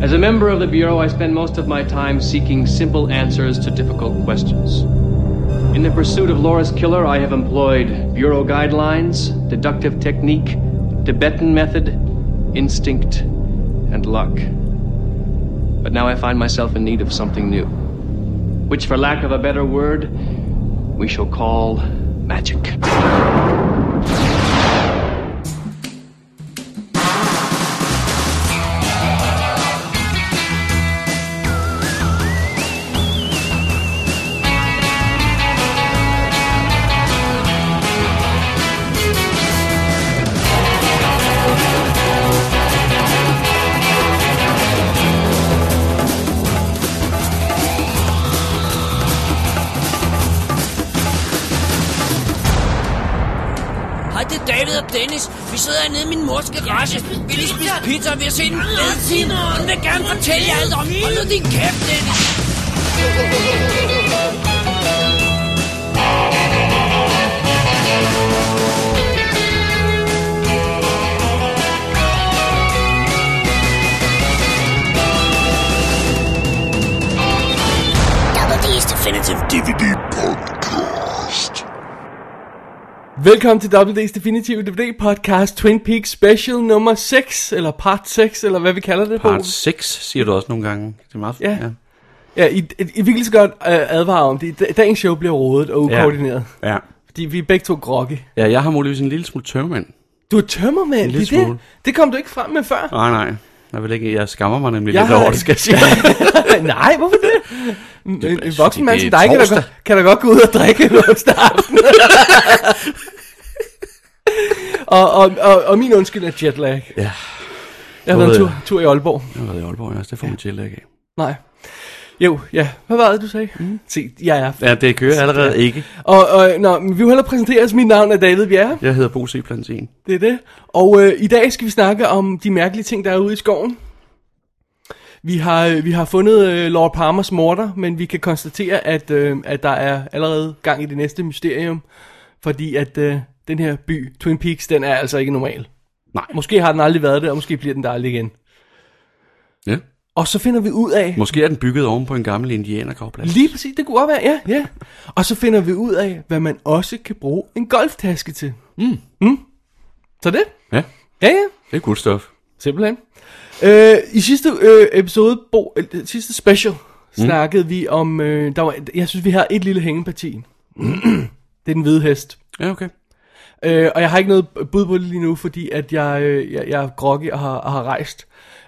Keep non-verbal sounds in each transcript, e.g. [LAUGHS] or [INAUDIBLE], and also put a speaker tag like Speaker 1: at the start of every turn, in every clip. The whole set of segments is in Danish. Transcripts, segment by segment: Speaker 1: As a member of the Bureau, I spend most of my time seeking simple answers to difficult questions. In the pursuit of Laura's killer, I have employed Bureau guidelines, deductive technique, Tibetan method, instinct, and luck. But now I find myself in need of something new, which, for lack of a better word, we shall call magic.
Speaker 2: Hej, det er David og Dennis. Vi sidder nede i min mors garage. Vi lige spise pizza, og vi har set en fed film. Hun vil gerne fortælle jer alt om. Hold nu din kæft, Dennis.
Speaker 3: Double D's Definitive DVD Podcast.
Speaker 4: Velkommen til WD's Definitive DVD Podcast Twin Peaks Special nummer 6, eller part 6, eller hvad vi kalder det.
Speaker 5: Part
Speaker 4: Bo.
Speaker 5: 6, siger du også nogle gange. Det er meget
Speaker 4: Ja. Ja, I, I, I virkelig så godt uh, advarer om det. I- Dagens show bliver rodet og ukoordineret. Ja.
Speaker 5: ja.
Speaker 4: Fordi vi er begge to grogge.
Speaker 5: Ja, jeg har muligvis en lille smule tørmand.
Speaker 4: Du er tømmermand,
Speaker 5: En
Speaker 4: det
Speaker 5: lille
Speaker 4: er det.
Speaker 5: smule.
Speaker 4: Det kom du ikke frem med før.
Speaker 5: Nej, nej. Jeg, vil ikke, jeg skammer mig nemlig
Speaker 4: Jeg
Speaker 5: jeg lidt
Speaker 4: har-
Speaker 5: over det, skal jeg sige.
Speaker 4: [LAUGHS] Nej, hvorfor det? En,
Speaker 5: er
Speaker 4: en
Speaker 5: fordi,
Speaker 4: voksen mand
Speaker 5: det
Speaker 4: som
Speaker 5: er
Speaker 4: dig kan da,
Speaker 5: torsdag.
Speaker 4: godt- kan da godt gå ud og drikke en onsdag
Speaker 5: [LAUGHS]
Speaker 4: aften. og, og, og, og min undskyld er jetlag.
Speaker 5: Ja.
Speaker 4: Jeg har været en
Speaker 5: Både-
Speaker 4: tur, tur i Aalborg.
Speaker 5: Jeg har været i Aalborg, også. Det får man til af.
Speaker 4: Nej. Jo, ja. Hvad var det, du sagde? Mm. Se, jeg er...
Speaker 5: Ja, det kører allerede ikke.
Speaker 4: Og, og nå, men vi vil hellere præsentere os. Mit navn er David Bjerre.
Speaker 5: Jeg hedder Bo C. Plantin.
Speaker 4: Det er det. Og øh, i dag skal vi snakke om de mærkelige ting, der er ude i skoven. Vi har, øh, vi har fundet øh, Lord Palmers morter, men vi kan konstatere, at, øh, at der er allerede gang i det næste mysterium. Fordi at øh, den her by, Twin Peaks, den er altså ikke normal.
Speaker 5: Nej.
Speaker 4: Måske har den aldrig været det, og måske bliver den der aldrig igen.
Speaker 5: Ja.
Speaker 4: Og så finder vi ud af,
Speaker 5: Måske er den bygget oven på en gammel indianergravplads.
Speaker 4: Lige præcis, det kunne godt være, ja, ja. Og så finder vi ud af, hvad man også kan bruge en golftaske til. Mm. Mm. Så det?
Speaker 5: Ja,
Speaker 4: Ja, ja.
Speaker 5: det er good stuff.
Speaker 4: Simpelthen. Øh, I sidste øh, episode, Bo, øh, sidste special,
Speaker 5: Mm.
Speaker 4: snakkede vi om, øh, der var, jeg synes, vi har et lille hængeparti. [CLEARS THROAT] det er den hvide hest.
Speaker 5: Ja, okay.
Speaker 4: Øh, og jeg har ikke noget bud på det lige nu, fordi at jeg, øh, jeg, jeg er groggy og har, og har rejst.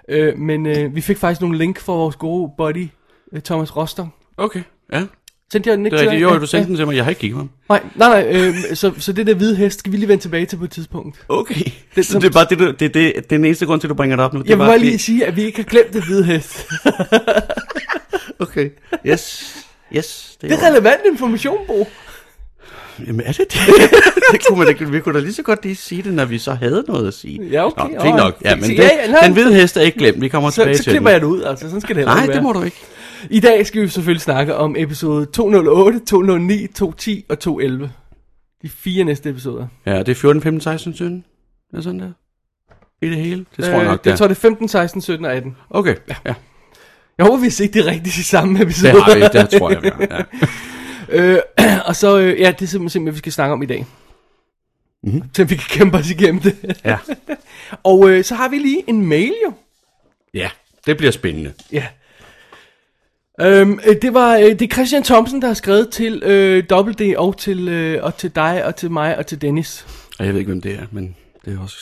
Speaker 4: Øh, men øh, vi fik faktisk nogle link fra vores gode buddy, øh, Thomas Roster.
Speaker 5: Okay, ja.
Speaker 4: Sendte jeg den
Speaker 5: Det
Speaker 4: ikke
Speaker 5: er
Speaker 4: til
Speaker 5: rigtigt.
Speaker 4: dig?
Speaker 5: Jo,
Speaker 4: Ja,
Speaker 5: du
Speaker 4: ja.
Speaker 5: sendte den til mig. Jeg har ikke kigget på ham.
Speaker 4: Nej, nej, nej, øh, så, så det der hvide hest skal vi lige vende tilbage til på et tidspunkt.
Speaker 5: Okay.
Speaker 4: Det-
Speaker 5: Det, så det er bare det, du, det, det, det er den eneste grund til, du bringer det op nu. Det
Speaker 4: Jeg vil
Speaker 5: var
Speaker 4: bare
Speaker 5: det-
Speaker 4: lige sige, at vi ikke har glemt det hvide hest.
Speaker 5: Okay. Yes. Yes.
Speaker 4: Det er relevant information, Bo.
Speaker 5: Jamen er det det? [LAUGHS] det kunne man ikke, vi kunne da lige så godt lige sige det, når vi så havde noget at sige.
Speaker 4: Ja, okay,
Speaker 5: Nå, fint
Speaker 4: ja.
Speaker 5: nok. Ja, men det,
Speaker 4: Ja, ja, nej.
Speaker 5: den hvide hest er ikke glemt. Vi kommer
Speaker 4: Så,
Speaker 5: tilbage
Speaker 4: så
Speaker 5: til den.
Speaker 4: klipper jeg det ud, altså. Sådan skal det heller
Speaker 5: Nej,
Speaker 4: ikke
Speaker 5: det
Speaker 4: være.
Speaker 5: må du ikke.
Speaker 4: I dag skal vi selvfølgelig snakke om episode 208, 209, 210 og 211. De fire næste episoder.
Speaker 5: Ja, det er 14, 15, 16, 17. Er sådan der? I det hele? Det tror jeg
Speaker 4: Øh,
Speaker 5: nok, det
Speaker 4: jeg
Speaker 5: er.
Speaker 4: tror, det er 15, 16, 17 og 18.
Speaker 5: Okay, ja. ja.
Speaker 4: Jeg håber, vi har set de rigtige i samme
Speaker 5: Det
Speaker 4: episode.
Speaker 5: har vi, det tror jeg, vi har. Ja.
Speaker 4: Øh, [LAUGHS] og så, øh, ja, det er simpelthen, simpelthen, vi skal snakke om i dag. Mm-hmm. Så vi kan kæmpe os igennem det.
Speaker 5: Mhm. ja.
Speaker 4: [LAUGHS] og øh, så har vi lige en mail jo.
Speaker 5: Ja, det bliver spændende.
Speaker 4: Ja. Øhm, øh, det var øh, det er Christian Thomsen, der har skrevet til øh, WD og til, øh, og til dig og til mig og til Dennis.
Speaker 5: Og jeg ved ikke, hvem det er, men det er også...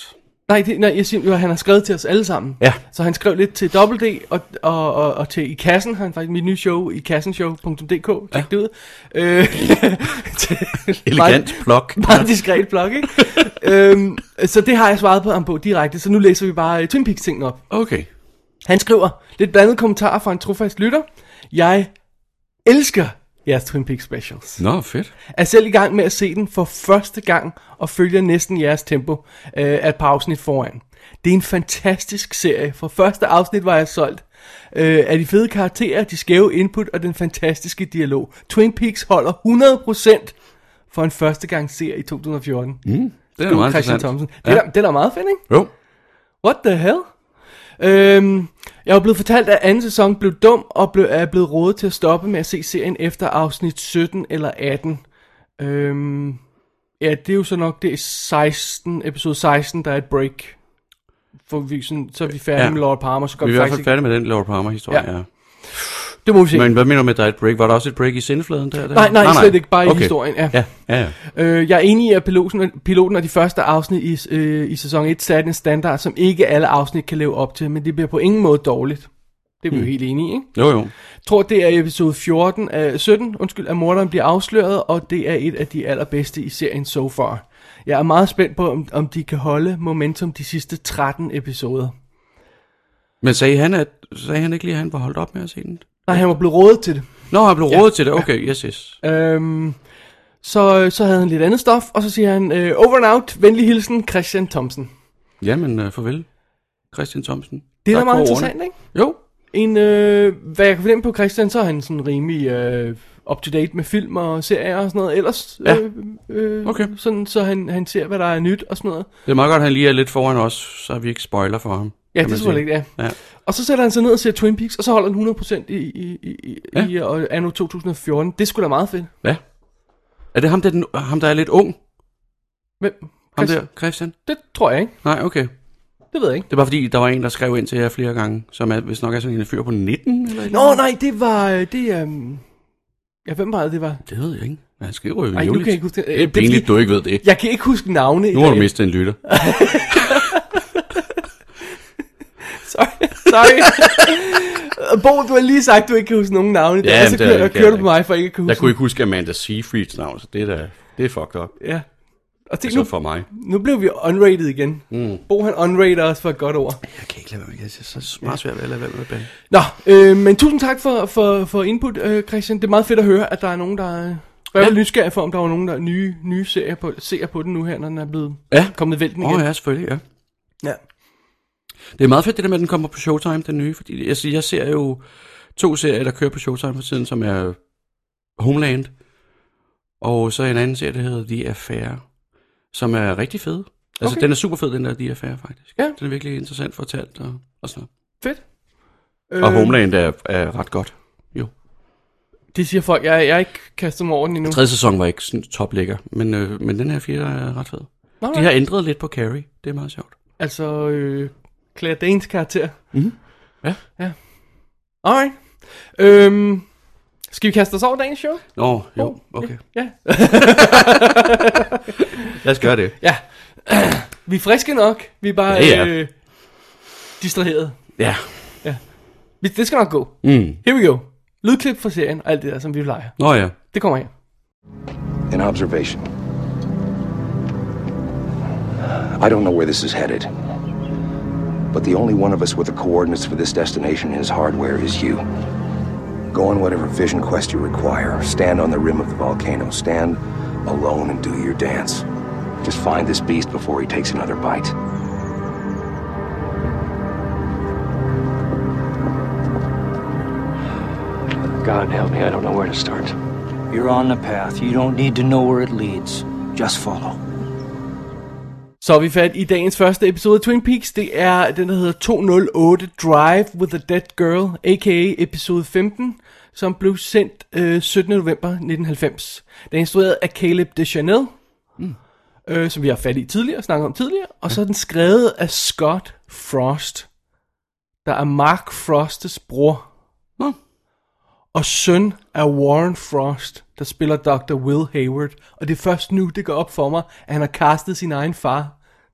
Speaker 4: Nej, det, nej jeg siger, jo, han har skrevet til os alle sammen.
Speaker 5: Ja.
Speaker 4: Så han skrev lidt til WD og, og, og, og til I Kassen, har han faktisk mit nye show, i kassenshow.dk, tjek ja. det ud. Øh, [LAUGHS] til-
Speaker 5: Elegant plok.
Speaker 4: Meget diskret blog,
Speaker 5: [LAUGHS]
Speaker 4: ikke? øhm, så det har jeg svaret på ham på direkte, så nu læser vi bare øh, Twin Peaks-tingen op.
Speaker 5: Okay.
Speaker 4: Han skriver, lidt blandet kommentarer fra en trofast lytter. Jeg elsker jeres Twin Peaks specials.
Speaker 5: Nå, fedt.
Speaker 4: Er selv i gang med at se den for første gang, og følger næsten jeres tempo øh, af et par afsnit foran. Det er en fantastisk serie. Fra første afsnit var jeg solgt. Øh, af de fede karakterer, de skæve input og den fantastiske dialog. Twin Peaks holder 100% for en første gang serie i 2014.
Speaker 5: Det er
Speaker 4: Du,
Speaker 5: meget
Speaker 4: Christian
Speaker 5: interessant.
Speaker 4: Thomsen. Det,
Speaker 5: Ja.
Speaker 4: er, da- det er da meget fedt, ikke?
Speaker 5: Jo.
Speaker 4: What the hell? Øhm, Jeg var blevet fortalt, at anden sæson blev dum, og blev, er blevet rådet til at stoppe med at se serien efter afsnit 17 eller 18. Øhm, ja, det er jo så nok det er 16, episode 16, der er et break. For vi, sådan, så er vi færdige ja.
Speaker 5: Ja.
Speaker 4: med Lord Palmer, så går
Speaker 5: Vi
Speaker 4: vi,
Speaker 5: er i hvert
Speaker 4: faktisk
Speaker 5: fald
Speaker 4: ikke.
Speaker 5: færdige med den Laura Palmer-historie,
Speaker 4: Ja.
Speaker 5: ja. ja.
Speaker 4: Det må vi se.
Speaker 5: Men hvad mener du med, at der er et break? Var der også et break i sindefladen der? der?
Speaker 4: Nej, nej, slet ikke. Bare i historien, ja.
Speaker 5: Ja, ja, ja.
Speaker 4: Øh, jeg er enig i, at piloten, piloten og de første afsnit i, øh, i sæson 1 satte en standard, som ikke alle afsnit kan leve op til, men det bliver på ingen måde dårligt. Det er
Speaker 5: Hmm.
Speaker 4: vi jo helt enige i, ikke?
Speaker 5: Jo, jo.
Speaker 4: Jeg tror, det er i episode 14, af, 17, undskyld, at morderen bliver afsløret, og det er et af de allerbedste i serien so far. Jeg er meget spændt på, om, om de kan holde momentum de sidste 13 episoder.
Speaker 5: Men sagde han, at, sagde han ikke lige, at han var holdt op med at se den?
Speaker 4: Nej, han var blevet rådet til det.
Speaker 5: Nå, han blev ja. rådet til det. Okay, yes, yes.
Speaker 4: Øhm, så, så havde han lidt andet stof, og så siger han, øh, over and out, venlig hilsen, Christian Thompson.
Speaker 5: Jamen, øh, farvel. Christian Thomsen.
Speaker 4: Det er da
Speaker 5: Tak
Speaker 4: meget
Speaker 5: for ordene.
Speaker 4: interessant, ikke?
Speaker 5: Jo.
Speaker 4: En, øh, hvad jeg kan fornemme på Christian, så er han sådan rimelig øh, up-to-date med film og serier og sådan noget ellers.
Speaker 5: Ja.
Speaker 4: Øh, øh,
Speaker 5: Okay.
Speaker 4: Sådan, så han, han ser, hvad der er nyt og sådan noget.
Speaker 5: Det er meget godt, at han lige er lidt foran os, så vi ikke spoiler for ham.
Speaker 4: Ja,
Speaker 5: kan man
Speaker 4: det tror jeg
Speaker 5: sige.
Speaker 4: ikke, det er.
Speaker 5: Ja.
Speaker 4: Og så sætter han sig ned og ser Twin Peaks, og så holder han 100% i, i, i, i,
Speaker 5: Ja.
Speaker 4: ja. i øh, anno 2014. Det skulle sgu da meget fedt.
Speaker 5: Ja. Er det ham der, er den, ham, der er lidt ung?
Speaker 4: Men,
Speaker 5: Ham
Speaker 4: Christ-
Speaker 5: der, Christian?
Speaker 4: Det tror jeg ikke.
Speaker 5: Nej, okay.
Speaker 4: Det ved jeg ikke.
Speaker 5: Det er bare fordi, der var en, der skrev ind til jer flere gange, som er, hvis nok er sådan en fyr på 19 eller et eller
Speaker 4: Nå, nej, det var... øh, Det, øhm, ja, hvem var det, det var?
Speaker 5: andet. Det ved jeg ikke. Men Han skriver jo
Speaker 4: Ej, nu kan jeg ikke huske det. Øh,
Speaker 5: det. er
Speaker 4: Det er
Speaker 5: pinligt,
Speaker 4: fordi-
Speaker 5: du ikke ved det.
Speaker 4: Jeg kan ikke huske navne. i
Speaker 5: Nu har du
Speaker 4: dag.
Speaker 5: mistet en lytter.
Speaker 4: Sorry. Sorry. [LAUGHS] Bo, du har lige sagt, at du ikke kan huske nogen navne. Ja,
Speaker 5: men
Speaker 4: så
Speaker 5: det er
Speaker 4: kører,
Speaker 5: ikke-
Speaker 4: kører du på mig, for ikke at kunne
Speaker 5: Jeg
Speaker 4: huske
Speaker 5: kunne ikke huske Amanda Seyfrieds navn, så det er, da, det er fucked up.
Speaker 4: Ja. Og tænk,
Speaker 5: Så
Speaker 4: nu,
Speaker 5: for mig.
Speaker 4: nu blev vi unrated igen. Mm. Bo han unrated os for et godt ord.
Speaker 5: Jeg kan ikke lade være med det. Det er så meget svært ved at lade være med det.
Speaker 4: Nå, øh, men tusind tak for, for, for input, øh, Christian. Det er meget fedt at høre, at der er nogen, der... øh, Jeg er ja. nysgerrig for, om der var nogen, der er nye, nye serier på, ser på den nu her, når den er blevet
Speaker 5: Ja.
Speaker 4: kommet vælten igen.
Speaker 5: Åh oh, ja, selvfølgelig, ja.
Speaker 4: ja.
Speaker 5: Det er meget fedt det der med, at den kommer på Showtime, den nye. Fordi jeg, siger, jeg ser jo to serier, der kører på Showtime for tiden, som er Homeland. Og så en anden serie, der hedder The Affair, som er rigtig fed. Altså,
Speaker 4: Okay.
Speaker 5: okay. den er super fed, den der The Affair, faktisk.
Speaker 4: Ja.
Speaker 5: Den er virkelig interessant fortalt og, og sådan
Speaker 4: Fedt. Øh,
Speaker 5: noget. Og Homeland er, er ret godt. Jo.
Speaker 4: Det siger folk, jeg, jeg er ikke kastet mig over den endnu.
Speaker 5: Tredje sæson var ikke sådan toplækker, men, øh, men den her fjerde er ret fed.
Speaker 4: Nå,
Speaker 5: De har ændret lidt på Carrie. Det er meget sjovt.
Speaker 4: Altså øh, Claire Danes karakter.
Speaker 5: Mhm. Ja.
Speaker 4: Ja. Alright. Øhm, skal vi kaste os over dagens show?
Speaker 5: Nå, jo,
Speaker 4: Bo,
Speaker 5: okay.
Speaker 4: Ja.
Speaker 5: Lad os gøre det.
Speaker 4: ja. [CLEARS THROAT] vi er friske nok. Vi er bare
Speaker 5: Ja, ja.
Speaker 4: Øh, distraheret.
Speaker 5: Ja.
Speaker 4: Det skal nok gå.
Speaker 5: Mm.
Speaker 4: Here we go. Lydklip fra serien og alt det der, som vi plejer.
Speaker 5: Nå ja.
Speaker 4: Det kommer her.
Speaker 6: an observation. I don't know where this is headed, but the only one of us with the coordinates for this destination in his hardware is you. Go on whatever vision quest you require. Stand on the rim of the volcano. Stand alone and do your dance. Just find this beast before he takes another bite.
Speaker 7: God help me, I don't know where to start. You're on the path. You don't need to know where it leads. Just follow.
Speaker 4: Så er vi fat i dagens første episode af Twin Peaks. Det er den, der hedder 208 Drive with a Dead Girl, a.k.a. episode 15, som blev sendt øh, 17. november 1990. Den er instrueret af Caleb Deschanel, mm. øh, som vi har fat i tidligere, snakket om tidligere. Og så er den skrevet af Scott Frost, der er Mark Frostes bror.
Speaker 5: Nå.
Speaker 4: Og søn af Warren Frost, der spiller Dr. Will Hayward. Og det er først nu, det går op for mig, at han har castet sin egen far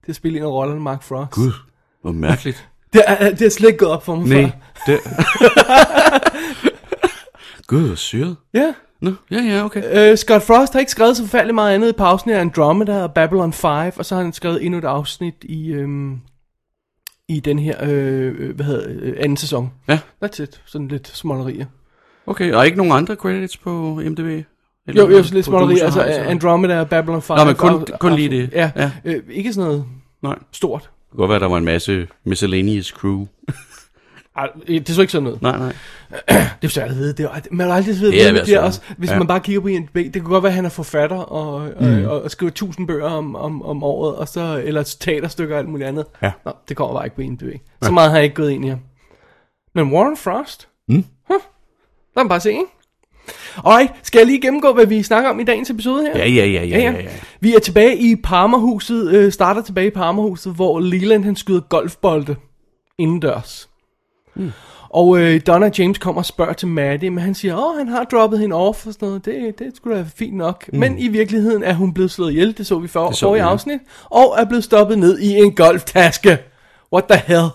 Speaker 4: til at spille en af rollerne Mark Frost.
Speaker 5: Gud, hvor mærkeligt.
Speaker 4: Det er, det er slet ikke gået op for mig
Speaker 5: Nej,
Speaker 4: før.
Speaker 5: det... [LAUGHS] Gud, hvor syret.
Speaker 4: Ja.
Speaker 5: Nå, ja, ja, okay.
Speaker 4: Øh, Scott Frost har ikke skrevet så forfærdeligt meget andet i pausen af Andromeda og Babylon 5, og så har han skrevet endnu et afsnit i, øhm, i den her, øh, øh, hvad hedder øh, anden sæson.
Speaker 5: Ja,
Speaker 4: That's it. Sådan lidt smålerier.
Speaker 5: okay. Og ikke nogen andre credits på MDB? Eller
Speaker 4: Jo, jo, sådan lidt smålerier,
Speaker 5: producer,
Speaker 4: altså Andromeda og Babylon 5.
Speaker 5: Nå, men kun-
Speaker 4: og-
Speaker 5: kun
Speaker 4: og-
Speaker 5: lige det.
Speaker 4: Ja, ja.
Speaker 5: Ja.
Speaker 4: Øh, ikke sådan noget
Speaker 5: Nej.
Speaker 4: stort.
Speaker 5: Det kunne godt være, der var en masse miscellaneous crew.
Speaker 4: Ej, det er så ikke sådan noget.
Speaker 5: Nej, nej.
Speaker 4: Det er svært at vide. Det er, man har aldrig vide,
Speaker 5: Det er
Speaker 4: hvem
Speaker 5: i hvert
Speaker 4: det er
Speaker 5: fald.
Speaker 4: også, hvis ja.
Speaker 5: Ja.
Speaker 4: man bare kigger på IMDb. Det kan godt være, at han er forfatter og, mm. og, og skriver tusind bøger om, om, om året, og så, eller teaterstykker og alt muligt andet.
Speaker 5: Ja.
Speaker 4: Nå, det kommer bare ikke på IMDb. Så meget har jeg ikke gået ind i ham. Men Warren Frost?
Speaker 5: Mm.
Speaker 4: Huh. Lad mig bare se, ikke? Alright, skal jeg lige gennemgå, hvad vi snakker om i dagens episode her?
Speaker 5: Ja, ja, ja, ja, ja, ja.
Speaker 4: Vi er tilbage i Parmerhuset, øh, starter tilbage i Parmerhuset, hvor Leland han skyder golfbolde indendørs.
Speaker 5: Hmm.
Speaker 4: Mm. Og øh, Donna James kommer og spørger til Maddie, men han siger, åh, han har droppet hende off og sådan noget. Det, det skulle da være fint nok. Mm. Men i virkeligheden er hun blevet slået ihjel, det så vi for,
Speaker 5: Hmm. Det så
Speaker 4: så i
Speaker 5: vi, ja.
Speaker 4: afsnit, og er blevet stoppet ned i en golftaske. What the hell?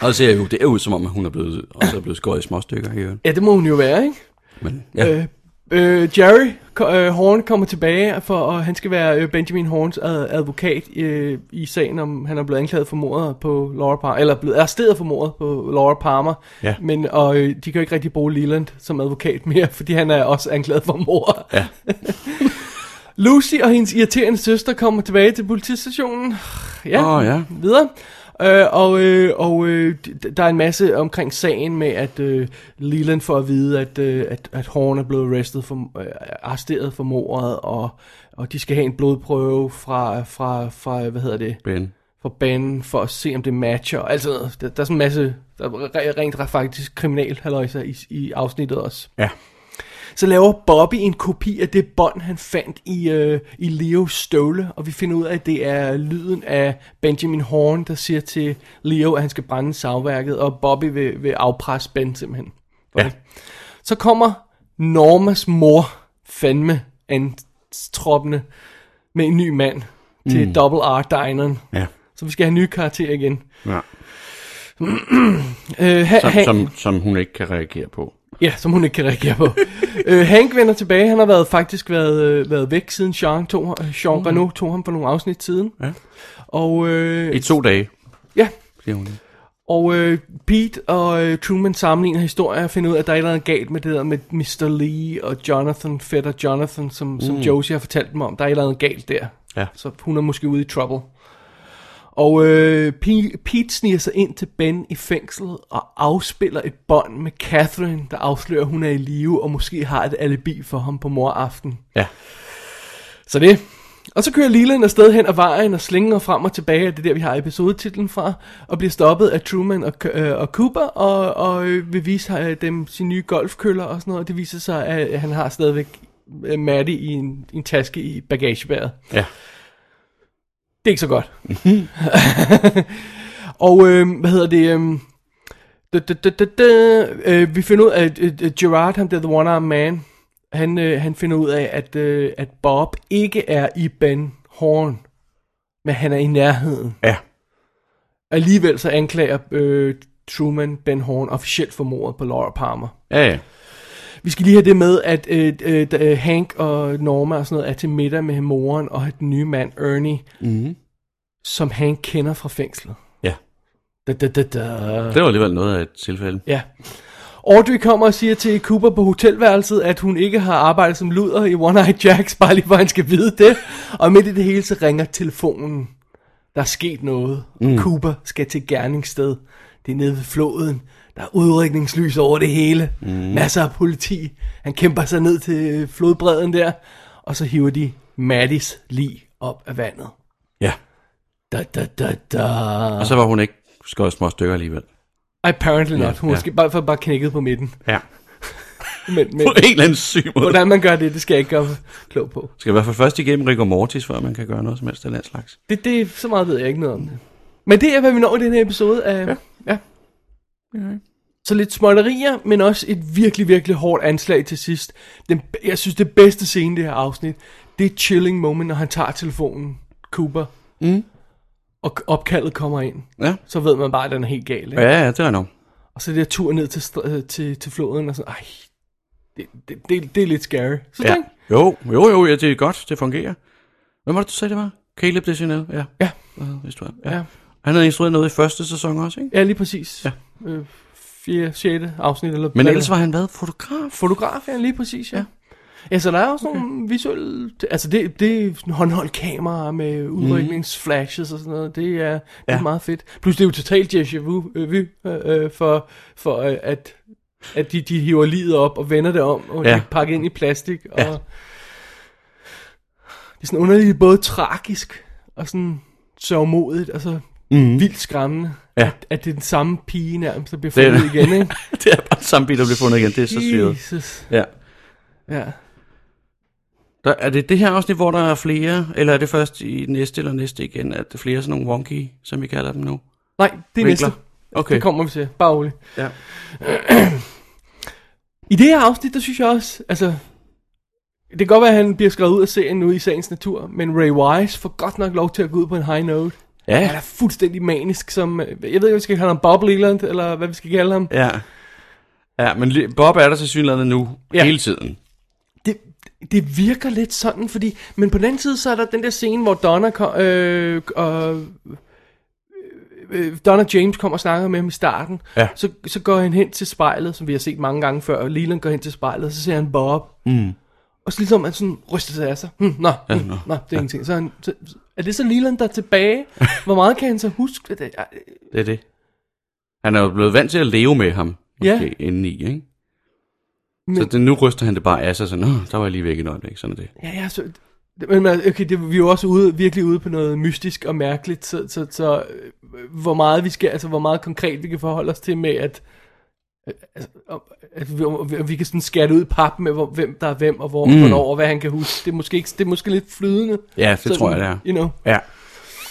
Speaker 5: Og så ser jeg jo, det er jo som om, at hun er blevet, også er blevet skåret i små stykker i øvrigt.
Speaker 4: Ja, det må hun jo være, ikke?
Speaker 5: Men ja, øh,
Speaker 4: Øh, Jerry ko- øh, Horn kommer tilbage, for, og han skal være øh, Benjamin Horns ad, advokat øh, i sagen, om han er blevet anklaget for mordet på Laura Palmer, eller blevet arresteret for mordet på Laura Palmer.
Speaker 5: Ja.
Speaker 4: Men, og øh, de kan jo ikke rigtig bruge Leland som advokat mere, fordi han er også anklaget for mord.
Speaker 5: Ja.
Speaker 4: Lucy og hendes irriterende søster kommer tilbage til politistationen. Ja,
Speaker 5: Åh, ja.
Speaker 4: videre. Øh, og øh, og øh, d- der er en masse omkring sagen med, at øh, Leland får at vide, at, øh, at, at Horn er blevet arrestet for, øh, arresteret for mordet, og, og de skal have en blodprøve fra, fra, fra hvad hedder det,
Speaker 5: Ben.
Speaker 4: fra banen, for at se, om det matcher. og alt sådan noget. der, der er sådan en masse, der er re- rent re- faktisk kriminal halløjser i, i afsnittet også.
Speaker 5: Ja.
Speaker 4: Så laver Bobby en kopi af det bånd, han fandt i, øh, i Leos støvle, og vi finder ud af, at det er lyden af Benjamin Horn, der siger til Leo, at han skal brænde savværket, og Bobby vil, vil afpresse Ben simpelthen.
Speaker 5: Ja.
Speaker 4: Så kommer Normas mor fandme antroppende med en ny mand til mm. Double R-dineren.
Speaker 5: Ja.
Speaker 4: Så vi skal have nye karakterer igen.
Speaker 5: ja.
Speaker 4: Øh, ha-
Speaker 5: Som,
Speaker 4: Hank-
Speaker 5: som, som hun ikke kan reagere på.
Speaker 4: Ja, som hun ikke kan reagere på. øh, Hank vender tilbage. Han har været, faktisk været, øh, været væk, siden Jean, tog, øh, Jean mm. Reno tog ham for nogle afsnit siden.
Speaker 5: Ja.
Speaker 4: Og, øh,
Speaker 5: I to dage,
Speaker 4: ja,
Speaker 5: siger hun.
Speaker 4: og øh, Pete og øh, Truman sammenligner historier og finder ud af, at der er et eller andet galt med det der med Mr. Lee og Jonathan, fætter Jonathan, som, mm. som Josie har fortalt dem om. Der er et eller andet galt der.
Speaker 5: Ja.
Speaker 4: Så hun er måske ude i trouble. Og øh, Pete, Pete sniger sig ind til Ben i fængslet og afspiller et bånd med Catherine, der afslører, at hun er i live og måske har et alibi for ham på moraften.
Speaker 5: Ja.
Speaker 4: Så det. Og så kører Leland afsted hen ad vejen og slinger frem og tilbage, og det er der, vi har episodetitlen fra, og bliver stoppet af Truman og, K- øh, og Cooper, og, og øh, vil vise øh, dem sine nye golfkøller og sådan noget, og det viser sig, at han har stadigvæk øh, Maddie i en, en taske i bagagebæret.
Speaker 5: Ja.
Speaker 4: Det er ikke så godt. [LAUGHS] og øhm, hvad hedder det? Øhm, da, da, da, da, da, øh, vi finder ud af, at øh, Gerard, ham der The One Arm Man, han, øh, han finder ud af, at, øh, at Bob ikke er i Ben Horn, men han er i nærheden.
Speaker 5: Ja.
Speaker 4: Alligevel så anklager øh, Truman Ben Horn officielt for mordet på Laura Palmer.
Speaker 5: Ja, ja.
Speaker 4: Vi skal lige have det med, at øh, øh, da, øh, Hank og Norma og sådan noget er til middag med moren og den nye mand Ernie, mm. som Hank kender fra fængslet.
Speaker 5: Ja.
Speaker 4: Da, da, da, da.
Speaker 5: Det var alligevel noget af et tilfælde.
Speaker 4: Ja. Audrey kommer og siger til Cooper på hotelværelset, at hun ikke har arbejdet som luder i One Eye Jacks, bare lige for at han skal vide det. Og midt i det hele, så ringer telefonen. Der er sket noget. Mm. Cooper skal til gerningssted. Det er nede ved floden. Der er udrykningslys over det hele. Mm. Masser af politi. Han kæmper sig ned til flodbredden der. Og så hiver de Mattis lige op af vandet.
Speaker 5: Ja.
Speaker 4: Da, da, da, da.
Speaker 5: Og så var hun ikke skåret i små stykker alligevel.
Speaker 4: Apparently
Speaker 5: Ja,
Speaker 4: not. Hun
Speaker 5: ja.
Speaker 4: måske bare, for bare knækket på midten.
Speaker 5: Ja.
Speaker 4: Men, men,
Speaker 5: [LAUGHS] På en eller anden syg måde.
Speaker 4: Hvordan man gør det, det skal jeg ikke gøre mig klog på.
Speaker 5: Skal i hvert fald først igennem rigor mortis, før man kan gøre noget som helst af den slags.
Speaker 4: Det, det, så meget ved jeg ikke noget om det. Men det er, hvad vi når i den her episode af... Ja. ja. Så lidt småtterier, men også et virkelig, virkelig hårdt anslag til sidst. Den, jeg synes, det bedste scene i det her afsnit, det er chilling moment, når han tager telefonen, Cooper, mm. og k- opkaldet kommer ind.
Speaker 5: Ja.
Speaker 4: Så ved man bare, at den er helt gal. Ikke?
Speaker 5: Ja, ja, det er nok.
Speaker 4: Og så det der tur ned til, str- øh, til, til floden, og sådan, ej, det, det, det, det er lidt scary. Så ja.
Speaker 5: Ja. Jo, jo, jo, ja, det er godt, det fungerer. Hvem var det, du sagde, det var? Caleb Deschanel, ja.
Speaker 4: Ja.
Speaker 5: Hvad vidste du? Ja.
Speaker 4: Ja.
Speaker 5: ja. Han havde instrueret noget i første sæson også, ikke?
Speaker 4: Ja, lige præcis.
Speaker 5: Ja.
Speaker 4: Øh, 4. 6. afsnit. Eller
Speaker 5: Men
Speaker 4: hvad
Speaker 5: ellers
Speaker 4: det
Speaker 5: var han hvad? Fotograf?
Speaker 4: er. Fotograf, ja, lige præcis, ja. Ja, så der er også okay. nogle visuelle... Altså, det, det er sådan håndholdt kamera med udrykningsflashes og sådan noget. Det er, det ja. er
Speaker 5: Mhm. Ja.
Speaker 4: meget fedt. Plus, det er jo totalt déjà vu øh, vu, øh, øh, for, for øh, at, at de, de hiver livet op og vender det om, og ja.
Speaker 5: Ja.
Speaker 4: de pakker ind i plastik. Og
Speaker 5: Ja.
Speaker 4: Det er
Speaker 5: Mhm.
Speaker 4: sådan underligt, både tragisk og sådan sørgmodigt, og så mm. vildt skræmmende.
Speaker 5: Ja.
Speaker 4: At det er den samme pige nærmest, der bliver
Speaker 5: Det er
Speaker 4: fundet
Speaker 5: det.
Speaker 4: igen, ikke?
Speaker 5: [LAUGHS] det er bare samme bil, der bliver [LAUGHS] fundet igen. Det er så syret.
Speaker 4: Jesus.
Speaker 5: Ja.
Speaker 4: Ja.
Speaker 5: Der, er det det her afsnit, hvor der er flere, eller er det først i næste eller næste igen, at der er flere sådan nogle wonky, som vi kalder dem nu?
Speaker 4: Nej, det er
Speaker 5: Vinkler.
Speaker 4: næste. Altså,
Speaker 5: Okay.
Speaker 4: Det kommer vi til. Bare roligt.
Speaker 5: Ja.
Speaker 4: [CLEARS THROAT] I det her afsnit, der synes jeg også, altså... Det kan godt være, at han bliver skrevet ud af serien nu i sagens natur, men Ray Wise får godt nok lov til at gå ud på en high note. Han
Speaker 5: Ja.
Speaker 4: er fuldstændig manisk, som... øh, Jeg ved ikke, hvad vi skal kalde ham, Bob Leland, eller hvad vi skal kalde ham.
Speaker 5: Ja. Ja, men li- Bob er der til synligheden nu, ja.
Speaker 4: Ja.
Speaker 5: hele tiden.
Speaker 4: det, det virker lidt sådan, fordi... Men på den anden side, så er der den der scene, hvor Donna kom, øh, og, øh, Donna James kommer og snakker med ham i starten.
Speaker 5: Ja.
Speaker 4: Så, så går han hen til spejlet, som vi har set mange gange før. Og Leland går hen til spejlet, og så ser han Bob. Mm. Og så ligesom han sådan ryster sig af sig. Hm, nå, ja, hmm,
Speaker 5: nå.
Speaker 4: nå, det er ja. ingenting. Så, er han, så er det så Leland, der er tilbage? [LAUGHS] Hvor meget kan han så huske? øh, Det, er-
Speaker 5: Det er det. Han er jo blevet vant til at leve med ham, måske, ja. indeni, ikke? Men... Så
Speaker 4: Men-
Speaker 5: det, nu ryster han det bare af sig, så nå, der var jeg lige væk i et øjeblik, sådan er det.
Speaker 4: Ja, ja, så, men men, okay, det, vi er jo også ude, virkelig ude på noget mystisk og mærkeligt, så, så, så øh, hvor meget vi skal, altså hvor meget konkret vi kan forholde os til med, at, øh, altså, om- at vi, om vi kan sådan skære det ud i pap med, hvor, hvem der er hvem, og hvor, mm. hvornår, og hvad han kan huske. Det er måske, ikke, det er måske lidt flydende.
Speaker 5: Ja, det tror jeg, det er.
Speaker 4: You know.
Speaker 5: Ja,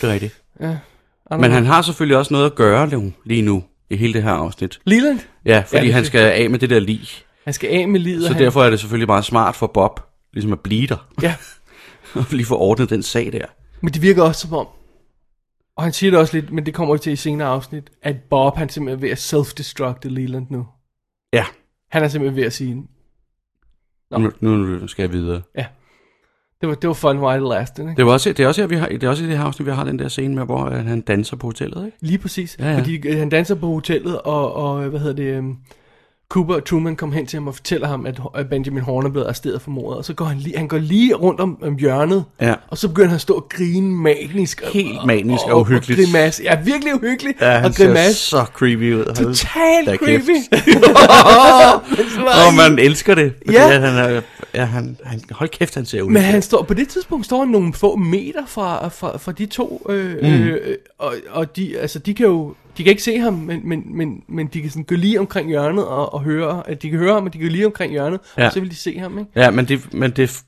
Speaker 5: det er rigtigt.
Speaker 4: I don't
Speaker 5: Men
Speaker 4: know.
Speaker 5: han har selvfølgelig også noget at gøre nu, lige nu, i hele det her afsnit.
Speaker 4: Leland,
Speaker 5: Ja, fordi
Speaker 4: det
Speaker 5: ja,
Speaker 4: er
Speaker 5: han
Speaker 4: det.
Speaker 5: skal af med det der lig.
Speaker 4: han skal af med livet.
Speaker 5: Så
Speaker 4: og han,
Speaker 5: derfor er det selvfølgelig meget smart for Bob, ligesom at blive der, [LAUGHS]
Speaker 4: Ja,
Speaker 5: og lige få ordnet den sag der.
Speaker 4: men det virker også som om, og han siger det også lidt, men det kommer vi til i senere afsnit, at Bob han simpelthen er ved at self-destructe Leland nu.
Speaker 5: Ja,
Speaker 4: Han er simpelthen ved at sige,
Speaker 5: nu, nu skal jeg videre.
Speaker 4: det var, det var fun while it lasted, ikke?
Speaker 5: Det er også, det er også her, vi har, det er også i det her afsnit, vi har den der scene med, hvor øh, han danser på hotellet, ikke?
Speaker 4: Lige præcis.
Speaker 5: Ja,
Speaker 4: Ja,
Speaker 5: ja.
Speaker 4: ja. Fordi øh, han danser på hotellet, og, og øh, hvad hedder det... øhm, Cooper og Truman kom hen til ham og fortæller ham, at at Benjamin Horn er blevet arresteret for mordet. Og så går han lige, han går lige rundt om, om hjørnet,
Speaker 5: Ja.
Speaker 4: og så begynder han at stå og grine manisk. og-
Speaker 5: Helt manisk og uhyggeligt.
Speaker 4: Og grimasse. Ja, virkelig uhyggeligt.
Speaker 5: Ja, han
Speaker 4: og grimasse.
Speaker 5: ser så creepy ud. Hold
Speaker 4: Totalt
Speaker 5: da kæft. [LAUGHS]
Speaker 4: creepy. [LAUGHS]
Speaker 5: Åh, oh, man elsker det. Fordi
Speaker 4: Ja.
Speaker 5: ja. Han er, ja, han, han, hold kæft, han ser ud.
Speaker 4: Men han står, på det tidspunkt står han nogle få meter fra, fra, fra de to, øh, mm. øh, og, og de, altså, de kan jo de kan ikke se ham, men, men, men, men de kan sådan gå lige omkring hjørnet og, og høre, at de kan høre ham, og de kan gå lige omkring hjørnet,
Speaker 5: Ja.
Speaker 4: og så vil de se ham, ikke?
Speaker 5: Ja, men, det, men det,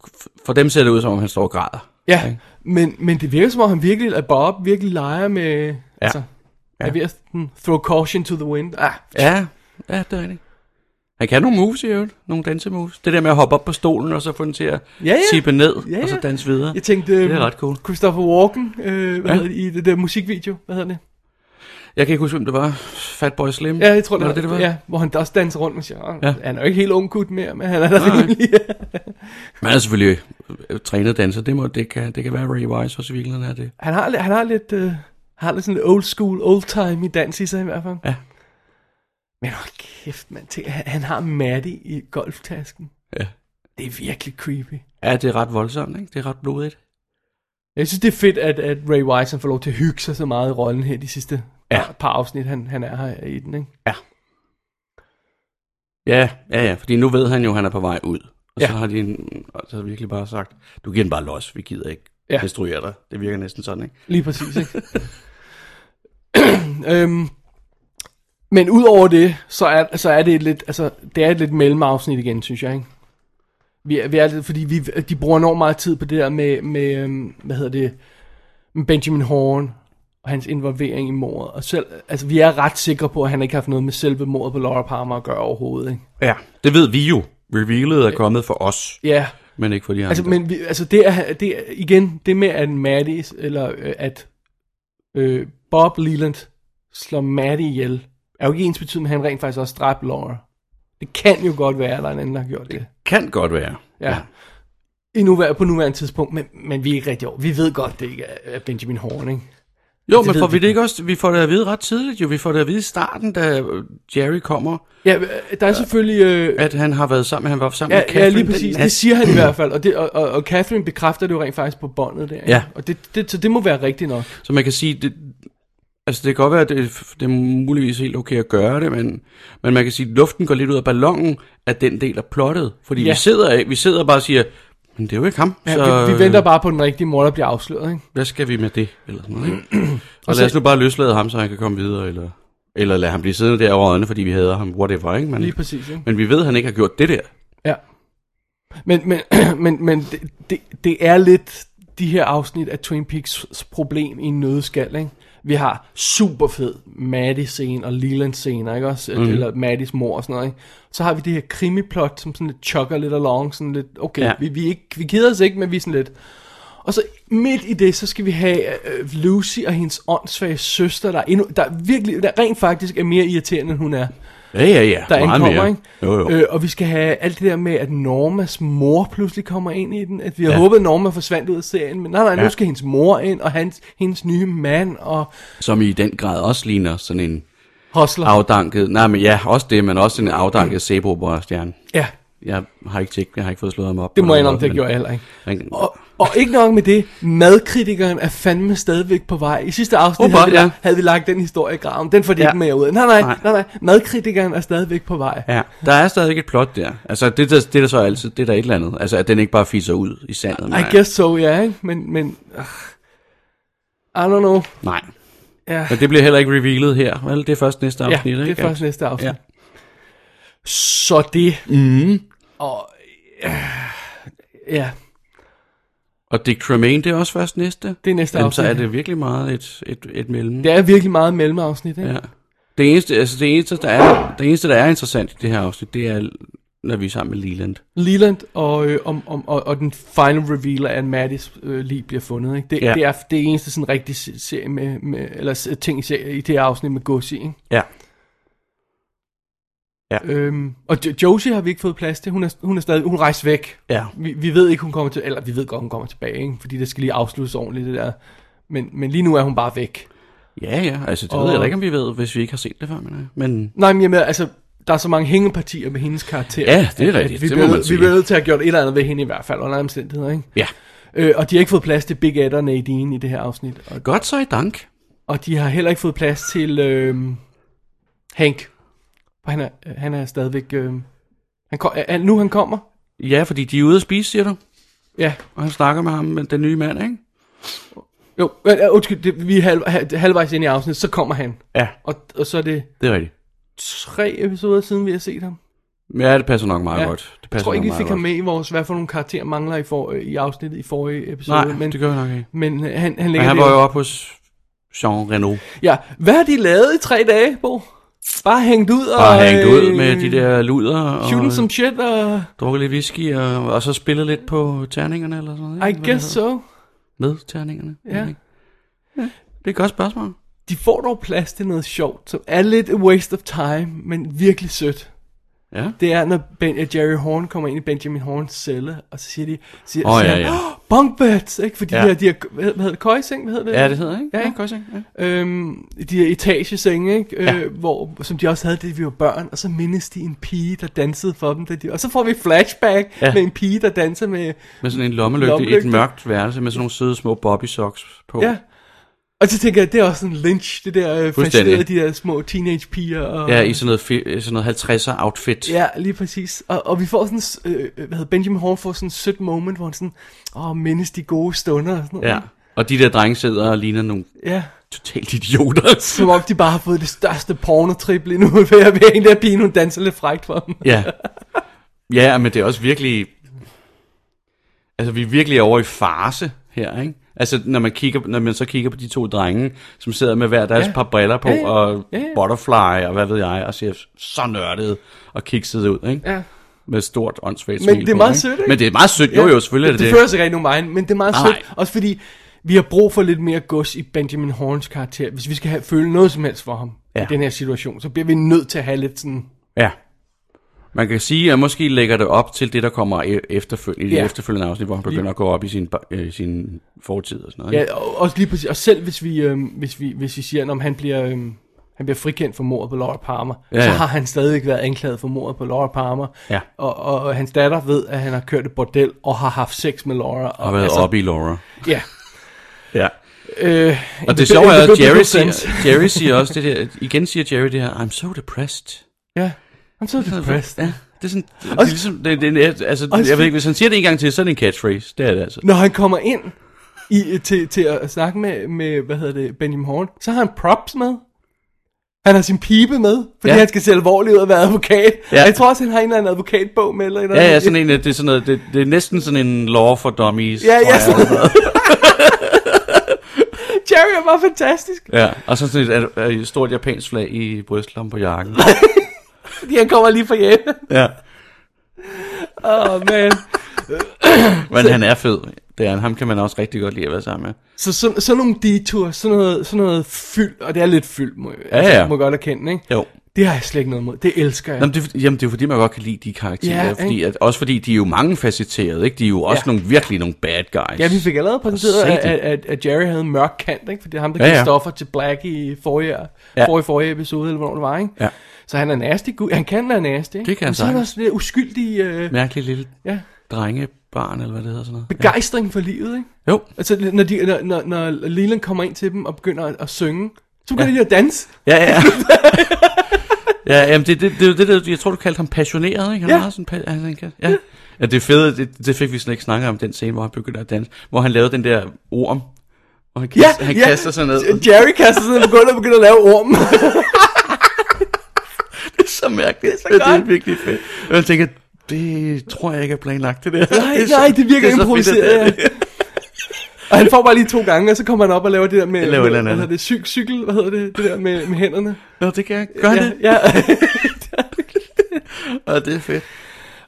Speaker 5: for dem ser det ud, som om han står og græder.
Speaker 4: Ja, okay. men, men det virker som om, han virkelig, at Bob virkelig leger med, ja. altså, ja. er ved at sådan, throw caution to the wind. Ah,
Speaker 5: Ja, ja det er rigtigt. Han kan nogle moves i øvrigt, nogle dansemoves. Det der med at hoppe op på stolen, og så få den til at
Speaker 4: Ja, ja.
Speaker 5: tippe ned,
Speaker 4: Ja,
Speaker 5: og så
Speaker 4: ja.
Speaker 5: danse videre.
Speaker 4: jeg tænkte,
Speaker 5: det er ret cool.
Speaker 4: Christopher Walken, øh, hvad
Speaker 5: Ja.
Speaker 4: ja. hedder det, i det der musikvideo, hvad hedder det?
Speaker 5: Jeg kan ikke huske, hvem det var. Fatboy Slim?
Speaker 4: Ja, jeg tror, det
Speaker 5: var det, det var.
Speaker 4: Ja, hvor han også danser rundt med sig.
Speaker 5: Ja.
Speaker 4: Ja. Han er jo ikke helt ung gut mere, men han er da
Speaker 5: Nej.
Speaker 4: rimelig.
Speaker 5: Men han er selvfølgelig øh, trænet danser. Det, må, det, kan, det kan være Ray Wise også i virkeligheden er det.
Speaker 4: [LAUGHS] Han har, lidt- han har lidt... Øh, har lidt sådan old school, old time i dans i sig i hvert fald.
Speaker 5: Ja.
Speaker 4: Men hold kæft, man. Tænk, han, han har Maddie i golftasken.
Speaker 5: Ja.
Speaker 4: Det er virkelig creepy.
Speaker 5: Ja, det er ret voldsomt, ikke? Det er ret blodigt.
Speaker 4: Jeg synes, det er fedt, at, at Ray Wise han får lov til at hygge sig så meget i rollen her de sidste
Speaker 5: Ja.
Speaker 4: par, par afsnit, han, han er her i den. Ikke?
Speaker 5: Ja, ja, ja, fordi nu ved han jo, at han er på vej ud. Og ja.
Speaker 4: Ja.
Speaker 5: så har de en, og så har de virkelig bare sagt, du giver den bare los, vi gider ikke ja.
Speaker 4: Ja.
Speaker 5: destruere dig. Det virker næsten sådan, ikke?
Speaker 4: Lige præcis, ikke? [CLEARS THROAT] øhm, men udover det, så er, så er det et lidt, altså, det er et lidt mellemafsnit igen, synes jeg, ikke? Vi er, vi er lidt, fordi vi, de bruger enormt meget tid på det der med, med øhm, hvad hedder det, med Benjamin Horn og hans involvering i mordet. Og selv, altså, vi er ret sikre på, at han ikke har haft noget med selve mordet på Laura Palmer at gøre overhovedet, ikke?
Speaker 5: Ja. Det ved vi jo. Revealet er kommet for os,
Speaker 4: Ja. Yeah.
Speaker 5: men ikke for de andre.
Speaker 4: Altså, men vi, altså det, er, det er, igen, det med, at Maddie, eller øh, at øh, Bob Leland slår Maddie ihjel, er jo ikke ens betydende, at han rent faktisk også dræbte Laura. Det kan jo godt være, at der er en anden, der har gjort det.
Speaker 5: Kan godt være.
Speaker 4: Ja. I nuvær, på nuværende tidspunkt, men, men vi er ikke rigtig over. Vi ved godt, det ikke er er Benjamin Horn, ikke?
Speaker 5: Jo,
Speaker 4: Det
Speaker 5: men
Speaker 4: ved
Speaker 5: får
Speaker 4: vi
Speaker 5: vi det ikke også, vi får det at vide ret tidligt jo, vi får det at vide i starten, da øh, Jerry kommer,
Speaker 4: Ja, øh, der er selvfølgelig... Øh,
Speaker 5: at han har været sammen, han var sammen
Speaker 4: Ja,
Speaker 5: med Catherine.
Speaker 4: ja, lige præcis.
Speaker 5: den nat.
Speaker 4: Det siger han i hvert fald, og, det, og, og, og Catherine bekræfter det jo rent faktisk på båndet der. ikke?
Speaker 5: Ja.
Speaker 4: Og det, det, så det må være rigtigt nok.
Speaker 5: Så man kan sige, det, altså det kan godt være, at det, det er muligvis helt okay at gøre det, men, men man kan sige, at luften går lidt ud af ballonen af den del af plottet. Fordi ja.
Speaker 4: Ja.
Speaker 5: vi, sidder, af- vi sidder bare og siger, Men det er jo ikke ham.
Speaker 4: Ja,
Speaker 5: så
Speaker 4: vi, vi venter bare på, at den rigtige mor, der bliver afsløret, ikke?
Speaker 5: Hvad skal vi med det? Eller sådan noget, ikke?
Speaker 4: [CLEARS THROAT]
Speaker 5: og lad os nu bare løslade ham, så han kan komme videre, eller, eller lad ham blive siddende der over øjnene, fordi vi hader ham, whatever, ikke? Men,
Speaker 4: Lige præcis, ikke?
Speaker 5: men vi ved, at han ikke har gjort det der.
Speaker 4: Ja. Men, [CLEARS THROAT] men, men, men det, det, det er lidt de her afsnit af Twin Peaks problem i en nødskal, ikke? Vi har super fed Maddie-scene og Leland-scene, ikke også? Mm. Eller Maddies mor og sådan noget, ikke? Så har vi det her krimiplot, som sådan lidt chokker lidt along, sådan lidt, okay,
Speaker 5: Ja.
Speaker 4: ja. vi, vi, er ikke, vi keder os ikke, men vi er sådan lidt... Og så midt i det, så skal vi have øh, Lucy og hendes åndssvage søster, der, er endnu, der, er virkelig, der rent faktisk er mere irriterende, end hun er
Speaker 5: Ja, ja, ja.
Speaker 4: der
Speaker 5: Meget
Speaker 4: ankommer,
Speaker 5: mere.
Speaker 4: ikke?
Speaker 5: Jo, jo.
Speaker 4: Øh, og vi skal have alt det der med, at Normas mor pludselig kommer ind i den. At vi har
Speaker 5: Ja.
Speaker 4: ja. håbet, at Norma forsvandt ud af serien, men nej, nej, nu
Speaker 5: Ja.
Speaker 4: skal hendes mor ind, og hans, hendes nye mand, og
Speaker 5: Som i den grad også ligner sådan en
Speaker 4: Hustler.
Speaker 5: afdanket... Nej, men ja, også det, men også en afdanket sæbeoperastjerne.
Speaker 4: Ja,
Speaker 5: Jeg har ikke tjekket, jeg har ikke fået slået ham op.
Speaker 4: det må jeg
Speaker 5: Eller
Speaker 4: indrømme, det
Speaker 5: noget,
Speaker 4: gjorde jeg heller ikke.
Speaker 5: men- men-
Speaker 4: Og, og ikke nok med det, madkritikeren er fandme stadigvæk på vej. I sidste afsnit
Speaker 5: Åbenbart,
Speaker 4: havde, vi,
Speaker 5: ja.
Speaker 4: lagt- havde vi lagt den historie i graven. Den får de
Speaker 5: Ja.
Speaker 4: ja. ikke med ud. af. Nej, nej,
Speaker 5: Nej.
Speaker 4: nej, nej, nej. Madkritikeren er stadigvæk på vej.
Speaker 5: Ja, der er stadigvæk et plot der. Altså, det, der, det der så altid, det er der et eller andet. Altså, at den ikke bare fiser ud i sandet.
Speaker 4: I guess so, ja, ikke? Men, men... Uh, I don't know.
Speaker 5: Nej.
Speaker 4: Ja.
Speaker 5: Men det bliver heller ikke revealet her, vel? Det er først næste afsnit,
Speaker 4: ja,
Speaker 5: ikke?
Speaker 4: det er først næste afsnit. Ja.
Speaker 5: Ja.
Speaker 4: Så det. Mm. Og... Øh, ja,
Speaker 5: Og Dick Tremaine, det er også først næste.
Speaker 4: det er næste
Speaker 5: Jamen, så
Speaker 4: afsnit.
Speaker 5: er det virkelig meget et, et, et mellem.
Speaker 4: det er virkelig meget mellemafsnit, ikke?
Speaker 5: Ja. Det eneste, altså det, eneste, der er, det eneste, der er interessant i det her afsnit, det er, når vi er sammen med Leland.
Speaker 4: Leland og, øh, om, om, og, og den final reveal af, at Mattis øh, lige bliver fundet, ikke? Det,
Speaker 5: Ja.
Speaker 4: ja. det er det eneste sådan rigtig se- serie med, med, eller se- ting i, serie, i det her afsnit med Gussi, ikke?
Speaker 5: Ja.
Speaker 4: Øhm, og jo- Josie har vi ikke fået plads til. Hun er, hun er stadig, hun rejser væk.
Speaker 5: Ja.
Speaker 4: Vi, vi ved ikke, hun kommer til, eller vi ved godt, hun kommer tilbage, ikke? Fordi det skal lige afsluttes ordentligt, det der. Men, men lige nu er hun bare væk.
Speaker 5: Ja, ja. Altså, det og...
Speaker 4: Og-
Speaker 5: ved jeg da ikke, om vi ved, hvis vi ikke har set det før. Men, øh, men
Speaker 4: Nej, men jeg mener, altså, der er så mange hængepartier med hendes karakter.
Speaker 5: Ja, det er
Speaker 4: at- at
Speaker 5: rigtigt.
Speaker 4: Vi
Speaker 5: Det
Speaker 4: bliver,
Speaker 5: må man
Speaker 4: nødt-
Speaker 5: sige.
Speaker 4: vi bliver nødt til at have gjort et eller andet ved hende i hvert fald, under alle omstændigheder, ikke?
Speaker 5: ja.
Speaker 4: Øh, og de har ikke fået plads til Big Ed og Nadine i det her afsnit. Og,
Speaker 5: Godt så i dank.
Speaker 4: og de har heller ikke fået plads til øh, Hank. For han er, han er stadigvæk... Øh, han kom, er, nu han kommer.
Speaker 5: Ja, fordi de er ude at spise, siger du.
Speaker 4: Ja,
Speaker 5: Og han snakker med ham, med den nye mand, ikke?
Speaker 4: Jo, øh, øh, undskyld, det, vi er halv, hal- halvvejs ind i afsnittet, så kommer han.
Speaker 5: Ja.
Speaker 4: Og, og så er det
Speaker 5: Det er rigtigt.
Speaker 4: tre episoder siden, vi har set ham.
Speaker 5: Ja, det passer nok meget ja. godt. Det passer
Speaker 4: Jeg tror
Speaker 5: nok
Speaker 4: ikke, vi
Speaker 5: meget
Speaker 4: fik ham
Speaker 5: godt.
Speaker 4: med i vores, hvad for nogle karakterer mangler i, for, øh, i afsnittet i forrige episode.
Speaker 5: Nej,
Speaker 4: men,
Speaker 5: det gør vi nok ikke.
Speaker 4: men øh, han, han
Speaker 5: Men
Speaker 4: ligger
Speaker 5: han
Speaker 4: der.
Speaker 5: var jo oppe hos Jean Renault.
Speaker 4: Ja, hvad har de lavet i tre dage, Bo? Bare hængt ud og...
Speaker 5: Og hængt ud
Speaker 4: øh,
Speaker 5: med de der luder. Og
Speaker 4: Shooting some shit og...
Speaker 5: Drukket lidt whisky, og, og så spillet lidt på terningerne eller sådan noget.
Speaker 4: I
Speaker 5: ikke? Hvad
Speaker 4: guess
Speaker 5: det
Speaker 4: so.
Speaker 5: hedder. Med terningerne.
Speaker 4: Ja.
Speaker 5: ikke? ja. Det er et godt spørgsmål.
Speaker 4: De får dog plads til noget sjovt, som er lidt a waste of time, men virkelig sødt.
Speaker 5: Ja.
Speaker 4: Det er, når ben, uh, Jerry Horn kommer ind i Benjamin Horns celle, og så siger de, siger,
Speaker 5: Åh,
Speaker 4: siger
Speaker 5: ja,
Speaker 4: han,
Speaker 5: ja.
Speaker 4: "Åh, bunk beds, ikke? Fordi
Speaker 5: Ja.
Speaker 4: ja. de her, de her, hvad hvad hedder det, køjseng, hvad hedder det?
Speaker 5: Ja, det hedder, ikke?
Speaker 4: Ja, ikke?
Speaker 5: godt ja.
Speaker 4: Øhm, de her etagesenge, ikke?
Speaker 5: Ja.
Speaker 4: Øh, hvor, som de også havde, da vi var børn, og så mindes de en pige, der dansede for dem, da de, og så får vi et flashback
Speaker 5: Ja.
Speaker 4: ja. med en pige, der danser med,
Speaker 5: Med sådan en lommelygte, lommelygte.
Speaker 4: Lommelygte.
Speaker 5: i et mørkt værelse med sådan nogle søde små bobby socks på.
Speaker 4: ja. Og så tænker jeg, det er også sådan Lynch, det der øh,
Speaker 5: Fuldstændig.
Speaker 4: fascinerede de der små teenagepiger. Og,
Speaker 5: Ja, i sådan noget, fi- øh, sådan noget 50'er outfit.
Speaker 4: Ja, lige præcis. Og, og vi får sådan, øh, hvad hedder Benjamin Horn får sådan et sødt moment, hvor han sådan, åh, mindes de gode stunder og sådan noget.
Speaker 5: ja. Og de der drenge sidder og ligner nogle
Speaker 4: Ja. [LAUGHS]
Speaker 5: totalt idioter.
Speaker 4: Som om de bare har fået det største pornotrip lige nu, [LAUGHS] ved at være en der pige, hun danser lidt frækt for dem.
Speaker 5: ja. Ja, men det er også virkelig... Altså, vi er virkelig over i farse her, ikke? Altså, når man, kigger, når man så kigger på de to drenge, som sidder med hver deres ja.
Speaker 4: Ja.
Speaker 5: par briller på, ja,
Speaker 4: Ja,
Speaker 5: ja.
Speaker 4: ja.
Speaker 5: og
Speaker 4: Ja, ja.
Speaker 5: butterfly, og hvad ved jeg, og ser så nørdet og kikset ud, ikke?
Speaker 4: Ja.
Speaker 5: Med stort åndssvagt
Speaker 4: Men
Speaker 5: smil
Speaker 4: det er
Speaker 5: på,
Speaker 4: meget sødt, ikke?
Speaker 5: Men det er meget sødt, jo jo, selvfølgelig er det
Speaker 4: det.
Speaker 5: det.
Speaker 4: Det fører sig rigtig nogen men det er meget
Speaker 5: Nej.
Speaker 4: sødt. Også fordi, vi har brug for lidt mere gods i Benjamin Horns karakter. Hvis vi skal have, føle noget som helst for ham
Speaker 5: Ja.
Speaker 4: ja. i den her situation, så bliver vi nødt til at have lidt sådan...
Speaker 5: Ja. Man kan sige, at måske lægger det op til det, der kommer e- efterfølgende, i det
Speaker 4: Ja.
Speaker 5: efterfølgende afsnit, hvor han begynder at gå op i sin, ba- øh, sin fortid og sådan noget. ikke?
Speaker 4: Ja, og, også lige præcis. Og selv hvis vi, øhm, hvis vi, hvis vi siger, om han bliver, øhm, han bliver frikendt for mordet på Laura Palmer,
Speaker 5: Ja,
Speaker 4: ja, så
Speaker 5: ja.
Speaker 4: har han stadigvæk været anklaget for mordet på Laura Palmer.
Speaker 5: Ja.
Speaker 4: Og, og, og hans datter ved, at han har kørt et bordel og har haft sex med Laura.
Speaker 5: Og været altså, oppe i Laura.
Speaker 4: Ja.
Speaker 5: Ja.
Speaker 4: Øh,
Speaker 5: Og det sjove er, at [LAUGHS] Jerry siger, Jerry siger også det der, igen siger Jerry det her, I'm so depressed.
Speaker 4: Ja. I'm so depressed.
Speaker 5: Ja. Det er sådan, det, det er ligesom, det, det, det, altså,
Speaker 4: Også
Speaker 5: jeg ved
Speaker 4: fordi-
Speaker 5: ikke, hvis han siger det en gang til, så er det en catchphrase. Det er det altså.
Speaker 4: Når han kommer ind i, til, til at snakke med, med, hvad hedder det, Benjamin Horn, så har han props med. Han har sin pibe med, fordi
Speaker 5: Ja.
Speaker 4: ja. han skal se alvorlig ud og være advokat.
Speaker 5: Ja.
Speaker 4: Ja. Jeg tror også, han har en eller anden advokatbog med. Eller et eller
Speaker 5: Ja, ja,
Speaker 4: andet.
Speaker 5: sådan en, det er sådan noget, det, det er næsten sådan en law for dummies.
Speaker 4: Ja,
Speaker 5: tror
Speaker 4: ja.
Speaker 5: jeg.
Speaker 4: Sådan. [LAUGHS] Jerry er bare fantastisk,
Speaker 5: ja. Og så sådan et, et, et stort japansk flag i brystlommen på jakken.
Speaker 4: fordi han kommer lige fra hjemme.
Speaker 5: ja.
Speaker 4: Åh, oh, man.
Speaker 5: Men han er fed. Det er han. Ham kan man også rigtig godt lide at være sammen med.
Speaker 4: Så sådan, sådan nogle detours, sådan noget, sådan noget fyld, og det er lidt fyld, må, ja,
Speaker 5: ja.
Speaker 4: må jeg godt erkende, ikke?
Speaker 5: Jo.
Speaker 4: Det har jeg slet ikke noget mod. Det elsker jeg.
Speaker 5: Jamen det, er fordi- jamen, det er fordi, man godt kan lide de karakterer.
Speaker 4: Ja,
Speaker 5: fordi,
Speaker 4: ikke?
Speaker 5: at, også fordi, de er jo mangefacetterede, ikke? De er jo også
Speaker 4: Ja.
Speaker 5: nogle, virkelig nogle bad guys.
Speaker 4: Ja, vi fik allerede præsenteret,
Speaker 5: sagde
Speaker 4: at,
Speaker 5: det.
Speaker 4: at, at, at Jerry havde en mørk kant, ikke? Fordi det er ham, der
Speaker 5: Ja,
Speaker 4: ja,
Speaker 5: ja.
Speaker 4: ja. stoffer til Black i forrige,
Speaker 5: Ja.
Speaker 4: ja. forrige, forrige episode, eller hvornår det var, ikke?
Speaker 5: Ja.
Speaker 4: Så han er nasty. gu- Han kan være nasty, ikke?
Speaker 5: Det kan han
Speaker 4: Men så er han
Speaker 5: sagtens.
Speaker 4: også det uskyldige øh,
Speaker 5: Mærkelig lille
Speaker 4: ja,
Speaker 5: drengebarn, eller hvad det hedder sådan noget.
Speaker 4: begejstring for livet, ikke?
Speaker 5: Jo.
Speaker 4: Altså, når, de, når, når, når Leland kommer ind til dem og begynder at, at synge, så begynder ja. de at danse.
Speaker 5: Ja, ja. [LAUGHS] ja, jamen det, det, det, er jo det, det, jeg tror, du kaldte ham passioneret, ikke? Han
Speaker 4: Ja.
Speaker 5: ja. sådan, pa- han, han kan, ja. ja. det fede, det, det fik vi slet ikke snakket om, den scene, hvor han begyndte at danse, hvor han lavede den der orm, og han, kaster, han kaster sig ned. Det
Speaker 4: Jerry kaster sig ned på gulvet og begynder at lave
Speaker 5: [LAUGHS]
Speaker 4: ormen.
Speaker 5: er så mærkeligt. Det er,
Speaker 4: så
Speaker 5: det er
Speaker 4: godt.
Speaker 5: virkelig fedt. Og jeg tænker, det tror jeg ikke er planlagt, det der.
Speaker 4: Nej,
Speaker 5: det
Speaker 4: det
Speaker 5: er så-
Speaker 4: nej, det virker
Speaker 5: er
Speaker 4: det
Speaker 5: så fedt, at
Speaker 4: improviseret.
Speaker 5: det er det.
Speaker 4: ja. Og han får bare lige to gange, og så kommer han op og laver det der med,
Speaker 5: Jeg laver et eller
Speaker 4: med hvad
Speaker 5: andet.
Speaker 4: hedder det, cy- cykel, hvad hedder det, det der med, med hænderne.
Speaker 5: Nå, det kan jeg gøre ja. [LAUGHS]
Speaker 4: ja,
Speaker 5: det.
Speaker 4: ja.
Speaker 5: Og det er fedt.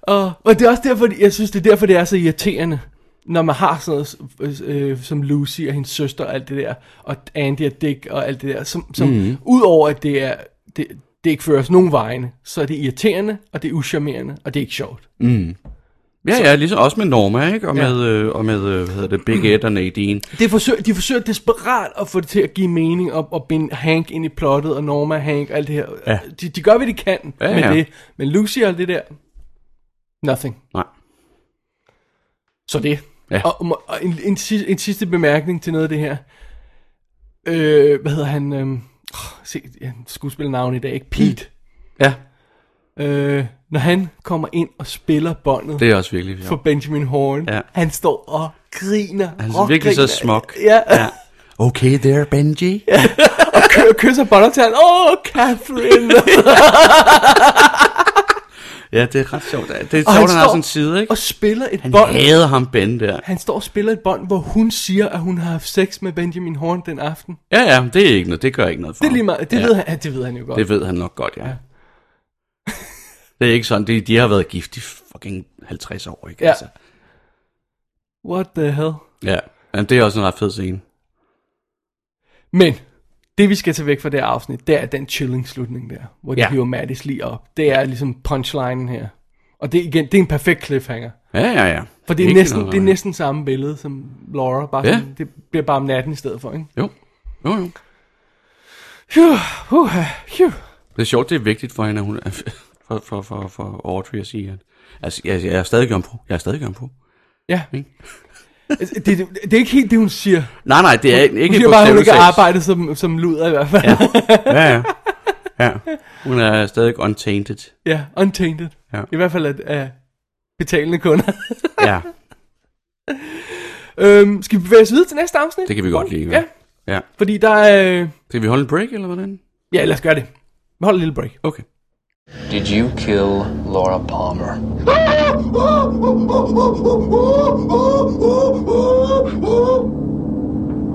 Speaker 4: Og, og det er også derfor, jeg synes, det er derfor, det er så irriterende, når man har sådan noget øh, øh, som Lucy og hendes søster og alt det der, og Andy og Dick og alt det der, som, som
Speaker 5: Mhm.
Speaker 4: mm. udover at det er, det, det ikke fører os nogen vegne, så er det irriterende, og det er uscharmerende, og det er ikke sjovt.
Speaker 5: Ja, ja, ligesom også med Norma, ikke? Og
Speaker 4: Ja.
Speaker 5: med, øh, og med øh, hvad hedder det, Big Ed og Nadine.
Speaker 4: Det forsøger, de forsøger desperat at få det til at give mening og, og binde Hank ind i plottet, og Norma og Hank og alt det her.
Speaker 5: Ja.
Speaker 4: De, de gør, hvad de kan
Speaker 5: Ja,
Speaker 4: med
Speaker 5: ja.
Speaker 4: det, men Lucy og alt det der, nothing.
Speaker 5: Nej.
Speaker 4: Så det.
Speaker 5: Ja.
Speaker 4: Og, må- og en, en, si- en sidste bemærkning til noget af det her. Øh, hvad hedder han? Øh, se, jeg skuespiller navn i dag, ikke? Pete.
Speaker 5: Ja,
Speaker 4: Mm. Øh, når han kommer ind og spiller båndet
Speaker 5: det er også virkelig sjovt.
Speaker 4: for Benjamin Horn,
Speaker 5: Ja.
Speaker 4: han står og griner.
Speaker 5: Han er
Speaker 4: og
Speaker 5: virkelig så
Speaker 4: griner.
Speaker 5: smuk.
Speaker 4: Ja, ja.
Speaker 5: Okay there, Benji.
Speaker 4: og [LAUGHS] kø- kysser båndet til han. Åh, oh,
Speaker 5: [LAUGHS]
Speaker 4: Catherine!
Speaker 5: Ja, det er ret sjovt. Det er sjovt,
Speaker 4: Og
Speaker 5: han, han har sådan en side, ikke?
Speaker 4: og spiller et
Speaker 5: Han
Speaker 4: bånd.
Speaker 5: hader ham, Ben, der.
Speaker 4: Han står og spiller et bånd, hvor hun siger, at hun har haft sex med Benjamin Horn den aften.
Speaker 5: Ja, ja, det er ikke noget. Det gør ikke noget for
Speaker 4: Det er lige
Speaker 5: ham.
Speaker 4: meget. Det,
Speaker 5: ja,
Speaker 4: ved han, ja, det ved han jo godt.
Speaker 5: Det ved han nok godt, ja. [LAUGHS] Det er ikke sådan. De, de har været gift i fucking 50 år, ikke?
Speaker 4: Ja.
Speaker 5: Altså.
Speaker 4: What the hell?
Speaker 5: Ja. Jamen, det er også en ret fed scene.
Speaker 4: Men det vi skal tage væk fra det her afsnit, det er den chilling slutning der, hvor de
Speaker 5: Ja.
Speaker 4: ja. hiver Mattis lige op. Det er ligesom punchlinen her. Og det er igen, det er en perfekt cliffhanger.
Speaker 5: Ja, ja, ja.
Speaker 4: For det er,
Speaker 5: Ikke
Speaker 4: næsten,
Speaker 5: noget,
Speaker 4: det er
Speaker 5: nej.
Speaker 4: næsten samme billede som Laura, bare
Speaker 5: Ja.
Speaker 4: ja. sådan, det bliver bare om natten i stedet for, ikke?
Speaker 5: Jo. Jo, jo.
Speaker 4: Phew, uh, phew.
Speaker 5: Det er sjovt, det er vigtigt for hende, at hun [LAUGHS] for, for, for, for Audrey at sige, at altså, jeg, jeg er stadig jomfru. Jeg er stadig jomfru.
Speaker 4: Ja.
Speaker 5: Ikke?
Speaker 4: Altså, Det, det, det, er ikke helt det, hun siger.
Speaker 5: Nej, nej, det er ikke,
Speaker 4: Hun
Speaker 5: ikke
Speaker 4: siger bare, at hun ikke
Speaker 5: bogstaveligt
Speaker 4: har
Speaker 5: talt.
Speaker 4: arbejdet som, som luder i hvert fald. Ja.
Speaker 5: Ja, ja. ja. Hun er stadig untainted.
Speaker 4: [LAUGHS] ja untainted.
Speaker 5: Ja.
Speaker 4: Ja. I hvert fald af, af betalende kunder. [LAUGHS]
Speaker 5: Ja,
Speaker 4: øhm, skal vi bevæge os videre til næste afsnit?
Speaker 5: det kan vi godt lide.
Speaker 4: Ja,
Speaker 5: ja.
Speaker 4: fordi der er... øh,
Speaker 5: Skal vi holde en break, eller hvordan?
Speaker 4: Ja, lad os gøre det. Vi holder en lille break.
Speaker 5: Okay.
Speaker 2: Did you kill Laura Palmer?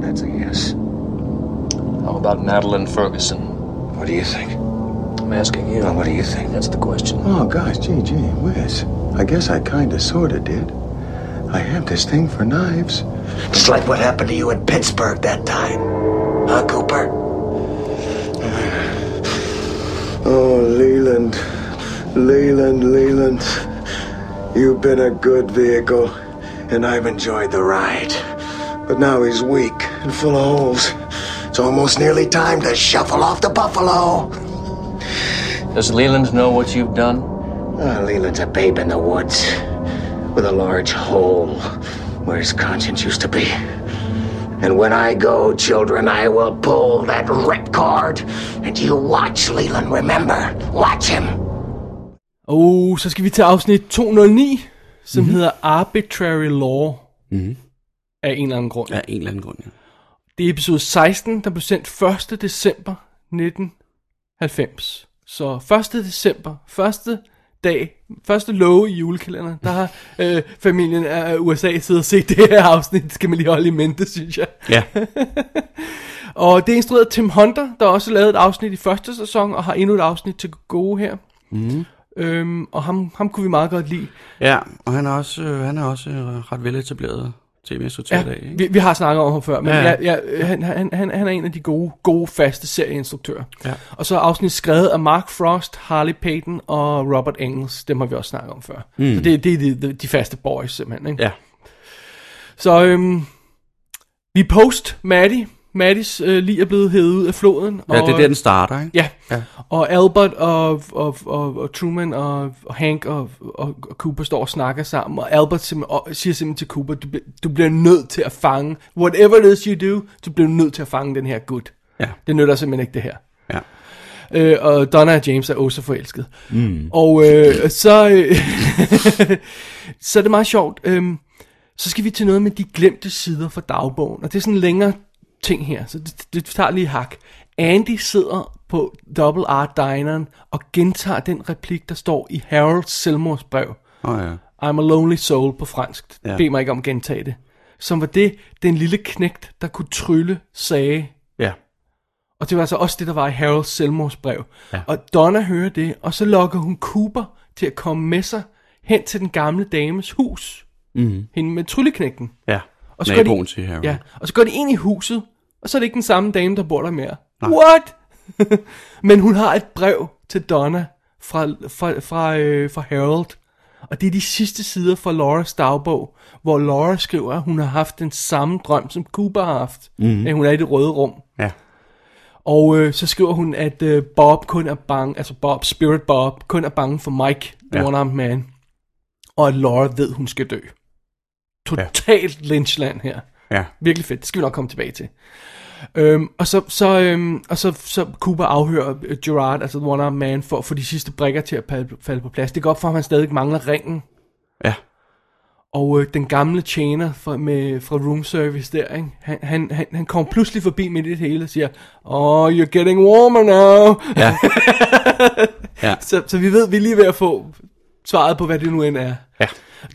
Speaker 6: That's a yes.
Speaker 2: How about Madeline Ferguson?
Speaker 6: What do you think?
Speaker 2: I'm asking you.
Speaker 6: Now, what do you think?
Speaker 2: That's the question.
Speaker 8: Oh, gosh, gee, gee whiz. I guess I kinda sorta did. I have this thing for knives.
Speaker 9: It's like what happened to you in Pittsburgh that time. Huh, Cooper?
Speaker 8: Oh, Leland. Leland, Leland. You've been a good vehicle, and I've enjoyed the ride. But now he's weak and full of holes.
Speaker 9: It's almost nearly time to shuffle off the buffalo.
Speaker 2: Does Leland know what you've done?
Speaker 9: Ah, Leland's a babe in the woods with a large hole where his conscience used to be. And when I go, children, I will pull that ripcord. And you watch Leland, remember? Watch him.
Speaker 4: Og Oh, så skal vi til afsnit 209, som mm-hmm. hedder Arbitrary Law.
Speaker 5: Mhm.
Speaker 4: Af en eller anden grund.
Speaker 5: Af en eller anden grund, ja.
Speaker 4: Det er episode 16, der blev sendt 1. december 1990. Så 1. december, første dag, første love i julekalenderen, der har øh, familien af USA siddet og set det her afsnit. Det skal man lige holde i mente, synes jeg.
Speaker 5: Ja,
Speaker 4: Og det er instrueret af Tim Hunter, der også lavede et afsnit i første sæson, og har endnu et afsnit til gode her. Mm. Øhm, og ham, ham kunne vi meget godt lide.
Speaker 5: ja. og han er også, øh, han er også øh, ret veletableret tv-instruktør i dag, ikke?
Speaker 4: vi, vi har snakket om ham før, men
Speaker 5: Ja,
Speaker 4: ja.
Speaker 5: ja.
Speaker 4: Ja, ja, han, han, han, han er en af de gode, gode faste serieinstruktører.
Speaker 5: Ja.
Speaker 4: Og så er afsnit skrevet af Mark Frost, Harley Payton og Robert Engels. Dem har vi også snakket om før. Mm. Så det, det er de, de, de faste boys simpelthen. Ikke?
Speaker 5: Ja.
Speaker 4: Så øhm, vi er post Maddie. Maddies øh, lige er blevet hævet ud af floden.
Speaker 5: Ja, det er
Speaker 4: og-
Speaker 5: der, den starter, ikke?
Speaker 4: Ja. ja. Og Albert og, og, og, og Truman og, og Hank og, og, og Cooper står og snakker sammen, og Albert simpelthen, og siger simpelthen til Cooper, du, bliver- du bliver nødt til at fange, whatever it is you do, du bliver nødt til at fange den her gut.
Speaker 5: Ja.
Speaker 4: Det nytter simpelthen ikke det her.
Speaker 5: Ja.
Speaker 4: Øh, og Donna og James er også forelsket. Mm. Og øh, så, øh, [LAUGHS] så er det meget sjovt. Øhm, så skal vi til noget med de glemte sider fra dagbogen. Og det er sådan en længere ting her, så det, det tager lige et hak. Andy sidder på Double R Dineren og gentager den replik, der står i Harolds selvmordsbrev.
Speaker 5: Åh, oh, ja.
Speaker 4: I'm a lonely soul på fransk.
Speaker 5: Ja.
Speaker 4: Ja. Bed mig ikke om at gentage det. Som var det, den lille knægt, der kunne trylle, sagde
Speaker 5: Ja.
Speaker 4: og det var altså også det, der var i Harolds selvmordsbrev. Ja. Og Donna hører det, og så lokker hun Cooper til at komme med sig hen til den gamle dames hus. Mm. Hende med trylleknægten.
Speaker 5: Ja.
Speaker 4: Og går
Speaker 5: Naboen til Harry.
Speaker 4: Ja, og så går de ind i huset, og så er det ikke den samme dame, der bor der mere. Nej. What? [LAUGHS] Men hun har et brev til Donna fra, fra, fra, øh, fra Harold. Og det er de sidste sider fra Laura's dagbog, hvor Laura skriver, at hun har haft den samme drøm, som Cooper har haft, mm. at hun er i det røde rum.
Speaker 5: Ja.
Speaker 4: Og øh, så skriver hun, at øh, Bob kun er bange, altså Bob, Spirit Bob, kun er bange for Mike, the
Speaker 5: Ja.
Speaker 4: ja. one-armed man. Og at Laura ved, hun skal dø. Totalt ja. Lynchland her.
Speaker 5: Ja.
Speaker 4: Virkelig fedt, det skal vi nok komme tilbage til. Øhm, og så, så, øhm, og så, så Cooper afhører øh, Gerard, altså The One Armed Man, for at få de sidste brikker til at pal- falde på plads. Det går op for, at han stadig mangler ringen.
Speaker 5: Ja.
Speaker 4: Og øh, den gamle tjener fra, med, fra room service der, ikke? Han, han, han, han kommer pludselig forbi midt i det hele og siger, Oh, you're getting warmer now.
Speaker 5: Ja.
Speaker 4: [LAUGHS]
Speaker 5: ja.
Speaker 4: Så, så vi ved, vi er lige ved at få svaret på, hvad det nu end er.
Speaker 5: Ja.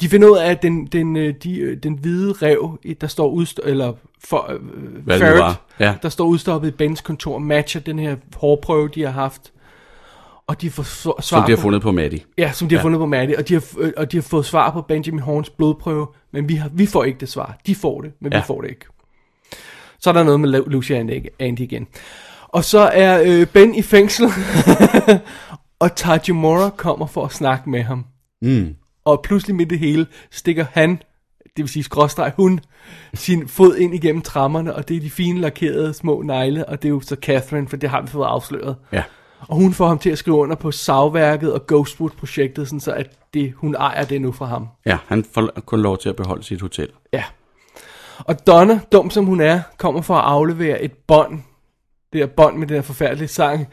Speaker 4: De finder ud af, at den, den, øh, de, øh, den hvide rev, øh, der står udst- eller for, øh,
Speaker 5: Hvad det nu
Speaker 4: ferret,
Speaker 5: var. Ja.
Speaker 4: der står udstoppet i Bens kontor, matcher den her hårprøve, de har haft. Og de får svar
Speaker 5: Som de har
Speaker 4: på,
Speaker 5: fundet på Maddie.
Speaker 4: Ja, som de har ja. fundet på Maddie, og de, har, øh, og de har fået svar på Benjamin Horns blodprøve, men vi, har, vi får ikke det svar. De får det, men ja.
Speaker 5: Ja.
Speaker 4: vi får det ikke. Så er der noget med Lu- Lucy and Andy- Andy igen. Og så er øh, Ben i fængsel,
Speaker 5: [LAUGHS]
Speaker 4: og Tajimura kommer for at snakke med ham.
Speaker 5: Mm.
Speaker 4: Og pludselig midt i det hele stikker han, det vil sige skråstreg hun, sin fod ind igennem trammerne, og det er de fine lakerede små negle, og det er jo så Catherine, for det har vi fået afsløret.
Speaker 5: Ja.
Speaker 4: Og hun får ham til at skrive under på savværket og Ghostwood-projektet, sådan så at det, hun ejer det nu fra ham.
Speaker 5: Ja, han får kun lov til at beholde sit hotel.
Speaker 4: Ja. Og Donna, dum som hun er, kommer for at aflevere et bånd, det her bånd med den her forfærdelige sang,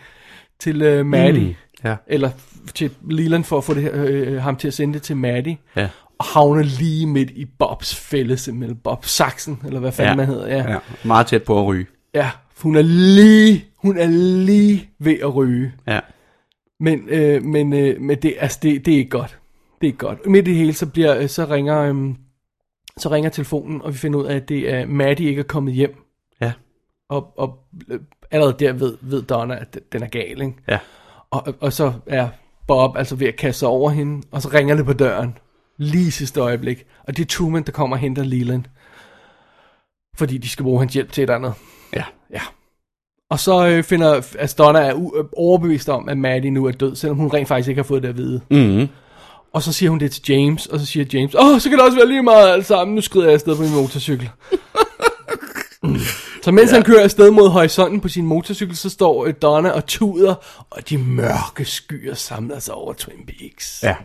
Speaker 4: til øh, Maddie.
Speaker 5: ja.
Speaker 4: Eller f- til Leland for at få det her, øh, ham til at sende det til Maddie.
Speaker 5: Ja.
Speaker 4: Og havner lige midt i Bobs fælde, simpelthen. Bob Saxen, eller hvad fanden
Speaker 5: ja.
Speaker 4: man hedder. Ja.
Speaker 5: ja. Meget tæt på at ryge.
Speaker 4: ja. Hun er lige, hun er lige ved at ryge.
Speaker 5: Ja.
Speaker 4: Men, øh, men, øh, men det, altså, det, det er ikke godt. Det er ikke godt. Midt i det hele, så, bliver, øh, så, ringer, øh, så ringer telefonen, og vi finder ud af, at det er Maddie ikke er kommet hjem.
Speaker 5: Ja.
Speaker 4: Og, og øh, allerede der ved, ved Donna, at den- den er gal, ikke?
Speaker 5: Ja.
Speaker 4: Og, og så er Bob altså ved at kaste sig over hende, og så ringer det på døren. Lige i sidste øjeblik. Og det er Truman, der kommer og henter Leland. Fordi de skal bruge hans hjælp til et andet.
Speaker 5: Ja.
Speaker 4: Ja. Og så øh, finder, altså Donna er u- overbevist om, at Maddie nu er død, selvom hun rent faktisk ikke har fået det at vide.
Speaker 5: Mm.
Speaker 4: Og så siger hun det til James, og så siger James, åh, så kan det også være lige meget alt sammen, nu skrider jeg afsted på min motorcykel. Mm. så mens ja. han kører afsted mod horisonten på sin motorcykel, så står øh, Donna og tuder, og de mørke skyer samler sig over Twin Peaks.
Speaker 5: Ja.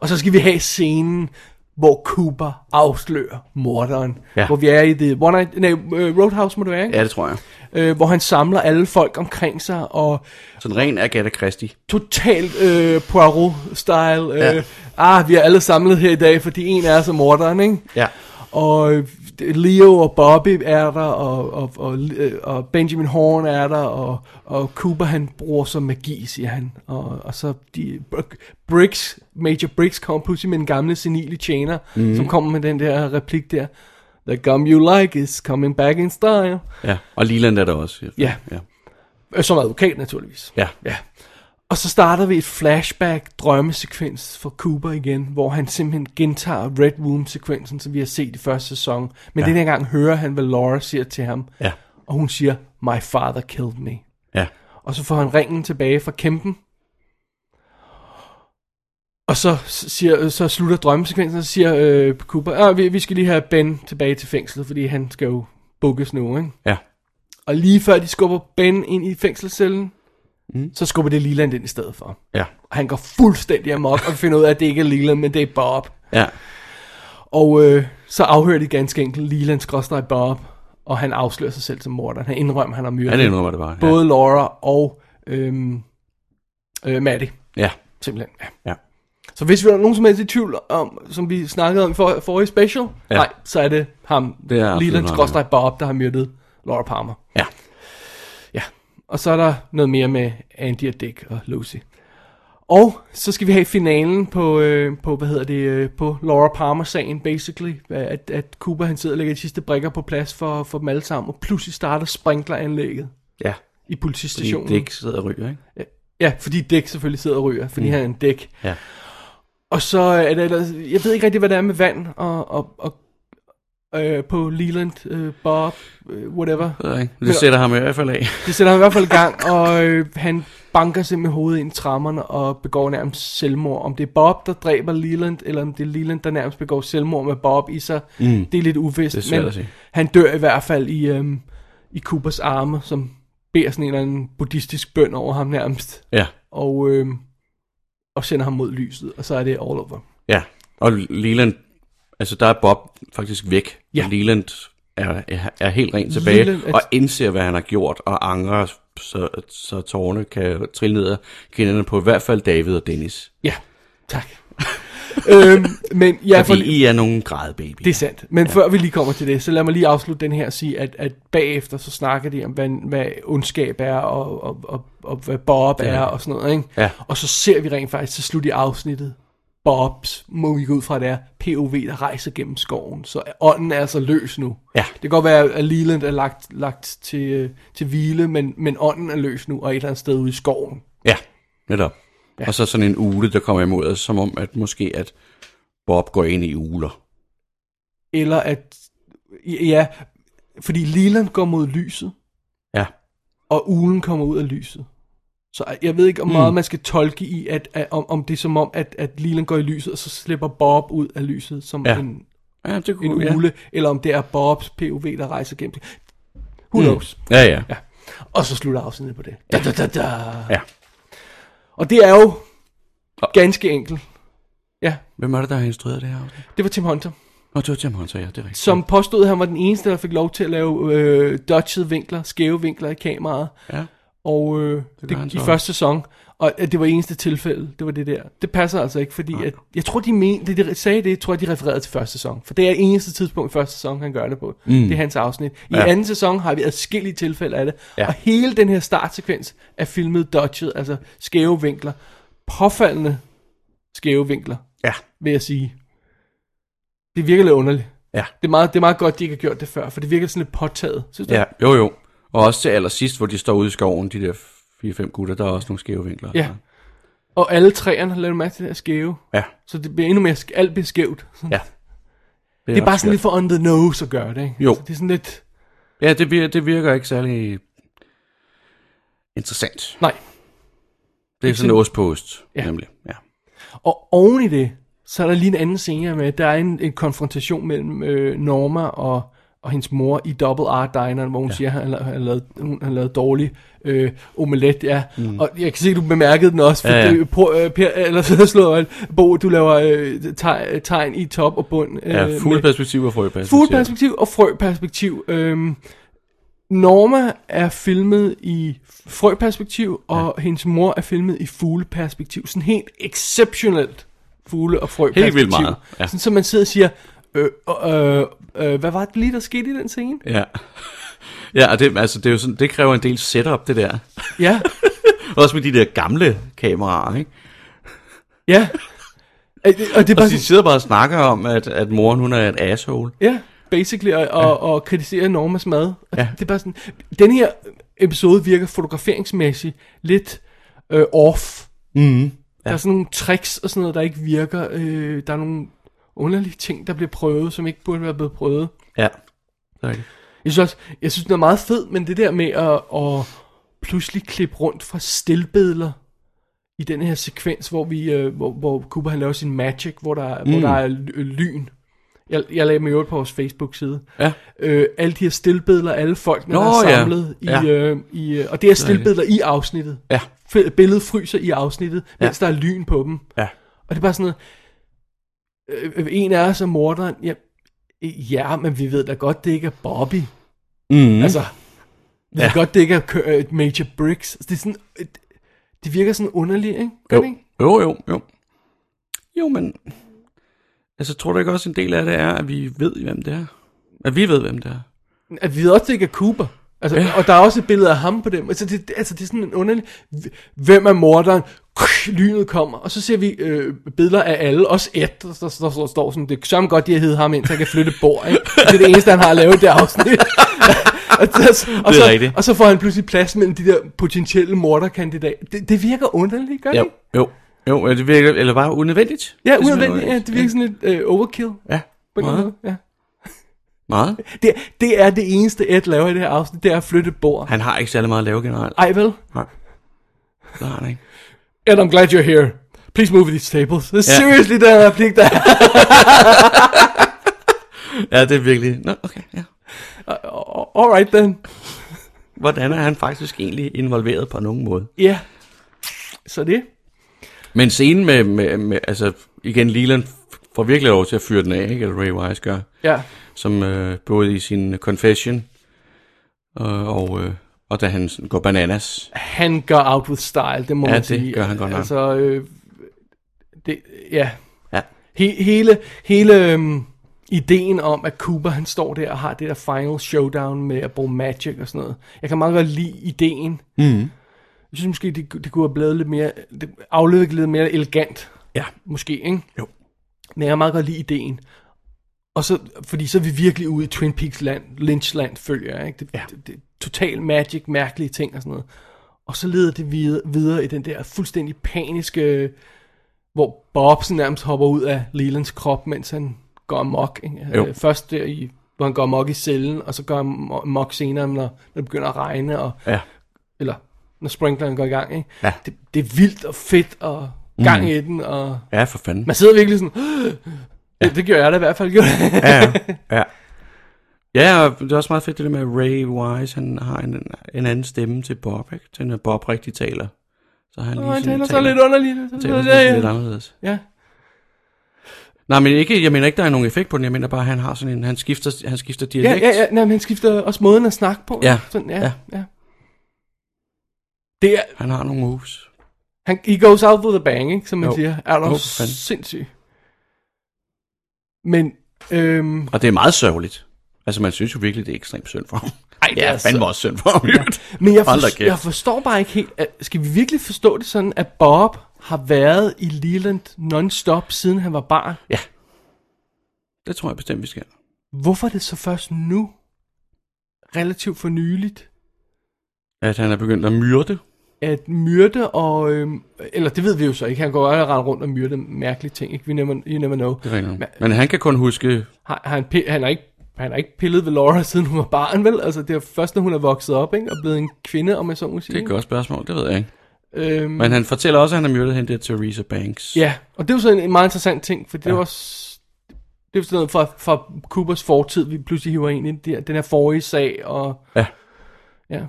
Speaker 4: Og så skal vi have scenen, hvor Cooper afslører morderen.
Speaker 5: Ja.
Speaker 4: Hvor vi er i The One Night, nej, øh, Roadhouse må det være, ikke?
Speaker 5: Ja, det tror jeg.
Speaker 4: Øh, hvor han samler alle folk omkring sig, og
Speaker 5: Sådan ren Agatha Christie.
Speaker 4: totalt øh, Poirot-style. Øh,
Speaker 5: Ja.
Speaker 4: Ah, vi er alle samlet her i dag, fordi en er så morderen, ikke?
Speaker 5: Ja.
Speaker 4: Og øh, Leo og Bobby er der, og, og, og, øh, og Benjamin Horn er der, og, og Cooper han bruger som magi, siger han. Og, og så de, Br- Briggs, Major Briggs kommer pludselig med en gamle senile tjener,
Speaker 5: Mhm.
Speaker 4: mm. som kommer med den der replik der. The gum you like is coming back in style.
Speaker 5: Ja. Og Leland er der også.
Speaker 4: Ja.
Speaker 5: Ja.
Speaker 4: Øh, Som advokat naturligvis.
Speaker 5: ja.
Speaker 4: Ja. Og så starter vi et flashback drømmesekvens for Cooper igen, hvor han simpelthen gentager Red Room-sekvensen, som vi har set i første sæson. Men ja. den her gang hører han, hvad Laura siger til ham.
Speaker 5: Ja.
Speaker 4: Og hun siger, my father killed me.
Speaker 5: Ja.
Speaker 4: Og så får han ringen tilbage fra kæmpen. Og så, siger, så slutter drømmesekvensen, og så siger øh, Cooper, "Ah, vi, vi skal lige have Ben tilbage til fængslet, fordi han skal jo bukkes nu, ikke?
Speaker 5: Ja.
Speaker 4: Og lige før de skubber Ben ind i fængselscellen, mm. så skubber det Leland ind i stedet for.
Speaker 5: Ja.
Speaker 4: Og han går fuldstændig amok og finder ud af, at det ikke er Leland, men det er Bob.
Speaker 5: Ja.
Speaker 4: Og øh, så afhører de ganske enkelt Leland skråstrej Bob, og han afslører sig selv som morderen. Han indrømmer, han har myrdet
Speaker 5: Han indrømmer det bare. Ja.
Speaker 4: både Laura og øhm, øh, Maddie,
Speaker 5: Ja.
Speaker 4: simpelthen. Ja.
Speaker 5: Ja.
Speaker 4: Så hvis vi er nogen som helst i tvivl om, som vi snakkede om i for, forrige special, ja.
Speaker 5: Ja.
Speaker 4: nej, så er det ham,
Speaker 5: Det er absolut
Speaker 4: Leland
Speaker 5: ham, ja.
Speaker 4: skråstrej Bob, der har myrdet Laura Palmer.
Speaker 5: Ja.
Speaker 4: Og så er der noget mere med Andy og Dick og Lucy. Og så skal vi have finalen på, øh, på hvad hedder det, øh, på Laura Palmer-sagen, basically. At, at Cooper han sidder og lægger de sidste brikker på plads for, for dem alle sammen, og pludselig starter sprinkleranlægget
Speaker 5: Ja.
Speaker 4: i
Speaker 5: Fordi
Speaker 4: politistationen.
Speaker 5: det ikke sidder og ryger, ikke?
Speaker 4: Ja, fordi Dick selvfølgelig sidder og ryger, fordi mm. han er en Dick.
Speaker 5: Ja.
Speaker 4: Og så er der ellers, jeg ved ikke rigtig, hvad der er med vand og, og, og øh, på Leland, øh, Bob, øh, whatever.
Speaker 5: Det, ved jeg ikke. det sætter ham i hvert fald af.
Speaker 4: Det sætter ham i hvert fald i gang, og øh, han banker sig med hovedet ind i trammerne og begår nærmest selvmord. Om det er Bob, der dræber Leland, eller om det er Leland, der nærmest begår selvmord med Bob i sig, mm. det er lidt uvist.
Speaker 5: Det er svært
Speaker 4: men
Speaker 5: at sige.
Speaker 4: han dør i hvert fald i, øh, i Coopers arme, som beder sådan en eller anden buddhistisk bøn over ham nærmest,
Speaker 5: [LAUGHS] Ja.
Speaker 4: og, øh, og sender ham mod lyset, og så er det all over.
Speaker 5: Ja. Og Leland, altså der er Bob faktisk væk.
Speaker 4: Ja.
Speaker 5: Og Leland er, er, er helt rent tilbage
Speaker 4: Leland er-
Speaker 5: og indser, hvad han har gjort, og angrer, så, så tårerne kan trille ned af kinderne på i hvert fald David og Dennis.
Speaker 4: Ja,
Speaker 5: [LAUGHS]
Speaker 4: tak. øhm, men ja,
Speaker 5: Ja, fordi I er nogle grædbaby.
Speaker 4: Det er sandt. Men ja. før vi lige kommer til det, så lad mig lige afslutte den her og sige, at, at bagefter så snakker de om, hvad, hvad ondskab er, og, og, og, og hvad Bob ja. er, og sådan noget. Ikke?
Speaker 5: Ja.
Speaker 4: Og så ser vi rent faktisk til slut i afsnittet, Bobs, må vi gå ud fra, det er POV, der rejser gennem skoven. Så ånden er altså løs nu.
Speaker 5: Ja.
Speaker 4: Det kan godt være, at Leland er lagt, lagt til, øh, til hvile, men, men ånden er løs nu, og et eller andet sted ude i skoven.
Speaker 5: Ja, netop. Ja. Og så sådan en ule, der kommer imod os, som om, at måske at Bob går ind i uler.
Speaker 4: Eller at, ja, fordi Leland går mod lyset,
Speaker 5: Ja.
Speaker 4: og ugen kommer ud af lyset. Så jeg ved ikke, om
Speaker 5: Mm.
Speaker 4: meget man skal tolke i, at, at om, om det er som om, at, at Leland går i lyset, og så slipper Bob ud af lyset som ja.
Speaker 5: Ja.
Speaker 4: en,
Speaker 5: Ja, det kunne
Speaker 4: en
Speaker 5: ja.
Speaker 4: ule, eller om det er Bobs POV, der rejser gennem. Who knows?
Speaker 5: Mm. Ja, ja.
Speaker 4: Ja. Og så slutter afsnittet på det. Da, da, da, da.
Speaker 5: ja.
Speaker 4: Og det er jo ganske enkelt. Ja,
Speaker 5: Hvem er det, der har instrueret det her? afsnit?
Speaker 4: det var Tim Hunter,
Speaker 5: Nå, det var Tim Hunter, ja, det er rigtigt.
Speaker 4: som påstod, at han var den eneste, der fik lov til at lave øh, dodgede vinkler, skæve vinkler i kameraet.
Speaker 5: Ja.
Speaker 4: Og øh, det,
Speaker 5: han
Speaker 4: det,
Speaker 5: så
Speaker 4: i
Speaker 5: også.
Speaker 4: første sæson Og at det var eneste tilfælde Det var det der Det passer altså ikke Fordi at, jeg tror de mente Det de sagde det Tror jeg de refererede til første sæson For det er eneste tidspunkt i første sæson Han gør det på mm. Det er hans afsnit I ja.
Speaker 5: Ja.
Speaker 4: anden sæson har vi adskillige tilfælde af det ja.
Speaker 5: Ja.
Speaker 4: Og hele den her startsekvens Er filmet dodget Altså skæve vinkler Påfaldende skæve vinkler
Speaker 5: Ja.
Speaker 4: Vil jeg sige Det virker lidt underligt
Speaker 5: Ja.
Speaker 4: det er, meget, det er meget godt, de ikke har gjort det før, for det virker sådan lidt påtaget, synes du?
Speaker 5: Ja, jo jo. Og også til allersidst, hvor de står ude i skoven, de der 4-5 gutter, der er også nogle skæve vinkler.
Speaker 4: Ja. Og alle træerne, lad du mærke til det der skæve.
Speaker 5: Ja.
Speaker 4: Så det bliver endnu mere, sk- alt bliver skævt. Det
Speaker 5: ja.
Speaker 4: er, det er bare sådan lidt for on the nose at gøre det, ikke?
Speaker 5: Jo.
Speaker 4: Så det er sådan lidt,
Speaker 5: Ja, det virker, det virker ikke særlig interessant.
Speaker 4: nej.
Speaker 5: Det er sådan en ost på ost,
Speaker 4: Ja.
Speaker 5: ja. nemlig. Ja.
Speaker 4: Og oven i det, så er der lige en anden scene her med, at der er en, en konfrontation mellem øh, Norma og, og hendes mor i Double R Dineren, hvor hun ja. siger, at han la- han lavede, hun, han lavede dårlig øh, omelet, ja. Mm. Og jeg kan se, at du bemærkede den også, for
Speaker 5: Ja,
Speaker 4: ja,
Speaker 5: ja.
Speaker 4: ja. På, øh, per, eller [LAUGHS] så slår jeg, Bo, du laver øh, teg- tegn i top og bund. Øh,
Speaker 5: Ja,
Speaker 4: med-
Speaker 5: fugleperspektiv og frøperspektiv.
Speaker 4: Fugleperspektiv og frøperspektiv. Øhm, Norma er filmet i frøperspektiv, og ja. hendes mor er filmet i fugleperspektiv. Sådan helt exceptionelt fugle- og frøperspektiv.
Speaker 5: Helt vildt meget, ja.
Speaker 4: Sådan, så man sidder og siger, øh, øh, øh, hvad var det lige, der skete i den scene?
Speaker 5: Ja. [LAUGHS] Ja, og det, altså, det, er jo sådan, det kræver en del setup, det der.
Speaker 4: Ja,
Speaker 5: Også med de der gamle kameraer, ikke?
Speaker 4: ja. Øh, det- Og det er
Speaker 5: Og
Speaker 4: bare
Speaker 5: de
Speaker 4: sådan,
Speaker 5: sidder bare og snakker om, at, at moren hun er et asshole.
Speaker 4: ja, basically, og, og, og kritisere Normas mad. Og
Speaker 5: Ja.
Speaker 4: Det er bare sådan, den her episode virker fotograferingsmæssigt lidt øh, off.
Speaker 5: Mm.
Speaker 4: Der er sådan nogle tricks og sådan noget, der ikke virker. Øh, der er nogle underlige ting, der bliver prøvet, som ikke burde være blevet prøvet.
Speaker 5: Ja. Det er rigtigt.
Speaker 4: Jeg synes også, jeg synes, den er meget fed, men det der med at, at pludselig klippe rundt fra stillbilleder i den her sekvens, hvor, vi, øh, hvor, hvor Cooper han laver sin magic, hvor der, mm. hvor der er ly- øh, lyn. Jeg, jeg lagde mig i øvrigt på vores Facebook-side.
Speaker 5: Ja.
Speaker 4: Øh, alle de her stillbilleder, alle folkene,
Speaker 5: Nå,
Speaker 4: der er
Speaker 5: ja.
Speaker 4: samlet.
Speaker 5: Ja.
Speaker 4: I, øh, i, øh, og det er stillbilleder i afsnittet.
Speaker 5: Ja.
Speaker 4: F- Billedet fryser i afsnittet,
Speaker 5: Ja.
Speaker 4: mens der er lyn på dem.
Speaker 5: Ja.
Speaker 4: Og det er bare sådan noget, øh, øh, en af os er morderen, ja, øh, ja, men vi ved da godt, det ikke er Bobby. Mm.
Speaker 5: Mm. Altså,
Speaker 4: Altså, vi
Speaker 5: Ja.
Speaker 4: ved godt, det ikke er kø- øh, Major Briggs. Det, er sådan, øh, det virker sådan underligt, ikke? Gør
Speaker 5: jo.
Speaker 4: det ikke?
Speaker 5: jo, jo, jo. Jo, men... Altså, tror du ikke også, en del af det er, at vi ved, hvem det er? At vi ved, hvem det er?
Speaker 4: At vi ved også, det ikke er Cooper. Altså,
Speaker 5: Ja.
Speaker 4: ja. Og der er også et billede af ham på dem. Altså, det, det- altså, det er sådan en underlig... Hvem er morderen? Lynet kommer, og så ser vi øh, billeder af alle, også et, der, der, der, der står sådan, det er sammen godt, de har heddet ham ind, så jeg kan flytte bord, ikke? Det er det eneste, han har lavet det
Speaker 5: [LAUGHS]
Speaker 4: afsnit. og, så, og,
Speaker 5: Det er
Speaker 4: så,
Speaker 5: rigtigt.
Speaker 4: og så får han pludselig plads mellem de der potentielle morderkandidater. Det, det virker underligt, gør det
Speaker 5: Jo,
Speaker 4: ikke?
Speaker 5: jo. Jo, er det virker, eller bare unødvendigt.
Speaker 4: Ja,
Speaker 5: Det er simpelthen
Speaker 4: unødvendigt. Ja, det virker sådan lidt øh, overkill.
Speaker 5: Ja,
Speaker 4: På en eller anden
Speaker 5: meget.
Speaker 4: måde, ja.
Speaker 5: meget.
Speaker 4: det, det er det eneste, Ed laver i det her afsnit, det er at flytte bord.
Speaker 5: Han har ikke særlig meget at lave generelt.
Speaker 4: Ej vel?
Speaker 5: Det har han ikke.
Speaker 4: And I'm glad you're here. Please move these tables. Det er
Speaker 5: Ja.
Speaker 4: seriously den replik, der [LAUGHS] er.
Speaker 5: Ja, det er virkelig... Nå, okay, ja.
Speaker 4: Alright then.
Speaker 5: Hvordan er han faktisk egentlig involveret på nogen måde?
Speaker 4: Ja. Yeah. Så det.
Speaker 5: Men scenen med, med, med altså igen, Leland får virkelig lov til at fyre den af, ikke? Eller Ray Wise gør,
Speaker 4: Ja.
Speaker 5: som øh, både i sin confession, øh, og, øh, og da han sådan går bananas.
Speaker 4: Han går out with style, det må
Speaker 5: Ja,
Speaker 4: man
Speaker 5: det
Speaker 4: sige.
Speaker 5: gør han godt nok.
Speaker 4: Altså, øh, det, ja.
Speaker 5: Ja.
Speaker 4: He, hele, hele øhm, ideen om, at Cooper han står der og har det der final showdown med at bruge magic og sådan noget. Jeg kan meget godt lide ideen. Mm. Jeg synes måske, det, det kunne have blevet lidt mere, det, afledt lidt mere elegant.
Speaker 5: Ja.
Speaker 4: Måske, ikke?
Speaker 5: Jo.
Speaker 4: Men jeg kan meget godt lide ideen. Og så, fordi så er vi virkelig ude i Twin Peaks land, Lynch land, følger jeg, ikke? Det, ja. det, det, total magic, mærkelige ting og sådan noget. Og så leder det videre, videre i den der fuldstændig paniske, hvor Bob sådan nærmest hopper ud af Lelands krop, mens han går amok. Ikke?
Speaker 5: Jo.
Speaker 4: Øh, Først der i, hvor han går amok i cellen, og så går han amok senere, når, når det begynder at regne, og,
Speaker 5: Ja.
Speaker 4: eller når sprinkleren går i gang. Ikke?
Speaker 5: Ja. Mm.
Speaker 4: Det, det er vildt og fedt, og gang i den, og
Speaker 5: Ja, for fanden.
Speaker 4: man sidder virkelig sådan, ja. det, det gjorde jeg da i hvert fald. Gjorde jeg.
Speaker 5: [LAUGHS] Ja, ja. Ja, og det er også meget fedt det der med at Ray Wise, han har en, en anden stemme til Bob, ikke? Til når Bob rigtig taler. Så har han lige
Speaker 4: Nå, han
Speaker 5: sådan,
Speaker 4: taler så lidt underligt. Så,
Speaker 5: taler
Speaker 4: ja,
Speaker 5: sådan lidt
Speaker 4: ja.
Speaker 5: anderledes.
Speaker 4: ja.
Speaker 5: Nej, men ikke, jeg mener ikke, der er nogen effekt på den. Jeg mener bare, han har sådan en, han skifter, han skifter
Speaker 4: Ja,
Speaker 5: dialekt.
Speaker 4: ja, ja. Nej, men han skifter også måden at snakke på.
Speaker 5: Ja,
Speaker 4: Sådan, ja,
Speaker 5: ja.
Speaker 4: ja. ja. Det er,
Speaker 5: Han har nogle moves.
Speaker 4: han, he goes out with a bang, ikke, som man
Speaker 5: Jo.
Speaker 4: jo. siger. Er
Speaker 5: Jo,
Speaker 4: du
Speaker 5: for fanden.
Speaker 4: sindssyg? Men, øhm,
Speaker 5: Og det er meget sørgeligt. Altså, man synes jo virkelig, det er ekstremt synd for ham. Ej, det
Speaker 4: er
Speaker 5: er
Speaker 4: så-
Speaker 5: fandme også synd for ham. Ja.
Speaker 4: men jeg,
Speaker 5: Hold da
Speaker 4: for,
Speaker 5: kæft.
Speaker 4: jeg forstår bare ikke helt, at, skal vi virkelig forstå det sådan, at Bob har været i Leland non-stop, siden han var barn?
Speaker 5: Det tror jeg bestemt, vi skal.
Speaker 4: Hvorfor er det så først nu, relativt for nyligt,
Speaker 5: At han er begyndt at myrde.
Speaker 4: at myrde og... Øhm, eller det ved vi jo så ikke. Han går jo rende rundt og myrde mærkelige ting. Ikke? We never, you never know.
Speaker 5: Det er rigtigt. nok. Men han kan kun huske...
Speaker 4: Har, har han, pi- han, har ikke, han har ikke pillet ved Laura, [LAUGHS] siden hun var barn, vel? Altså, det er først, når hun er vokset op, ikke? Og blevet en kvinde, om man så må sige.
Speaker 5: Det er et godt spørgsmål, det ved jeg ikke.
Speaker 4: ikke? Øhm,
Speaker 5: Men han fortæller også, at han har myrdet hende der Theresa Banks.
Speaker 4: Ja, og det er jo så en, en meget interessant ting, for det er jo også... Det er sådan noget fra, fra Coopers fortid, vi pludselig hiver ind i den her- den her forrige sag, og...
Speaker 5: Ja.
Speaker 4: Ja.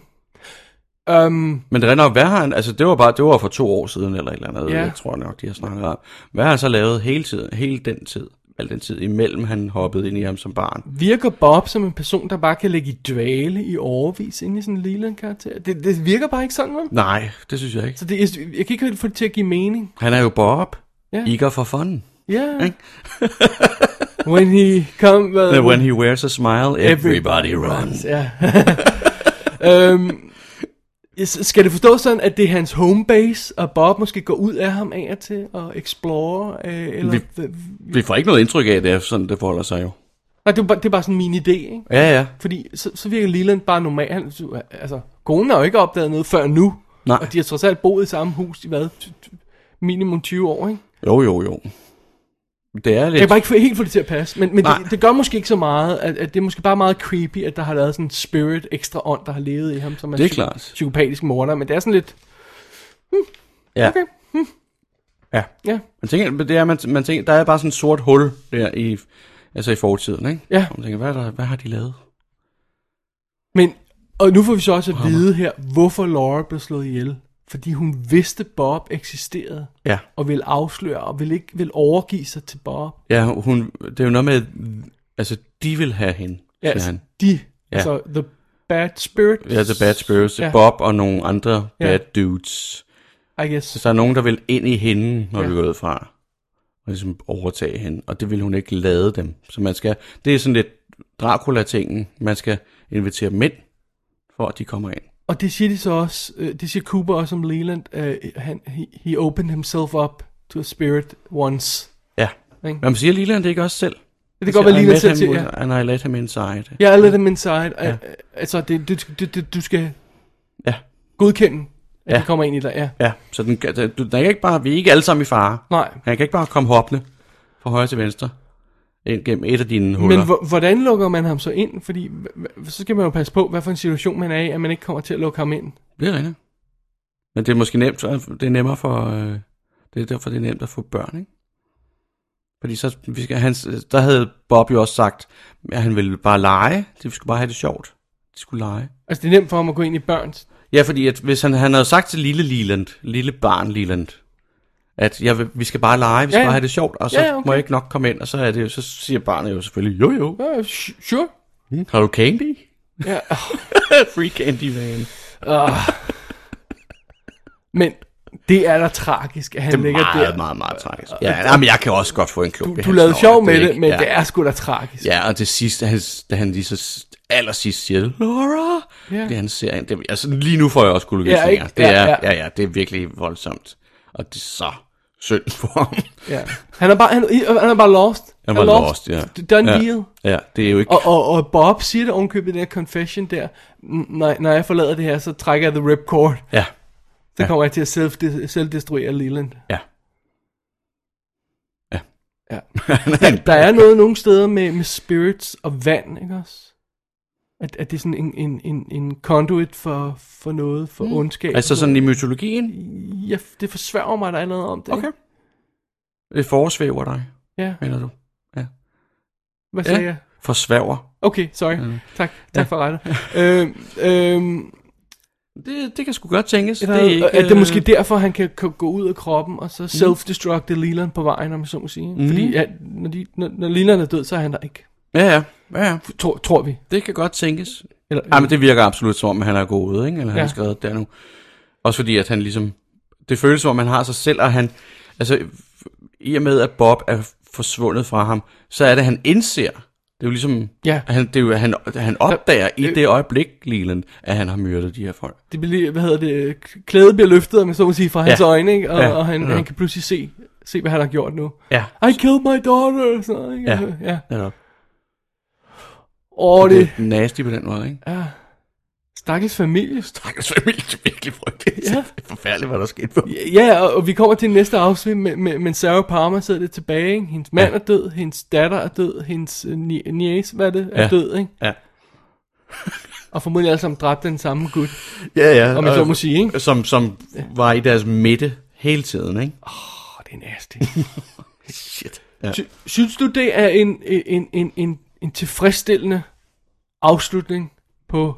Speaker 4: Um,
Speaker 5: Men det er nok, hvad har han, altså det var bare, det var for to år siden eller et eller andet,
Speaker 4: Ja.
Speaker 5: ja. jeg tror nok, de har snakket om. Hvad har han så lavet hele tiden, hele den tid, al den tid imellem han hoppede ind i ham som barn?
Speaker 4: virker Bob som en person, der bare kan ligge i dvale i overvis inde i sådan en lille karakter? Det, det virker bare ikke sådan, vel?
Speaker 5: Nej, det synes jeg ikke.
Speaker 4: Så det, er- jeg kan ikke helt få det til at give mening.
Speaker 5: Han er jo Bob.
Speaker 4: Ja.
Speaker 5: Ja. Igor for fun.
Speaker 4: Ja. Yeah. when he come... Uh,
Speaker 5: And when he wears a smile, everybody,
Speaker 4: Everybody
Speaker 5: runs.
Speaker 4: Ja. [LAUGHS] øhm, ja, s- skal det forstås sådan, at det er hans homebase, og Bob måske går ud af ham af og til og explore? Øh, eller
Speaker 5: Vi-
Speaker 4: vi...
Speaker 5: Vi får ikke noget indtryk af, at det er sådan, det forholder sig jo.
Speaker 4: Nej, det er, bare, det er bare sådan min idé, ikke?
Speaker 5: Ja, ja.
Speaker 4: Fordi så, så virker Leland bare normal. Han, altså, konen har jo ikke opdaget noget før nu.
Speaker 5: Nej.
Speaker 4: Og de har trods alt boet i samme hus i hvad? T- t- Minimum 20 år, ikke?
Speaker 5: Jo, jo, jo. Det er
Speaker 4: Jeg kan
Speaker 5: lidt...
Speaker 4: bare ikke få- helt få det til at passe, men, men
Speaker 5: Nej.
Speaker 4: det, det, gør måske ikke så meget, at, at, det er måske bare meget creepy, at der har været sådan en spirit ekstra ånd, der har levet i ham, som er,
Speaker 5: Det er
Speaker 4: psy-
Speaker 5: klart.
Speaker 4: psykopatisk morder, men det er sådan lidt,
Speaker 5: Ja.
Speaker 4: okay. Hm.
Speaker 5: Ja.
Speaker 4: ja,
Speaker 5: Man tænker, men det er, man, man tænker, der er bare sådan et sort hul der i, altså i fortiden, ikke?
Speaker 4: Ja.
Speaker 5: Og man tænker, hvad, er der, hvad har de lavet?
Speaker 4: men, og nu får vi så også at vide her, hvorfor Laura blev slået ihjel, fordi hun vidste Bob eksisterede,
Speaker 5: Ja.
Speaker 4: og ville afsløre, og ville ikke ville overgive sig til Bob,
Speaker 5: Ja, hun, det er jo noget med, altså, de vil have hende,
Speaker 4: ja,
Speaker 5: ja, siger
Speaker 4: altså,
Speaker 5: han.
Speaker 4: de, ja.
Speaker 5: Ja.
Speaker 4: altså the bad spirit,
Speaker 5: Ja, The Bad Spirits,
Speaker 4: Ja.
Speaker 5: ja. Bob og nogle andre
Speaker 4: Ja.
Speaker 5: ja. bad dudes.
Speaker 4: I guess,
Speaker 5: Så der er nogen, der vil ind i hende, når
Speaker 4: Ja.
Speaker 5: ja. vi går ud fra. Og ligesom overtage hende. Og det vil hun ikke lade dem. Så man skal, det er sådan lidt Dracula-tingen. Man skal invitere mænd, for at de kommer ind.
Speaker 4: Og det siger de så også, øh, det siger Cooper også om Leland, øh, han, he, he opened himself up to a spirit once.
Speaker 5: Ja.
Speaker 4: Ikke?
Speaker 5: Men man siger Leland det ikke også selv?
Speaker 4: Det kan godt være, Leland selv siger, ja.
Speaker 5: ja. And I let him inside.
Speaker 4: Ja, I let him inside. Ja. Altså, det, det, det, det, du skal
Speaker 5: Ja.
Speaker 4: godkende, at ja.
Speaker 5: Ja.
Speaker 4: de kommer ind i dig. Ja.
Speaker 5: ja. Så den, den, den kan ikke bare, vi er ikke alle sammen i fare.
Speaker 4: Nej.
Speaker 5: Han kan ikke bare komme hoppende fra højre til venstre. Ind gennem et af dine huller.
Speaker 4: Men hvor- hvordan lukker man ham så ind? Fordi h- h- så skal man jo passe på, hvad for en situation man er i, at man ikke kommer til at lukke ham ind.
Speaker 5: Det er rigtigt. Men det er måske nemt, det er nemmere for, øh, det er derfor, det er nemt at få børn, ikke? Fordi så, vi skal, han, der havde Bob jo også sagt, at han ville bare lege, de skulle bare have det sjovt. De skulle lege.
Speaker 4: Altså, det er nemt for ham at gå ind i børns.
Speaker 5: Ja, fordi at hvis han, han havde sagt til lille Leland, lille barn Leland, at jeg vil, vi skal bare lege, vi skal
Speaker 4: Ja, ja.
Speaker 5: ja, bare have det sjovt, og så
Speaker 4: Ja, ja, okay.
Speaker 5: må jeg ikke nok komme ind, og så, er det, jo- så siger barnet jo selvfølgelig, jo jo,
Speaker 4: Uh, sure.
Speaker 5: har du candy?
Speaker 4: Mm. Ja.
Speaker 5: [LAUGHS] Free candy van.
Speaker 4: Men det er da tragisk, at han
Speaker 5: Det er
Speaker 4: ligger
Speaker 5: meget,
Speaker 4: der.
Speaker 5: meget, meget tragisk. Ja, men jeg kan også godt få en klub
Speaker 4: Du, du lavede sjov med det, men det er sgu da tragisk.
Speaker 5: Ja, og til sidst, da han, da han lige så s- allersidst siger, Laura,
Speaker 4: Ja.
Speaker 5: ja. det han ser, det, altså lige nu får jeg også
Speaker 4: Ja, ikke?
Speaker 5: kuldegysninger. Ja, det er,
Speaker 4: Ja,
Speaker 5: ja,
Speaker 4: ja.
Speaker 5: ja. ja, det er virkelig voldsomt. Og det er så synd for ham.
Speaker 4: Ja. Han er bare, han, han er bare lost.
Speaker 5: Han var lost, ja.
Speaker 4: Done
Speaker 5: ja.
Speaker 4: deal.
Speaker 5: Ja, det er jo ikke...
Speaker 4: Og, og, og Bob siger det ovenkøbet i den her confession der. "N- Når, når jeg forlader det her, så trækker jeg the ripcord.
Speaker 5: Ja,
Speaker 4: Så ja.
Speaker 5: Ja.
Speaker 4: kommer jeg til at selv, selvdestruere Leland.
Speaker 5: ja. Ja.
Speaker 4: Ja.
Speaker 5: [LAUGHS] Han-
Speaker 4: Der er noget nogle steder med, med spirits og vand, ikke også? At, at det er sådan en, en, en, en conduit for, for noget, for mm. ondskab.
Speaker 5: Altså sådan i mytologien,
Speaker 4: Ja, det forsværger mig, der er noget om det. ikke?
Speaker 5: Okay. det foresvæver dig,
Speaker 4: Ja,
Speaker 5: mener du?
Speaker 4: hvad sagde ja. jeg?
Speaker 5: Forsvæver.
Speaker 4: Okay, sorry. Mm. Tak, tak ja. for [LAUGHS] retten. øhm, øhm,
Speaker 5: Det, det øh, kan sgu godt tænkes.
Speaker 4: Eller, det er, ikke, øh, er det måske derfor, han kan, kan gå ud af kroppen, og så self-destructe Leland på vejen, om jeg så må sige. Mm. Fordi ja, når, de, når, når Leland er død, så er han der ikke.
Speaker 5: Ja, ja. ja, ja.
Speaker 4: Tror, tror vi.
Speaker 5: Det kan godt tænkes.
Speaker 4: Eller,
Speaker 5: Ja, men det virker absolut som om, han er gået, ikke? Eller han
Speaker 4: Ja.
Speaker 5: ja. har skrevet der nu. Også fordi, at han ligesom... Det føles som om, han har sig selv, og han... Altså, i og med, at Bob er forsvundet fra ham, så er det, han indser... Det er jo ligesom...
Speaker 4: Ja.
Speaker 5: at Han, det er jo, at han, at han opdager i det øjeblik, Leland, at han har myrdet de her folk.
Speaker 4: det bliver, lige- hvad hedder det, klædet bliver løftet, om jeg så må sige, fra ja. hans øjne, ikke? Og, ja.
Speaker 5: Ja.
Speaker 4: og han, ja.
Speaker 5: Ja.
Speaker 4: han kan pludselig se, se, hvad han har gjort nu.
Speaker 5: Ja.
Speaker 4: I killed my daughter, og sådan noget, ikke? Altså,
Speaker 5: Ja.
Speaker 4: ja.
Speaker 5: Netop.
Speaker 4: Og
Speaker 5: Og det
Speaker 4: det,
Speaker 5: er nasty på den måde, ikke? Ja.
Speaker 4: stakkels familie.
Speaker 5: Stakkels familie, det er virkelig frygteligt.
Speaker 4: Ja.
Speaker 5: Ja. Det er forfærdeligt, hvad der skete for
Speaker 4: Ja, og, og vi kommer til næste afsnit, men, men, men Sarah Palmer sidder lidt tilbage, ikke? Hendes mand ja. er død, hendes datter er død, hendes øh, nie- niece, hvad er det, er ja.
Speaker 5: Ja.
Speaker 4: død, ikke?
Speaker 5: Ja.
Speaker 4: Og formodentlig alle sammen dræbt af den samme gut.
Speaker 5: Ja, ja.
Speaker 4: Om jeg så
Speaker 5: og-
Speaker 4: må sige, ikke?
Speaker 5: Som, som var i deres midte hele tiden, ikke?
Speaker 4: det er nasty.
Speaker 5: [LAUGHS] Shit. Ja.
Speaker 4: Sy- Synes du, det er en, en, en, en, en tilfredsstillende afslutning på,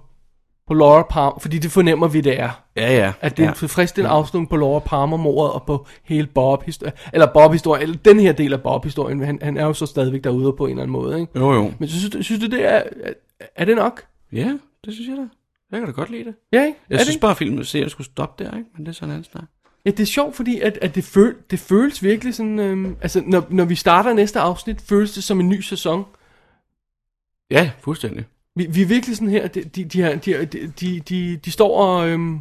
Speaker 4: på Laura Palmer? Fordi det fornemmer vi, det er.
Speaker 5: Ja, ja.
Speaker 4: At det er
Speaker 5: ja.
Speaker 4: en tilfredsstillende afslutning på Laura Palmer-mordet og på hele Bob-historien. Eller Bob-historien, eller den her del af Bob-historien. Han, han er jo så stadigvæk derude på en eller anden måde, ikke?
Speaker 5: Jo, jo.
Speaker 4: Men synes du, synes du det er, er, er det nok?
Speaker 5: Ja, det synes jeg da. Jeg kan da godt lide det.
Speaker 4: Ja, ikke?
Speaker 5: Jeg
Speaker 4: er det,
Speaker 5: synes
Speaker 4: ikke?
Speaker 5: bare, at filmen serien skulle stoppe der, ikke? Men det er sådan en anden snak.
Speaker 4: ja, det er sjovt, fordi at, at det, føl, det føles virkelig sådan... Øhm, altså, når, når vi starter næste afsnit, føles det som en ny sæson.
Speaker 5: Ja, fuldstændig.
Speaker 4: Vi, vi er virkelig sådan her, de, de, de, her- de, de- de, de, de står og... Øhm,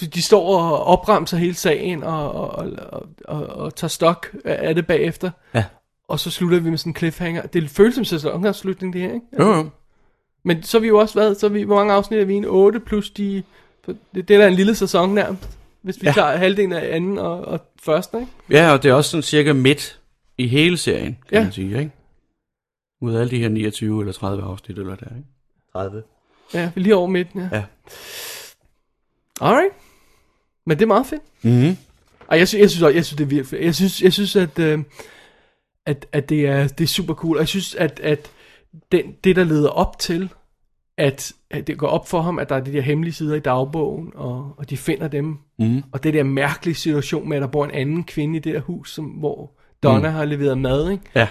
Speaker 4: de, de står og opremser hele sagen og, og, og, og, og, og tager stok af det bagefter.
Speaker 5: Ja.
Speaker 4: Og så slutter vi med sådan en cliffhanger. Det føles som sæsonafslutning, det her, ikke?
Speaker 5: Jo, jo.
Speaker 4: Men så har vi jo også været, så har vi, hvor mange afsnit er vi i? en 8 plus de, det, det er da en lille sæson nærmest. Hvis vi ja. tager halvdelen af anden og, og første, ikke?
Speaker 5: Ja, og det er også sådan cirka midt i hele serien, kan
Speaker 4: Ja.
Speaker 5: ja. man sige, ikke? Ud af alle de her 29 eller 30 afsnit eller der, ikke? 30.
Speaker 4: Ja, vi er lige over midten, ja.
Speaker 5: Ja.
Speaker 4: Alright. Men det er meget fedt.
Speaker 5: Mhm.
Speaker 4: Og jeg, sy- jeg synes også, jeg synes, det er virkelig fedt. Jeg synes, jeg synes at, øh, at, at det, er, det er super cool. Og jeg synes, at, at den, det, der leder op til, at, at det går op for ham, at der er de der hemmelige sider i dagbogen, og, og de finder dem. Mm. Og det der mærkelige situation med, at der bor en anden kvinde i det der hus, som, hvor Donna mm. har leveret mad, ikke?
Speaker 5: Ja.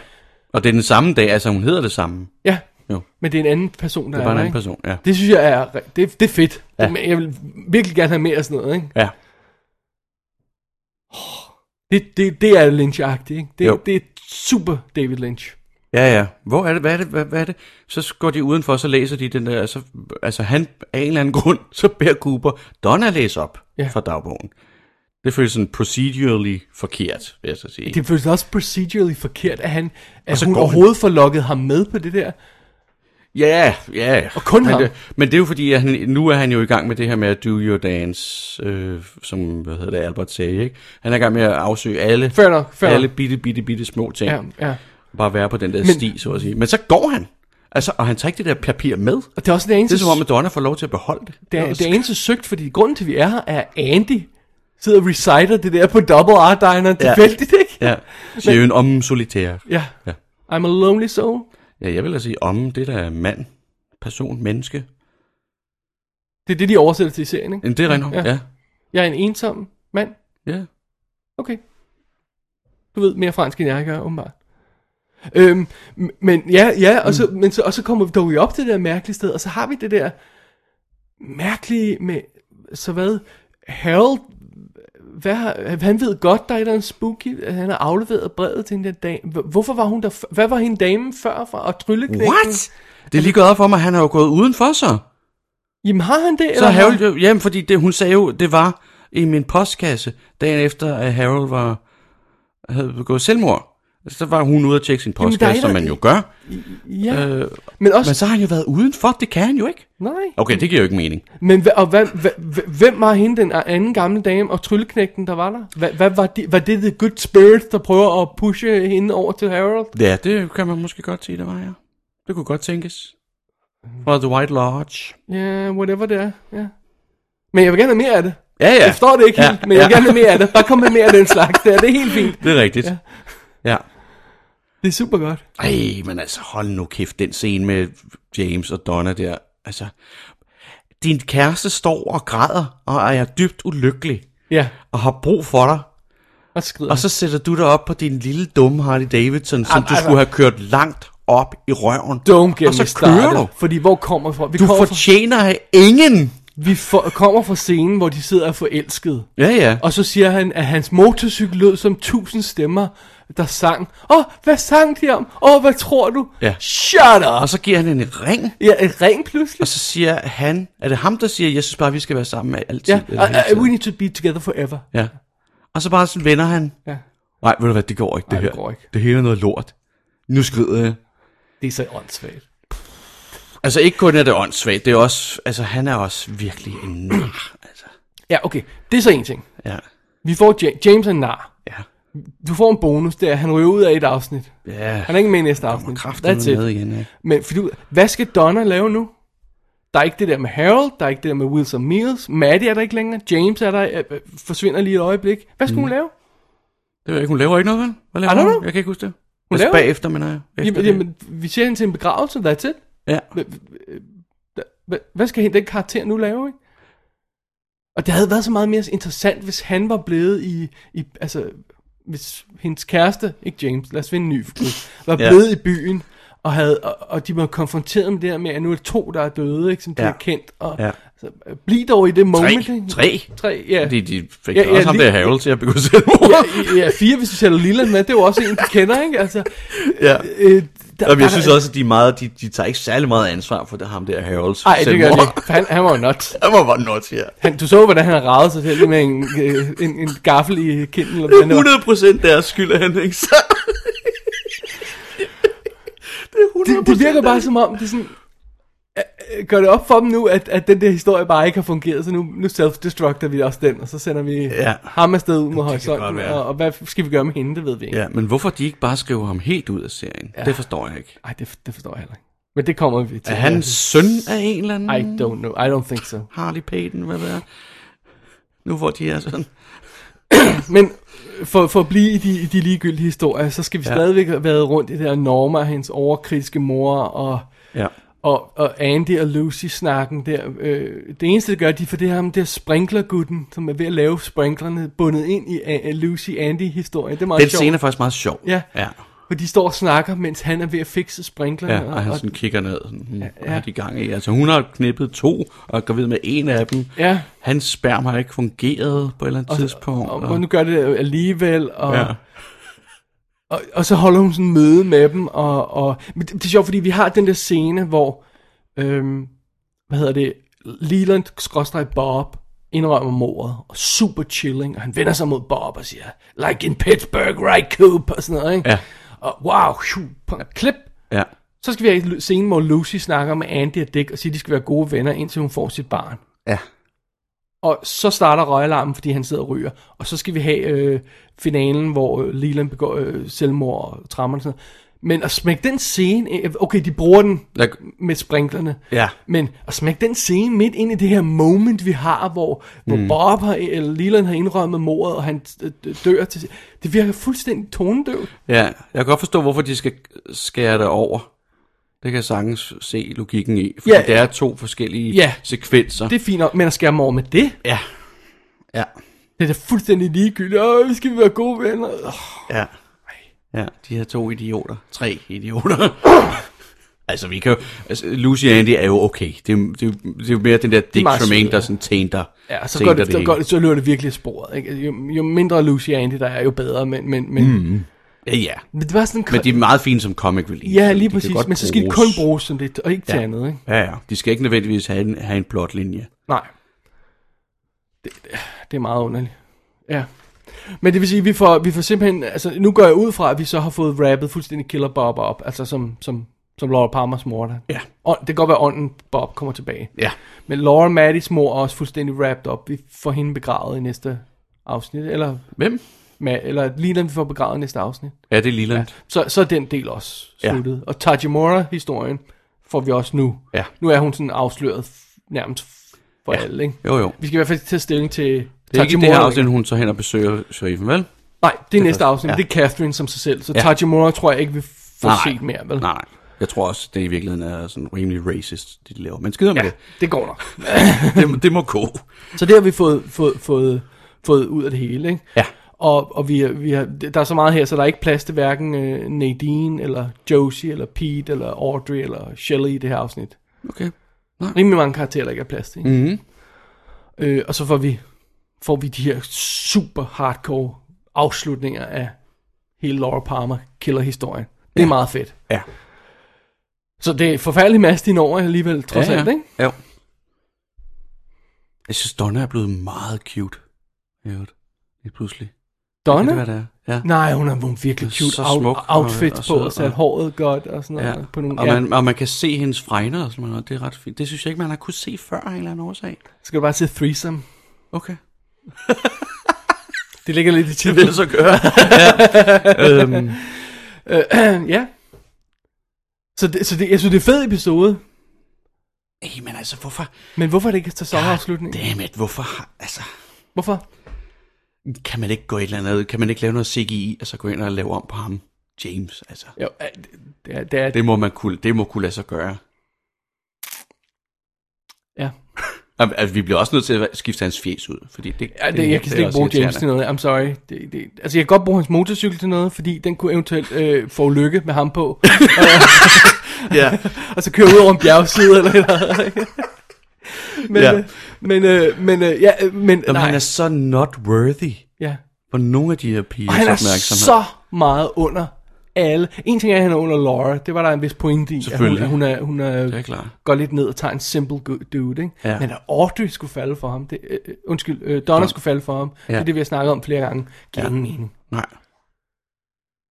Speaker 5: Og det er den samme dag, altså hun hedder det samme.
Speaker 4: Ja,
Speaker 5: Jo.
Speaker 4: men det er en anden person, der
Speaker 5: Det er bare en
Speaker 4: der,
Speaker 5: anden
Speaker 4: ikke?
Speaker 5: person, ja.
Speaker 4: Det synes jeg er, re- det, det er fedt.
Speaker 5: Ja.
Speaker 4: Ja. Jeg vil virkelig gerne have mere af sådan noget, ikke?
Speaker 5: Ja.
Speaker 4: Det, det, det er Lynch-agtigt, ikke?
Speaker 5: Jo.
Speaker 4: Det, det er super David Lynch.
Speaker 5: Ja, ja. Hvor er det? Hvad er det? Hvad, hvad er det? Så går de udenfor, så læser de den der, så, altså han af en eller anden grund, [LAUGHS] så beder Cooper Donna læse op
Speaker 4: Ja.
Speaker 5: ja. fra dagbogen. Det føles sådan procedurally forkert, vil jeg så sige.
Speaker 4: Det føles også procedurally forkert, at, han, at
Speaker 5: så
Speaker 4: hun
Speaker 5: går han.
Speaker 4: overhovedet får lukket ham med på det der.
Speaker 5: Ja, ja.
Speaker 4: Og kun
Speaker 5: men
Speaker 4: ham.
Speaker 5: Det, men det er jo fordi, at han, nu er han jo i gang med det her med at do your dance, øh, som, hvad hedder det, Albert sagde, ikke? Han er i gang med at afsøge alle,
Speaker 4: Fair nok, fair
Speaker 5: alle
Speaker 4: nok.
Speaker 5: bitte, bitte, bitte små ting.
Speaker 4: Ja,
Speaker 5: Ja.
Speaker 4: ja.
Speaker 5: Bare være på den der men, sti, så at sige. Men så går han. Altså, og han tager ikke det der papir med.
Speaker 4: Og det er også det
Speaker 5: Det
Speaker 4: eneste,
Speaker 5: er som om, at Donna får lov til at beholde det.
Speaker 4: det, er, det er eneste søgt, fordi grunden til, at vi er her, er Andy sidder og reciter det der på Double R Diner tilfældigt, ikke?
Speaker 5: Ja, siger jo en om solitær.
Speaker 4: ja.
Speaker 5: Ja.
Speaker 4: I'm a lonely soul.
Speaker 5: Ja, jeg vil da sige om, det der er mand, person, menneske.
Speaker 4: Det er det, de oversætter til i serien, ikke?
Speaker 5: Men Det er rent
Speaker 4: Ja.
Speaker 5: ja. ja.
Speaker 4: Jeg er en ensom mand.
Speaker 5: ja.
Speaker 4: Okay. Du ved mere fransk, end jeg gør, åbenbart. Øhm, m- men ja, ja og,
Speaker 5: Mm.
Speaker 4: så, men så, og så kommer vi dog op til det der mærkelige sted, og så har vi det der mærkelige med, så hvad, Harold, hvad, har- han ved godt, der er et eller andet spooky, at han har afleveret brevet til en der dame. Hvor- Hvorfor var hun der, f- hvad var hende damen før fra, og trylleknækken?
Speaker 5: What? Det er lige gået op for mig, han har jo gået udenfor sig.
Speaker 4: Jamen har han det?
Speaker 5: Så
Speaker 4: har-
Speaker 5: Harold, jo- jamen fordi det, hun sagde jo, det var i min postkasse, dagen efter, at Harold var, havde begået selvmord. Så var hun ude at tjekke sin
Speaker 4: der er
Speaker 5: postkasse,
Speaker 4: et-
Speaker 5: som man jo gør.
Speaker 4: Ja, øh,
Speaker 5: Øh,
Speaker 4: men også,
Speaker 5: men så har han jo været udenfor, det kan han jo ikke.
Speaker 4: nej.
Speaker 5: Okay, det giver jo ikke mening.
Speaker 4: Men hva, og hvad, hva, hva- hvem var hende, den anden gamle dame og trylleknægten, der var der? Hvad hva var, de, var det The Good Spirit, der prøver at pushe hende over til Harold?
Speaker 5: Ja, det kan man måske godt sige, det var jeg. Det kunne godt tænkes. Fra The White Lodge.
Speaker 4: Ja, yeah, whatever det er, ja. Men jeg vil gerne have mere af det.
Speaker 5: Ja, ja.
Speaker 4: Jeg forstår det ikke
Speaker 5: Ja,
Speaker 4: helt, men jeg vil
Speaker 5: ja. [LAUGHS]
Speaker 4: gerne have mere af det. Bare kom med mere af den slags der, det er helt fint.
Speaker 5: Det er rigtigt. Ja. ja.
Speaker 4: Det er super godt.
Speaker 5: Ej, men altså, hold nu kæft, den scene med James og Donna der. Altså, din kæreste står og græder, og er dybt ulykkelig,
Speaker 4: Ja,
Speaker 5: og har brug for dig.
Speaker 4: og skrider.
Speaker 5: Og så sætter du dig op på din lille dumme Harley Davidson, som du skulle have kørt langt op i røven.
Speaker 4: altså- Don't get
Speaker 5: og så
Speaker 4: me started,
Speaker 5: kører du.
Speaker 4: Fordi hvor kommer vi fra? Vi,
Speaker 5: Du
Speaker 4: kommer, fra,
Speaker 5: fortjener ingen.
Speaker 4: vi for, kommer fra scenen, hvor de sidder og er forelskede.
Speaker 5: Ja, ja.
Speaker 4: Og så siger han, at hans motorcykel lød som tusind stemmer, der sang. Åh, oh, hvad sang de om? Åh, oh, hvad tror du?
Speaker 5: Ja.
Speaker 4: Shut up!
Speaker 5: Og så giver han hende en ring,
Speaker 4: Ja, et ring pludselig.
Speaker 5: og så siger han, er det ham, der siger, jeg synes bare, vi skal være sammen med altid.
Speaker 4: Ja,
Speaker 5: eller hele
Speaker 4: uh, uh,
Speaker 5: tiden?"
Speaker 4: we need to be together forever.
Speaker 5: ja. Og så bare sådan vender han.
Speaker 4: Ja.
Speaker 5: Nej, ved du hvad, det går ikke, det
Speaker 4: Nej,
Speaker 5: her.
Speaker 4: det går ikke.
Speaker 5: Det hele er noget lort. Nu skrider jeg.
Speaker 4: Det er så åndssvagt.
Speaker 5: Altså ikke kun er det åndssvagt, det er også, altså han er også virkelig en nar, altså.
Speaker 4: Ja, okay. Det er så en ting.
Speaker 5: Ja,
Speaker 4: Vi får ja- James en nar.
Speaker 5: ja,
Speaker 4: Du får en bonus der. Han ryger ud af et afsnit.
Speaker 5: ja.
Speaker 4: Han er ikke med i næste afsnit.
Speaker 5: kommer kraftedeme med igen, ja.
Speaker 4: Men fordi, hvad skal Donna lave nu? Der er ikke det der med Harold, der er ikke det der med Wilson Mills, Maddie er der ikke længere, James er der, øh, øh, forsvinder lige et øjeblik. Hvad skulle mm. hun lave?
Speaker 5: Det ved jeg ikke, hun laver ikke noget, vel? Hvad laver
Speaker 4: I don't
Speaker 5: hun?
Speaker 4: know. Altså,
Speaker 5: Jeg kan ikke huske det.
Speaker 4: Hun
Speaker 5: Hun
Speaker 4: laver-
Speaker 5: laver? Bagefter, mener jeg. Efter
Speaker 4: Jamen,
Speaker 5: det.
Speaker 4: jamen, vi ser hende til en begravelse, that's it.
Speaker 5: Ja.
Speaker 4: Hva- Hvad skal hende, den karakter nu lave, ikke? Og det havde været så meget mere interessant, hvis han var blevet i, i altså, hvis hendes kæreste, ikke James, lad os finde en ny, nu, var
Speaker 5: [LAUGHS] Ja.
Speaker 4: blevet i byen, og, havde, og, og de var konfronteret med det her med, at nu er det to, der er døde, ikke, som de
Speaker 5: Ja.
Speaker 4: har kendt, og
Speaker 5: Ja.
Speaker 4: så, øh, bliv dog i det moment.
Speaker 5: Tre.
Speaker 4: ikke?
Speaker 5: Tre.
Speaker 4: Tre, ja.
Speaker 5: Fordi de fik
Speaker 4: Ja,
Speaker 5: ja,
Speaker 4: ja,
Speaker 5: også ham
Speaker 4: lige-
Speaker 5: der Harold til at begå selvmord.
Speaker 4: ja, ja, fire, hvis du sætter Lilla med, det er jo også en, du kender, ikke? Altså,
Speaker 5: ja.
Speaker 4: øh, der,
Speaker 5: Jamen, jeg synes også, at de, er meget, de, de tager ikke særlig meget ansvar for det, ham der Harolds
Speaker 4: Nej, det gør det ikke, for han, han var jo nuts.
Speaker 5: Han var bare nuts, ja.
Speaker 4: Han, du så, hvordan han ragede sig selv med en, øh, en, en gaffel i kinden. Eller hvordan det var.
Speaker 5: 100% deres skyld er han,
Speaker 4: [LAUGHS]
Speaker 5: ikke så? det er 100%
Speaker 4: det, det virker bare som om, det er sådan, øh, gør det op for dem nu, at, at den der historie bare ikke har fungeret, så nu, nu self-destructer vi også den, og så sender vi ja.
Speaker 5: Ja.
Speaker 4: ham afsted ud mod
Speaker 5: godt
Speaker 4: horisonten,
Speaker 5: være.
Speaker 4: og, og hvad skal vi gøre med hende, det ved vi ikke.
Speaker 5: Ja, men hvorfor de ikke bare skriver ham helt ud af serien? Ja. Det forstår jeg ikke.
Speaker 4: Ej, det, det forstår jeg heller ikke. Men det kommer vi til.
Speaker 5: Er han søn af en eller anden?
Speaker 4: I don't know, I don't think so.
Speaker 5: Harley Payton, hvad ved jeg? Nu hvor de er sådan.
Speaker 4: Men øh, for, for at blive i de, i de ligegyldige historier, så skal vi ja. stadigvæk have været rundt i det her Norma, hendes overkritiske mor, og,
Speaker 5: Ja.
Speaker 4: og, og Andy og Lucy-snakken der. Øh, det eneste, det gør, de for det er ham der sprinklergutten, som er ved at lave sprinklerne, bundet ind i øh, A- Lucy-Andy-historien. Det er meget
Speaker 5: Den
Speaker 4: sjovt.
Speaker 5: scene er faktisk meget sjov.
Speaker 4: Ja.
Speaker 5: ja.
Speaker 4: For de står og snakker, mens han er ved at fikse sprinklerne.
Speaker 5: Ja, og han
Speaker 4: og,
Speaker 5: sådan kigger ned, sådan, hmm, ja, ja. de gang i. Altså, hun har knippet to, og er gravid med en af dem.
Speaker 4: Ja.
Speaker 5: Hans sperm har ikke fungeret på et eller andet og, tidspunkt.
Speaker 4: og, og nu gør det alligevel, og...
Speaker 5: ja.
Speaker 4: Og, og så holder hun sådan en møde med dem, og, og men det, det er sjovt, fordi vi har den der scene, hvor, øhm, hvad hedder det, Leland skråstreg Bob indrømmer mordet, og super chilling, og han vender sig mod Bob og siger, like in Pittsburgh, right Coop, og sådan noget, ikke?
Speaker 5: Ja.
Speaker 4: Og wow, shoo, på en klip.
Speaker 5: ja.
Speaker 4: Så skal vi have en scene, hvor Lucy snakker med Andy og Dick, og siger, at de skal være gode venner, indtil hun får sit barn.
Speaker 5: Ja.
Speaker 4: Og så starter røgalarmen, fordi han sidder og ryger. Og så skal vi have øh, finalen, hvor øh, Leland begår øh, selvmord og trammer og sådan noget. Men at smække den scene... ind- øh, Okay, de bruger den
Speaker 5: Jeg,
Speaker 4: med sprinklerne.
Speaker 5: Ja.
Speaker 4: Men at smække den scene midt ind i det her moment, vi har, hvor, mm. hvor Bob har, eller Leland har indrømmet mordet, og han øh, dør til... Det virker fuldstændig tonedøvt.
Speaker 5: ja, jeg kan godt forstå, hvorfor de skal skære det over. Det kan jeg sagtens se logikken i. Fordi
Speaker 4: Ja.
Speaker 5: ja, det er to forskellige
Speaker 4: Ja.
Speaker 5: ja. sekvenser.
Speaker 4: Det er fint nok, men at skære mig over med det,
Speaker 5: Ja. Ja.
Speaker 4: det er da fuldstændig ligegyldigt. Åh, vi skal være gode venner. Åh.
Speaker 5: Ja. Ja, de her to idioter. Tre idioter.
Speaker 4: [LAUGHS]
Speaker 5: altså, vi kan jo, altså, Lucy og Andy er jo okay. Det er, jo- det er, jo- det er jo mere den der Dick
Speaker 4: meget søde,
Speaker 5: Tremaine, der
Speaker 4: ja.
Speaker 5: sådan tænder.
Speaker 4: Ja, så,
Speaker 5: tænder
Speaker 4: går det, det så,
Speaker 5: hele.
Speaker 4: går det, så løber det virkelig af sporet. Ikke? Altså, Jo, jo mindre Lucy og Andy der er, jo bedre. Men, men, men, mm.
Speaker 5: Ja, ja.
Speaker 4: men det var sådan...
Speaker 5: Men de er meget fine som comic relief.
Speaker 4: ja,
Speaker 5: så de
Speaker 4: lige
Speaker 5: kan godt
Speaker 4: præcis. Men så skal de kun bruges som det, og ikke til
Speaker 5: Ja.
Speaker 4: andet. Ikke?
Speaker 5: Ja, ja. De skal ikke nødvendigvis have en, have en plotlinje.
Speaker 4: Nej. Det, det, det er meget underligt. Ja. Men det vil sige, vi får, vi får simpelthen... Altså, nu går jeg ud fra, at vi så har fået rappet fuldstændig Killer Bob op. Altså, som, som, som Laura Palmers mor. Der.
Speaker 5: Ja.
Speaker 4: Ånd, det kan godt være, at ånden Bob kommer tilbage.
Speaker 5: Ja.
Speaker 4: Men Laura Maddys mor er også fuldstændig wrapped op. Vi får hende begravet i næste afsnit. Eller,
Speaker 5: Hvem?
Speaker 4: ma- eller lige når vi får begravet i næste afsnit.
Speaker 5: Ja, det er Leland.
Speaker 4: Så, så er den del også
Speaker 5: Ja.
Speaker 4: sluttet. Og Tajimura-historien får vi også nu.
Speaker 5: Ja.
Speaker 4: Nu er hun sådan afsløret f- nærmest for ja. alle, ikke?
Speaker 5: Jo, jo.
Speaker 4: Vi skal i hvert fald tage stilling til
Speaker 5: Det er ikke Mm. i det her afsnit, hun tager hen og besøger sheriffen, vel?
Speaker 4: Nej, det er næste
Speaker 5: først.
Speaker 4: afsnit. Ja. Det
Speaker 5: Ja.
Speaker 4: er Catherine som sig selv. Så ja.
Speaker 5: Ja.
Speaker 4: Tajimura tror jeg ikke, vi får
Speaker 5: Nej.
Speaker 4: set mere, vel?
Speaker 5: Nej, jeg tror også, det i virkeligheden er sådan rimelig racist, det de laver. Men skider med
Speaker 4: Ja,
Speaker 5: det.
Speaker 4: det går nok.
Speaker 5: [LAUGHS] det. Det må gå.
Speaker 4: Så det har vi fået, fået, fået, fået ud af det hele, ikke?
Speaker 5: Ja.
Speaker 4: Og, og vi, er- vi har, der er så meget her, så der er ikke plads til hverken øh, Nadine, eller Josie, eller Pete, eller Audrey, eller Shelley i det her afsnit.
Speaker 5: Okay.
Speaker 4: rimelig mange karakterer, der ikke er plads til. Ikke?
Speaker 5: Mhm.
Speaker 4: Øh, og så får vi, får vi de her super hardcore afslutninger af hele Laura Palmer killer-historien. Det er meget fedt.
Speaker 5: Ja.
Speaker 4: Så det er forfærdelig masse din over alligevel, trods ja, ja. alt, ikke?
Speaker 5: Jo. Jeg synes, Donna er blevet meget cute. Ja, lige pludselig.
Speaker 4: Donna?
Speaker 5: Kan det, hvad det er? Ja.
Speaker 4: Nej, hun har hun er virkelig
Speaker 5: Hun er
Speaker 4: cute
Speaker 5: så
Speaker 4: out,
Speaker 5: smuk og-
Speaker 4: outfits
Speaker 5: og
Speaker 4: på,
Speaker 5: sød
Speaker 4: og sat
Speaker 5: og-
Speaker 4: håret godt og sådan noget.
Speaker 5: Ja.
Speaker 4: På nogle,
Speaker 5: og,
Speaker 4: ja.
Speaker 5: man, og man kan se hendes fregner og sådan noget. Det er ret fint. Det synes jeg ikke, man har kunne se før af en eller anden årsag.
Speaker 4: Skal du bare se threesome?
Speaker 5: Okay.
Speaker 4: Det ligger lidt i tiden.
Speaker 5: så gøre. ja. øhm,
Speaker 4: [CLEARS THROAT] ja. Så, det, så det, jeg synes, det er en fed episode,
Speaker 5: ey, men altså, hvorfor?
Speaker 4: men hvorfor er det ikke sæsonafslutning?
Speaker 5: Dammit, hvorfor? har- Altså,
Speaker 4: Hvorfor?
Speaker 5: kan man ikke gå et eller andet, kan man ikke lave noget CGI, og så gå ind og lave om på ham, James, altså.
Speaker 4: Jo, øh, det er, det er,
Speaker 5: Det må man kunne, det må kunne lade sig gøre.
Speaker 4: ja.
Speaker 5: Al- Altså, vi bliver også nødt til at skifte hans fjes ud, fordi det,
Speaker 4: Ja, det, jeg kan slet ikke
Speaker 5: også
Speaker 4: bruge James
Speaker 5: irriterende.
Speaker 4: til noget. I'm sorry. Det, det, altså, jeg kan godt bruge hans motorcykel til noget, fordi den kunne eventuelt øh, få lykke med
Speaker 5: [LAUGHS]
Speaker 4: ham på.
Speaker 5: Ja,
Speaker 4: og så køre ud over en bjergside eller
Speaker 5: [LAUGHS]
Speaker 4: eller men,
Speaker 5: Ja.
Speaker 4: ja. men, øh, men, øh, ja, øh, men,
Speaker 5: Jamen,
Speaker 4: nej.
Speaker 5: han er så not worthy
Speaker 4: ja.
Speaker 5: for nogle af de her
Speaker 4: Og
Speaker 5: pigers
Speaker 4: han er så
Speaker 5: opmærksomhed.
Speaker 4: meget under alle. En ting er, at han er under Laura. Det var der en vis pointe i. At hun,
Speaker 5: Selvfølgelig.
Speaker 4: at hun, er, hun er,
Speaker 5: Det er klart.
Speaker 4: går lidt ned og tager en simple good dude. Ikke?
Speaker 5: Ja.
Speaker 4: Men at Audrey skulle falde for ham. Det, øh, øh, undskyld, øh, Donna skulle falde for ham.
Speaker 5: Ja.
Speaker 4: Det er det, vi har snakket om flere gange. Giver
Speaker 5: Ja.
Speaker 4: ingen mening.
Speaker 5: Nej.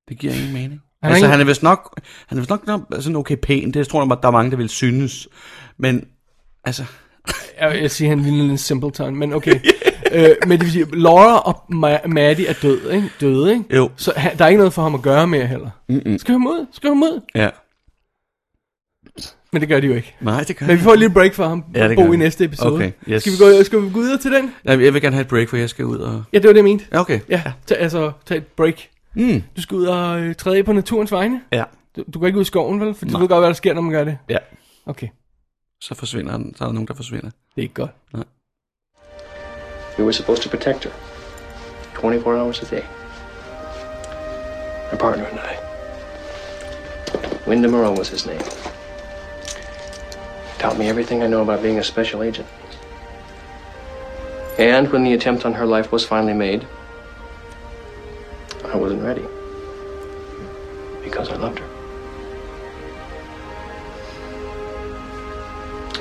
Speaker 5: Det giver ingen mening.
Speaker 4: Han
Speaker 5: Han
Speaker 4: er
Speaker 5: altså,
Speaker 4: ingen-
Speaker 5: han er vist nok, han er vist nok nok sådan okay pæn. Det tror jeg, der er mange, der vil synes. Men, altså,
Speaker 4: Jeg vil sige, han ligner en simpleton, men
Speaker 5: [LAUGHS]
Speaker 4: okay. øh, men det vil sige, Laura og Ma- Maddie er død, ikke? døde, ikke?
Speaker 5: Jo.
Speaker 4: Så han, der er ikke noget for ham at gøre mere heller. Mm-mm. Skriv ham ud, skriv ham ud.
Speaker 5: ja.
Speaker 4: Men det gør de jo ikke.
Speaker 5: Nej, det kan
Speaker 4: Men vi får lige et break for ham,
Speaker 5: Ja, det gør
Speaker 4: Bo,
Speaker 5: vi.
Speaker 4: i næste episode.
Speaker 5: Okay, yes.
Speaker 4: Skal vi gå, skal vi gå videre til den?
Speaker 5: Jamen, jeg vil gerne have et break, for jeg skal ud og...
Speaker 4: Ja, det var det, jeg mente.
Speaker 5: Ja, okay.
Speaker 4: Ja, tag, altså, tag et break.
Speaker 5: Mm.
Speaker 4: Du skal ud og øh, træde på naturens vegne.
Speaker 5: Ja.
Speaker 4: Du, du går ikke ud i skoven, vel? For du ved godt, hvad der sker, når man gør det.
Speaker 5: Ja.
Speaker 4: Okay,
Speaker 5: Så forsvinder han. Så er der nogen, der forsvinder.
Speaker 4: det er ikke godt.
Speaker 9: We were supposed to protect her 24 hours a day. My partner and I. Wyndham Earl was his name. Taught me everything I know about being a special agent.
Speaker 1: And when the attempt on her life was finally made,
Speaker 9: I wasn't ready. Because I loved her.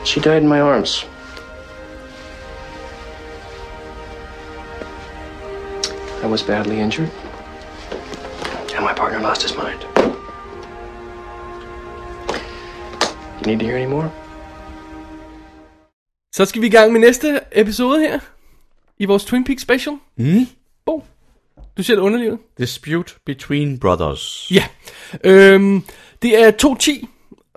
Speaker 9: She died in my arms. I was badly injured. And my partner lost his mind. You need to hear any more?
Speaker 4: Så skal vi i gang med næste episode her. I vores Twin Peaks special. Mm. Bo, du ser det underlivet.
Speaker 5: Dispute between brothers.
Speaker 4: Ja. Øhm, det er 2.10,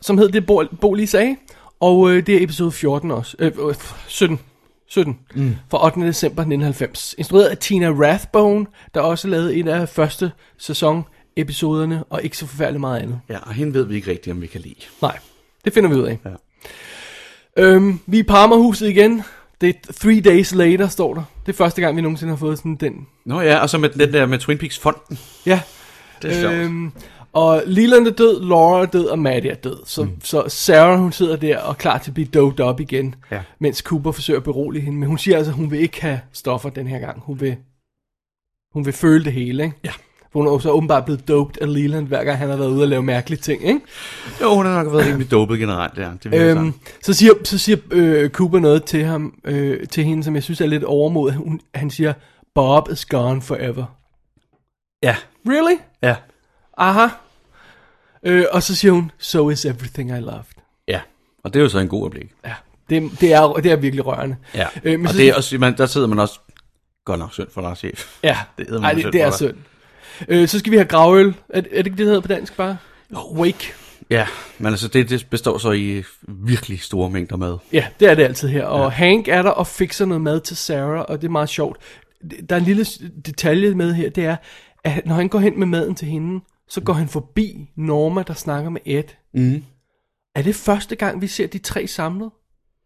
Speaker 4: som hed det, Bo, Bo lige sagde. Og øh, det er episode 14 også. Øh, øh, 17. 17. Mm. Fra 8. december 1990. Instrueret af Tina Rathbone, der også lavede en af første sæson episoderne, og ikke så forfærdeligt meget andet.
Speaker 5: Ja, og hende ved vi ikke rigtigt, om vi kan lide.
Speaker 4: Nej, det finder vi ud af.
Speaker 5: Ja.
Speaker 4: Ja. Øhm, vi er i Parmahuset igen. Det er three days later, står der. Det er første gang, vi nogensinde har fået sådan den.
Speaker 5: Nå ja, og så med den der med Twin Peaks fonden.
Speaker 4: Ja.
Speaker 5: Det er sjovt.
Speaker 4: Øhm, og Leland er død, Laura er død, og Maddie er død. Så, mm. så Sarah, hun sidder der og er klar til at blive doped op igen,
Speaker 5: Ja.
Speaker 4: mens Cooper forsøger at berolige hende. Men hun siger altså, at hun vil ikke have stoffer den her gang. Hun vil, hun vil føle det hele, ikke?
Speaker 5: Ja.
Speaker 4: For Hun er jo så åbenbart blevet doped af Leland, hver gang han har været ude og lave mærkelige ting, ikke?
Speaker 5: Jo, hun har nok været rimelig dopet generelt, ja. Det virker
Speaker 4: Øhm,
Speaker 5: sådan.
Speaker 4: så siger, så siger øh, Cooper noget til ham, øh, til hende, som jeg synes er lidt overmod. Hun, han siger, Bob is gone forever.
Speaker 5: Ja,
Speaker 4: Really?
Speaker 5: ja,
Speaker 4: Aha. Øh, og så siger hun, so is everything I loved.
Speaker 5: ja. Og det er jo så en god øjeblik.
Speaker 4: Ja. Det, det, er, det er virkelig rørende.
Speaker 5: Ja,
Speaker 4: Øh, men
Speaker 5: og
Speaker 4: så-
Speaker 5: det er også, man, der sidder man også godt nok synd for Lars Chef.
Speaker 4: Ja,
Speaker 5: Det er
Speaker 4: Ej, det, det er synd. Øh, så skal vi have gravøl. Er, er det ikke det, det hedder på dansk bare? Wake.
Speaker 5: Ja, men altså det, det består så i virkelig store mængder mad.
Speaker 4: Ja, det er det altid her. Og ja. Hank er der og fikser noget mad til Sarah, og det er meget sjovt. Der er en lille s- detalje med her, det er, at når han går hen med maden til hende, så går han forbi Norma, der snakker med Ed. Mm. Er det første gang, vi ser de tre samlet?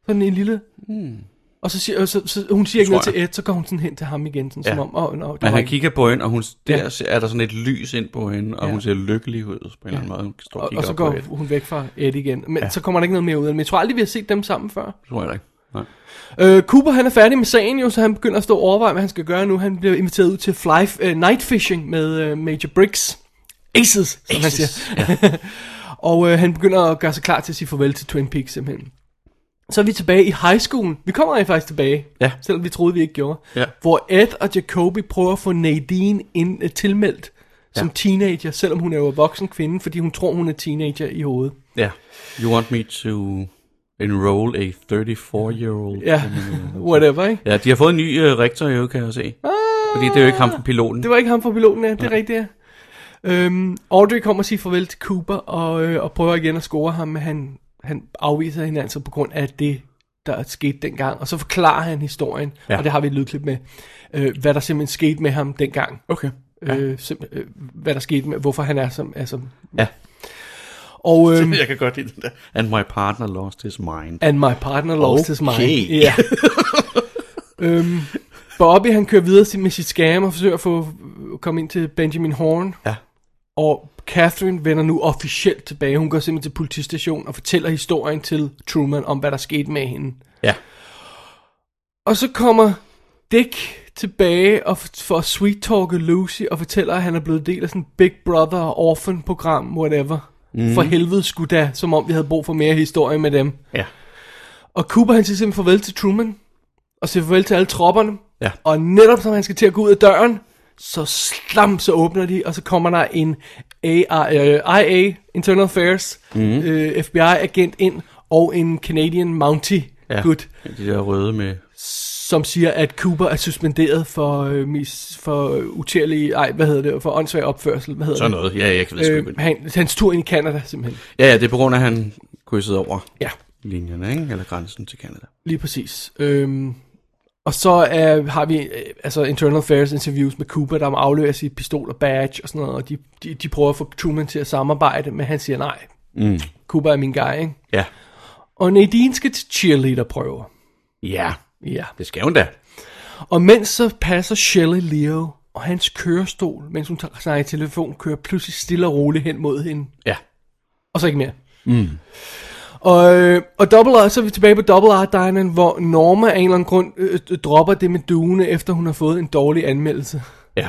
Speaker 4: Sådan en lille... Mm. Og så siger, og så, så, hun siger ikke noget
Speaker 5: Hmm. Tror
Speaker 4: til Ed, så går hun sådan hen til ham igen, sådan
Speaker 5: Ja.
Speaker 4: ja. som om, åh, oh, no, det
Speaker 5: Men
Speaker 4: var
Speaker 5: han
Speaker 4: ikke-
Speaker 5: kigger på hende, og hun, der
Speaker 4: Ja.
Speaker 5: ser- er der sådan et lys ind på hende, og
Speaker 4: Ja.
Speaker 5: hun ser lykkelig ud på en eller anden måde. Hun står og,
Speaker 4: og,
Speaker 5: kigger
Speaker 4: og så
Speaker 5: op går...
Speaker 4: går
Speaker 5: på hende.
Speaker 4: hun væk fra Ed igen. Men ja. så kommer der ikke noget mere ud af det. Men jeg tror aldrig, vi har set dem sammen før.
Speaker 5: Tror jeg da ikke. Nej.
Speaker 4: Øh, Cooper han er færdig med sagen jo, så han begynder at stå og overveje, hvad han skal gøre nu. Han bliver inviteret ud til fly, øh, night fishing med øh, Major Briggs. Aces, som Aces. han siger. [LAUGHS] og øh, han begynder at gøre sig klar til at sige farvel til Twin Peaks simpelthen. Så er vi tilbage i high schoolen. Vi kommer rent faktisk tilbage,
Speaker 5: Ja.
Speaker 4: selvom vi troede, vi ikke gjorde.
Speaker 5: Ja.
Speaker 4: Hvor Ed og Jacoby prøver at få Nadine ind, øh, tilmeldt som teenager, selvom hun er jo en voksen kvinde, fordi hun tror, hun er teenager i hovedet.
Speaker 5: Ja. You want me to enroll a 34-year-old?
Speaker 4: Ja, whatever, ikke?
Speaker 5: Ja, de har fået en ny uh, rektor jo, kan jeg se. Fordi det er jo ikke ham fra piloten.
Speaker 4: Ah. Det var ikke ham fra piloten, ja. Det er rigtigt, ja. Øhm, Audrey kommer og siger farvel til Cooper og, øh, og prøver igen at score ham, men han, han afviser hende altså på grund af det der skete dengang. Og så forklarer han historien,
Speaker 5: Ja.
Speaker 4: ja. og det har vi et lydklip med, øh, hvad der simpelthen skete med ham dengang.
Speaker 5: Okay.
Speaker 4: Ja. Øh, simp- øh, hvad der skete med, hvorfor han er som... Er som [LAUGHS]
Speaker 5: Ja.
Speaker 4: Og, øhm,
Speaker 5: Jeg kan godt lide den der. And my partner lost his mind.
Speaker 4: And my partner lost okay. his mind.
Speaker 5: Okay.
Speaker 4: Ja. [LAUGHS] øhm, Bobby han kører videre sin- med sit skam og forsøger at få at komme ind til Benjamin Horn.
Speaker 5: Ja.
Speaker 4: Og Catherine vender nu officielt tilbage. Hun går simpelthen til politistationen og fortæller historien til Truman om, hvad der skete med hende.
Speaker 5: Ja.
Speaker 4: Og så kommer Dick tilbage og f- får sweet talke Lucy og fortæller, at han er blevet del af sådan Big Brother og Orphan program, whatever. Mm. For helvede skulle da, som om vi havde brug for mere historie med dem.
Speaker 5: Ja.
Speaker 4: Og Cooper han siger simpelthen farvel til Truman, og siger farvel til alle tropperne.
Speaker 5: Ja.
Speaker 4: Og netop som han skal til at gå ud af døren, så slam, så åbner de, og så kommer der en AI, øh, IA, Internal Affairs,
Speaker 5: Mhm.
Speaker 4: mm. øh, FBI-agent ind, og en Canadian Mountie
Speaker 5: ja.
Speaker 4: gut,
Speaker 5: De der røde med...
Speaker 4: som siger, at Cooper er suspenderet for, øh, mis, for øh, utærlige, ej, hvad hedder det, for åndssvag opførsel, hvad hedder
Speaker 5: Sådan noget. Ja, jeg ved
Speaker 4: det?
Speaker 5: sgu
Speaker 4: Øh,
Speaker 5: ikke.
Speaker 4: han, hans tur ind i Canada, simpelthen.
Speaker 5: Ja, ja, det er på grund af, at han krydsede over
Speaker 4: Ja.
Speaker 5: linjen, ikke? Eller grænsen til Canada.
Speaker 4: Lige præcis. Øhm, og så er, har vi øh, altså internal affairs interviews med Cooper, der må afløre sit pistol og badge og sådan noget, og de, de, de prøver at få Truman til at samarbejde, men han siger nej.
Speaker 5: Mm.
Speaker 4: Cooper er min guy, ikke?
Speaker 5: Ja.
Speaker 4: Og Nadine skal til cheerleader-prøver.
Speaker 5: Ja.
Speaker 4: Ja.
Speaker 5: Det skal hun da.
Speaker 4: Og mens så passer Shelley Leo og hans kørestol, mens hun tager sig i telefon, kører pludselig stille og roligt hen mod hende.
Speaker 5: Ja.
Speaker 4: Og så ikke mere. Mm. Og, øh, og Double R, så er vi tilbage på Double R Diamond, hvor Norma af en eller anden grund øh, øh, dropper det med duene, efter hun har fået en dårlig anmeldelse.
Speaker 5: Ja.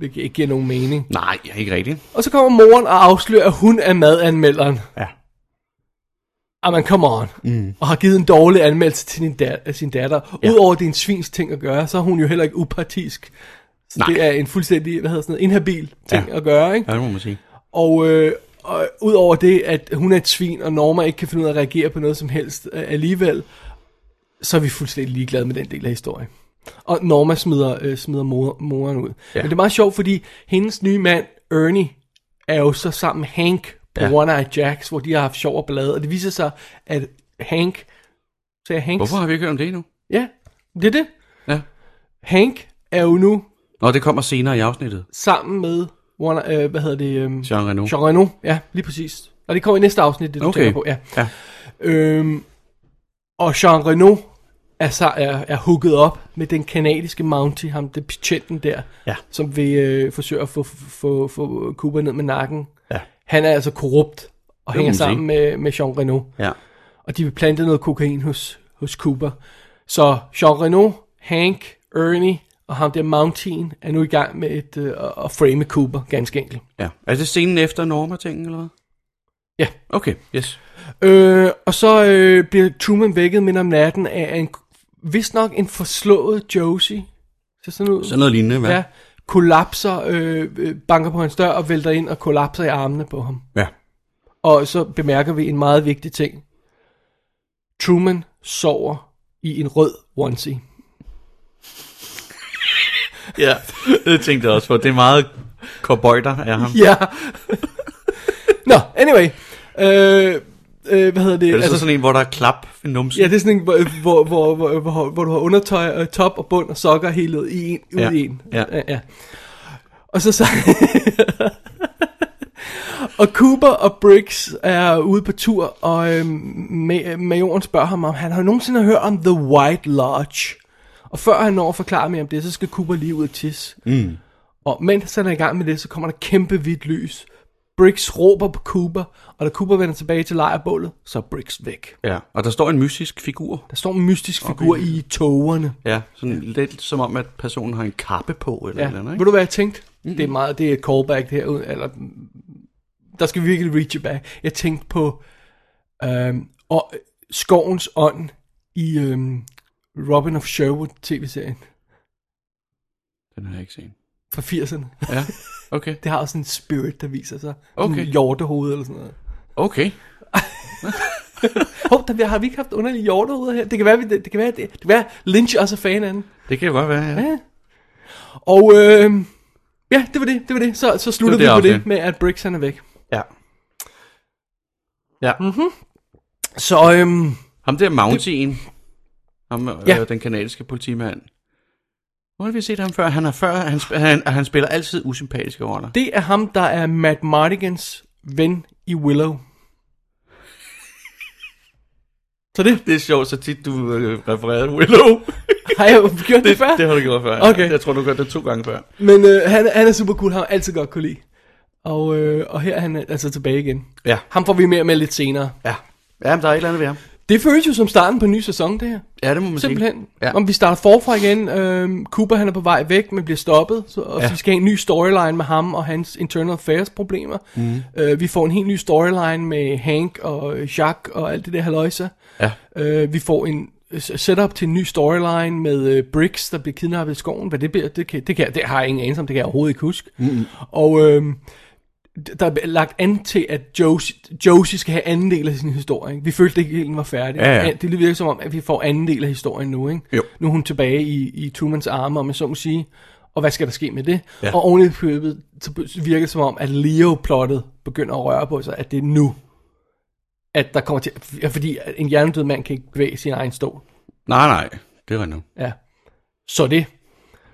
Speaker 4: Det gi- ikke giver nogen mening.
Speaker 5: Nej, jeg er ikke rigtigt.
Speaker 4: Og så kommer moren og afslører, at hun er madanmelderen.
Speaker 5: Ja.
Speaker 4: Ah, man, come on. Mm. Og har givet en dårlig anmeldelse til din dat- af sin datter.
Speaker 5: Ja.
Speaker 4: Ja. Udover at det er en svins ting at gøre, så er hun jo heller ikke upartisk. Så
Speaker 5: Nej.
Speaker 4: det er en fuldstændig, hvad hedder sådan noget, inhabil ting
Speaker 5: Ja.
Speaker 4: ja. at gøre, ikke?
Speaker 5: Ja, det må man sige.
Speaker 4: Og, øh, og udover det, at hun er et svin, og Norma ikke kan finde ud af at reagere på noget som helst øh, alligevel, så er vi fuldstændig ligeglade med den del af historien. Og Norma smider, øh, smider mor, moren ud. Ja. Men det er meget sjovt, fordi hendes nye mand, Ernie, er jo så sammen med Hank på
Speaker 5: Ja.
Speaker 4: ja. One Eye Jacks, hvor de har haft sjov og ballade. Og det viser sig, at Hank... Sagde jeg Hanks?
Speaker 5: Hvorfor har vi ikke hørt om det endnu?
Speaker 4: Ja, det er det.
Speaker 5: Ja.
Speaker 4: Hank er jo nu
Speaker 5: Nå, det kommer senere i afsnittet.
Speaker 4: sammen med... One, øh, hvad hedder det? Øh,
Speaker 5: Jean Reno.
Speaker 4: Jean Reno, ja, lige præcis. Og det kommer i næste afsnit, det du
Speaker 5: Okay.
Speaker 4: okay. tænker på, ja.
Speaker 5: Ja.
Speaker 4: Øhm, og Jean Reno er, så, er, er hooket op med den kanadiske Mountie, ham, det betjenten der,
Speaker 5: Ja.
Speaker 4: som vil øh, forsøge at få, få, få Cooper ned med nakken.
Speaker 5: Ja.
Speaker 4: Han er altså korrupt og
Speaker 5: Det må
Speaker 4: hænger
Speaker 5: man sige.
Speaker 4: sammen med, med Jean Reno.
Speaker 5: Ja.
Speaker 4: Og de vil plante noget kokain hos, hos Cooper. Så Jean Reno, Hank, Ernie og ham der Mountain er nu i gang med et, øh, at- at frame Cooper, ganske enkelt.
Speaker 5: ja. Er det scenen efter Norma-tingen, eller hvad?
Speaker 4: Ja.
Speaker 5: Okay, yes.
Speaker 4: Øh, og så øh, bliver Truman vækket midt om natten af en, vist nok en forslået Josie. Så sådan ud.
Speaker 5: Sådan noget lignende, hvad?
Speaker 4: ja. Kollapser, øh, øh, banker på hans dør og vælter ind og kollapser i armene på ham.
Speaker 5: ja.
Speaker 4: Og så bemærker vi en meget vigtig ting. Truman sover i en rød onesie.
Speaker 5: Ja, det tænkte jeg også på. Det er meget cowboyter af ham.
Speaker 4: Ja. [LAUGHS] Nå, anyway. Øh, øh, hvad hedder det?
Speaker 5: Er det altså, så sådan en, hvor der er klap ved numsen?
Speaker 4: Ja, det er sådan en, hvor, hvor, hvor, hvor, hvor, hvor du har undertøj, og top og bund og sokker hele ud i en. Ud
Speaker 5: Ja,
Speaker 4: i en.
Speaker 5: ja.
Speaker 4: ja. Og så så... [LAUGHS] og Cooper og Briggs er ude på tur, og øhm, ma- majoren spørger ham, om han har nogensinde hørt om The White Lodge. Og før han når at forklare mere om det, så skal Cooper lige ud og tisse. Mm. Og mens han er i gang med det, så kommer der kæmpe hvidt lys. Briggs råber på Cooper, og da Cooper vender tilbage til lejrbålet, så er Briggs væk.
Speaker 5: ja. Og der står en mystisk figur.
Speaker 4: Der står en mystisk figur okay. i togerne.
Speaker 5: Ja, sådan lidt som om, at personen har en kappe på, eller
Speaker 4: Ja.
Speaker 5: ja. eller andet,
Speaker 4: Ved
Speaker 5: ikke?
Speaker 4: du hvad jeg tænkte? Mm-hmm. Det er meget, det er et callback derude, eller der skal vi virkelig reach it back. Jeg tænkte på øhm, og, skovens ånd i øhm, Robin of Sherwood tv-serien
Speaker 5: Den har jeg ikke set.
Speaker 4: fra 80'erne.
Speaker 5: Ja, okay.
Speaker 4: [LAUGHS] Det har også en spirit, der viser sig.
Speaker 5: Okay.
Speaker 4: Sådan en hjortehoved eller sådan noget. [LAUGHS]
Speaker 5: Okay.
Speaker 4: Hov, der har vi ikke haft underlige hjortehoveder her. Det kan være, vi- det, det kan være, det, det kan være Lynch også er fan af den.
Speaker 5: Det kan godt være, ja.
Speaker 4: Ja. Og øhm, ja, det var det, det var det. Så, så slutter
Speaker 5: Det
Speaker 4: vi
Speaker 5: var
Speaker 4: på
Speaker 5: det
Speaker 4: det
Speaker 5: afsnit.
Speaker 4: med, at Briggs han er væk.
Speaker 5: Ja. ja. Mm. Mhm.
Speaker 4: Så øhm,
Speaker 5: Ham der Mountain, Ham, øh,
Speaker 4: Ja.
Speaker 5: ja. den kanadiske politimand. Hvor har vi set ham før? Han, er før, han, sp- han, han spiller altid usympatiske roller. Det...
Speaker 4: Det er ham, der er Matt Mardigans ven i Willow. Så det
Speaker 5: det er sjovt, så tit du øh, refererede [LAUGHS] Willow.
Speaker 4: har jeg jo gjort det,
Speaker 5: det,
Speaker 4: før.
Speaker 5: det har du gjort før.
Speaker 4: Okay.
Speaker 5: Jeg tror, du gør det to gange før.
Speaker 4: Men øh, han, han er super cool, han har altid godt kunne lide. Og, øh, og her er han altså tilbage igen.
Speaker 5: Ja.
Speaker 4: Ham får vi mere med lidt senere.
Speaker 5: Ja. Ja, men der er et eller andet ved ham.
Speaker 4: Det føles jo som starten på en ny sæson, det her.
Speaker 5: Ja, det må man
Speaker 4: Simpelthen.
Speaker 5: Ja.
Speaker 4: Ja. Om vi starter forfra igen. Øhm, Cooper han er på vej væk, men bliver stoppet. Så, og ja.
Speaker 5: Ja.
Speaker 4: så vi skal have en ny storyline med ham og hans internal affairs problemer. Mm. Øh, vi får en helt ny storyline med Hank og øh, Jacques og alt det der haløjse.
Speaker 5: Ja.
Speaker 4: Øh, vi får en øh, setup til en ny storyline med øh, Briggs, der bliver kidnappet i skoven. Hvad det bliver, det, kan, det, kan, det har jeg ingen anelse om. Det kan jeg overhovedet ikke huske. Mm. Og... øhm, der er lagt an til, at Josie, Josie skal have anden del af sin historie. Ikke? Vi følte ikke, at den var færdig.
Speaker 5: Ja, ja.
Speaker 4: Det virker som om, at vi får anden del af historien nu. Ikke?
Speaker 5: Jo.
Speaker 4: Nu er hun tilbage i, i Trumans arme, om jeg så må sige. Og hvad skal der ske med det?
Speaker 5: Ja.
Speaker 4: Og oven i købet, så be- virker det som om, at Leo-plottet begynder at røre på sig, at det er nu, at der kommer til... ja, Fordi en hjernedød mand kan ikke bevæge sin egen stol.
Speaker 5: Nej, nej. Det er rigtigt.
Speaker 4: Ja. Så det.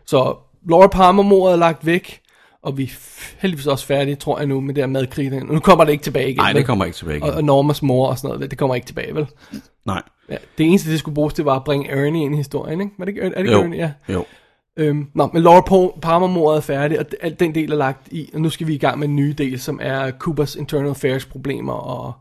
Speaker 4: Så Laura Palmer-mordet er lagt væk, og vi er f- heldigvis også færdige, tror jeg nu, med det her madkrig. Nu kommer det ikke tilbage igen.
Speaker 5: Nej,
Speaker 4: vel?
Speaker 5: det kommer ikke tilbage igen.
Speaker 4: Og, og Normas mor og sådan noget, det kommer ikke tilbage, vel?
Speaker 5: Nej.
Speaker 4: Ja, det eneste, det skulle bruges, det var at bringe Ernie ind i historien, ikke? Var det ikke, er det ikke
Speaker 5: Jo.
Speaker 4: Ernie? Ja.
Speaker 5: Jo.
Speaker 4: Øhm, nå, men Laura Po- Palmer-mordet er færdig, og d- alt den del er lagt i, og nu skal vi i gang med en ny del, som er Coopers internal affairs problemer og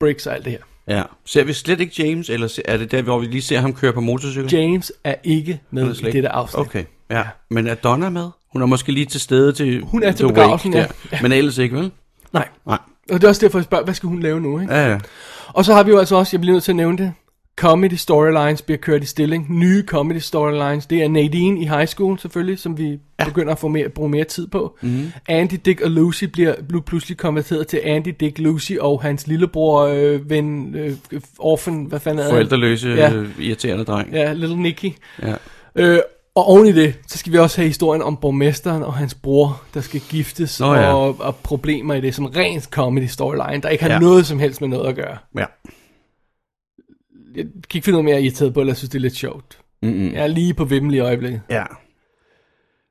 Speaker 4: Briggs og alt det her.
Speaker 5: Ja. Ser vi slet ikke James, eller se- er det der, hvor vi lige ser ham køre på motorcykel?
Speaker 4: James er ikke
Speaker 5: Han er
Speaker 4: med
Speaker 5: slet
Speaker 4: i
Speaker 5: ikke-
Speaker 4: dette afsnit.
Speaker 5: Okay, ja. Men er Donna med? Hun er måske lige til stede til...
Speaker 4: Hun er til
Speaker 5: wake
Speaker 4: begravelsen, ja.
Speaker 5: der. Men ellers ikke, vel?
Speaker 4: Nej.
Speaker 5: Nej.
Speaker 4: Og det er også derfor, jeg spørger, hvad skal hun lave nu, ikke?
Speaker 5: Ja, ja.
Speaker 4: Og så har vi jo altså også, jeg bliver nødt til at nævne det, comedy storylines bliver kørt i stilling. Nye comedy storylines. Det er Nadine i high school selvfølgelig, som vi ja. begynder at få mere, bruge mere tid på.
Speaker 5: Mhm.
Speaker 4: Mm-hmm. Andy, Dick og Lucy bliver nu pludselig konverteret til Andy, Dick, Lucy og hans lillebror, øh, ven, øh, orphan, hvad fanden er han?
Speaker 5: Forældreløse,
Speaker 4: Ja.
Speaker 5: ja. irriterende dreng. Ja.
Speaker 4: Ja, Little Nicky.
Speaker 5: ja.
Speaker 4: Øh, og oven i det, så skal vi også have historien om borgmesteren og hans bror, der skal giftes,
Speaker 5: Nå ja.
Speaker 4: og, og problemer i det, som rent comedy storyline, der ikke har
Speaker 5: Ja.
Speaker 4: ja. noget som helst med noget at gøre.
Speaker 5: ja.
Speaker 4: jeg kan ikke finde noget mere irriteret på, eller jeg synes, det er lidt sjovt.
Speaker 5: Mm-mm.
Speaker 4: Jeg er lige på vimmel i øjeblikket.
Speaker 5: ja.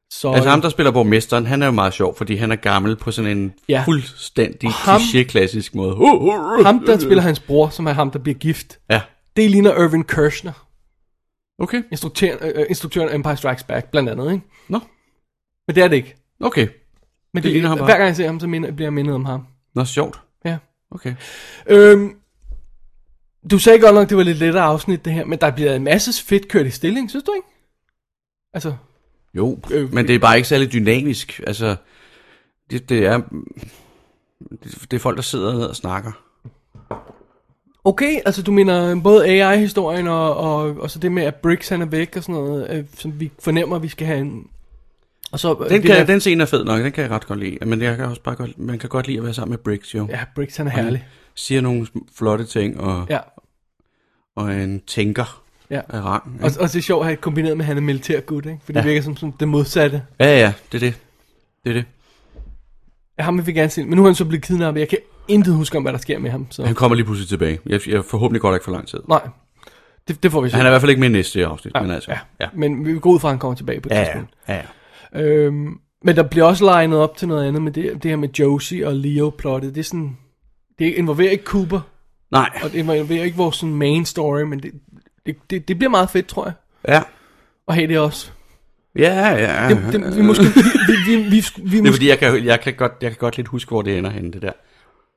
Speaker 4: Så,
Speaker 5: Altså ham, der spiller borgmesteren, han er jo meget sjov, fordi han er gammel på sådan en ja.
Speaker 4: Ja.
Speaker 5: fuldstændig
Speaker 4: Og ham-
Speaker 5: kliché-klassisk måde. Uh, uh, uh,
Speaker 4: ham, der spiller hans bror, som er ham, der bliver gift,
Speaker 5: Ja.
Speaker 4: det ligner Irvin Kershner,
Speaker 5: Okay.
Speaker 4: instruktøren, øh, instruktøren af Empire Strikes Back, blandt andet. Ikke?
Speaker 5: Nå.
Speaker 4: Men det er det ikke.
Speaker 5: Okay.
Speaker 4: Men
Speaker 5: Det
Speaker 4: det,
Speaker 5: ligner ham bare.
Speaker 4: hver gang jeg ser ham, så minder, bliver jeg mindet om ham.
Speaker 5: Nå, sjovt.
Speaker 4: Ja.
Speaker 5: Okay.
Speaker 4: Øhm, du sagde godt nok, det var lidt lettere afsnit, det her, men der bliver en masse fedt kørt i stilling, synes du ikke? Altså,
Speaker 5: Jo,
Speaker 4: Øh,
Speaker 5: men det er bare ikke særlig dynamisk. Altså, det, det er... Det er folk, der sidder ned og snakker.
Speaker 4: Okay, altså du mener både AI-historien og, og, og så det med, at Briggs han er væk og sådan noget, øh, som vi fornemmer, vi skal have en... Og så, øh,
Speaker 5: Den, kan, den scene er fed nok, den kan jeg ret godt lide. Men jeg kan også bare godt, man kan godt lide at være sammen med Briggs, jo. Ja.
Speaker 4: Ja, Briggs han er herlig.
Speaker 5: Siger nogle sm- flotte ting, og, ja.
Speaker 4: Ja,
Speaker 5: og en tænker
Speaker 4: ja.
Speaker 5: af rang. Ja.
Speaker 4: Og, og det er sjovt at have kombineret med, at han er militærgud, ikke? For det
Speaker 5: Ja.
Speaker 4: ja. virker som, som det modsatte
Speaker 5: ja, ja, det er det. Det er det.
Speaker 4: af ham, vi vil gerne se. Men nu er han så blevet kidnappet, jeg kan intet huske om, hvad der sker med ham. Så.
Speaker 5: Han kommer lige pludselig tilbage. Jeg, jeg forhåbentlig går der ikke for lang tid.
Speaker 4: Nej, det, det får vi se.
Speaker 5: Han er i hvert fald ikke med i næste afsnit, ja. men altså.
Speaker 4: ja.
Speaker 5: ja.
Speaker 4: Men vi går ud fra, at han kommer tilbage på et
Speaker 5: Ja, ja,
Speaker 4: tidspunkt.
Speaker 5: ja, ja.
Speaker 4: Øhm, men der bliver også legnet op til noget andet med det, det her med Josie og Leo-plottet. Det er sådan... Det involverer ikke Cooper,
Speaker 5: Nej,
Speaker 4: Og det involverer ikke vores sådan, main story, men det, det, det, det bliver meget fedt, tror jeg.
Speaker 5: ja.
Speaker 4: Og hey, det også.
Speaker 5: Ja, ja,
Speaker 4: Det, det, vi måske... Vi, vi, vi, vi, vi
Speaker 5: Det er
Speaker 4: måske
Speaker 5: fordi, jeg kan, jeg, kan godt, jeg kan godt lidt huske, hvor det ender henne, det der.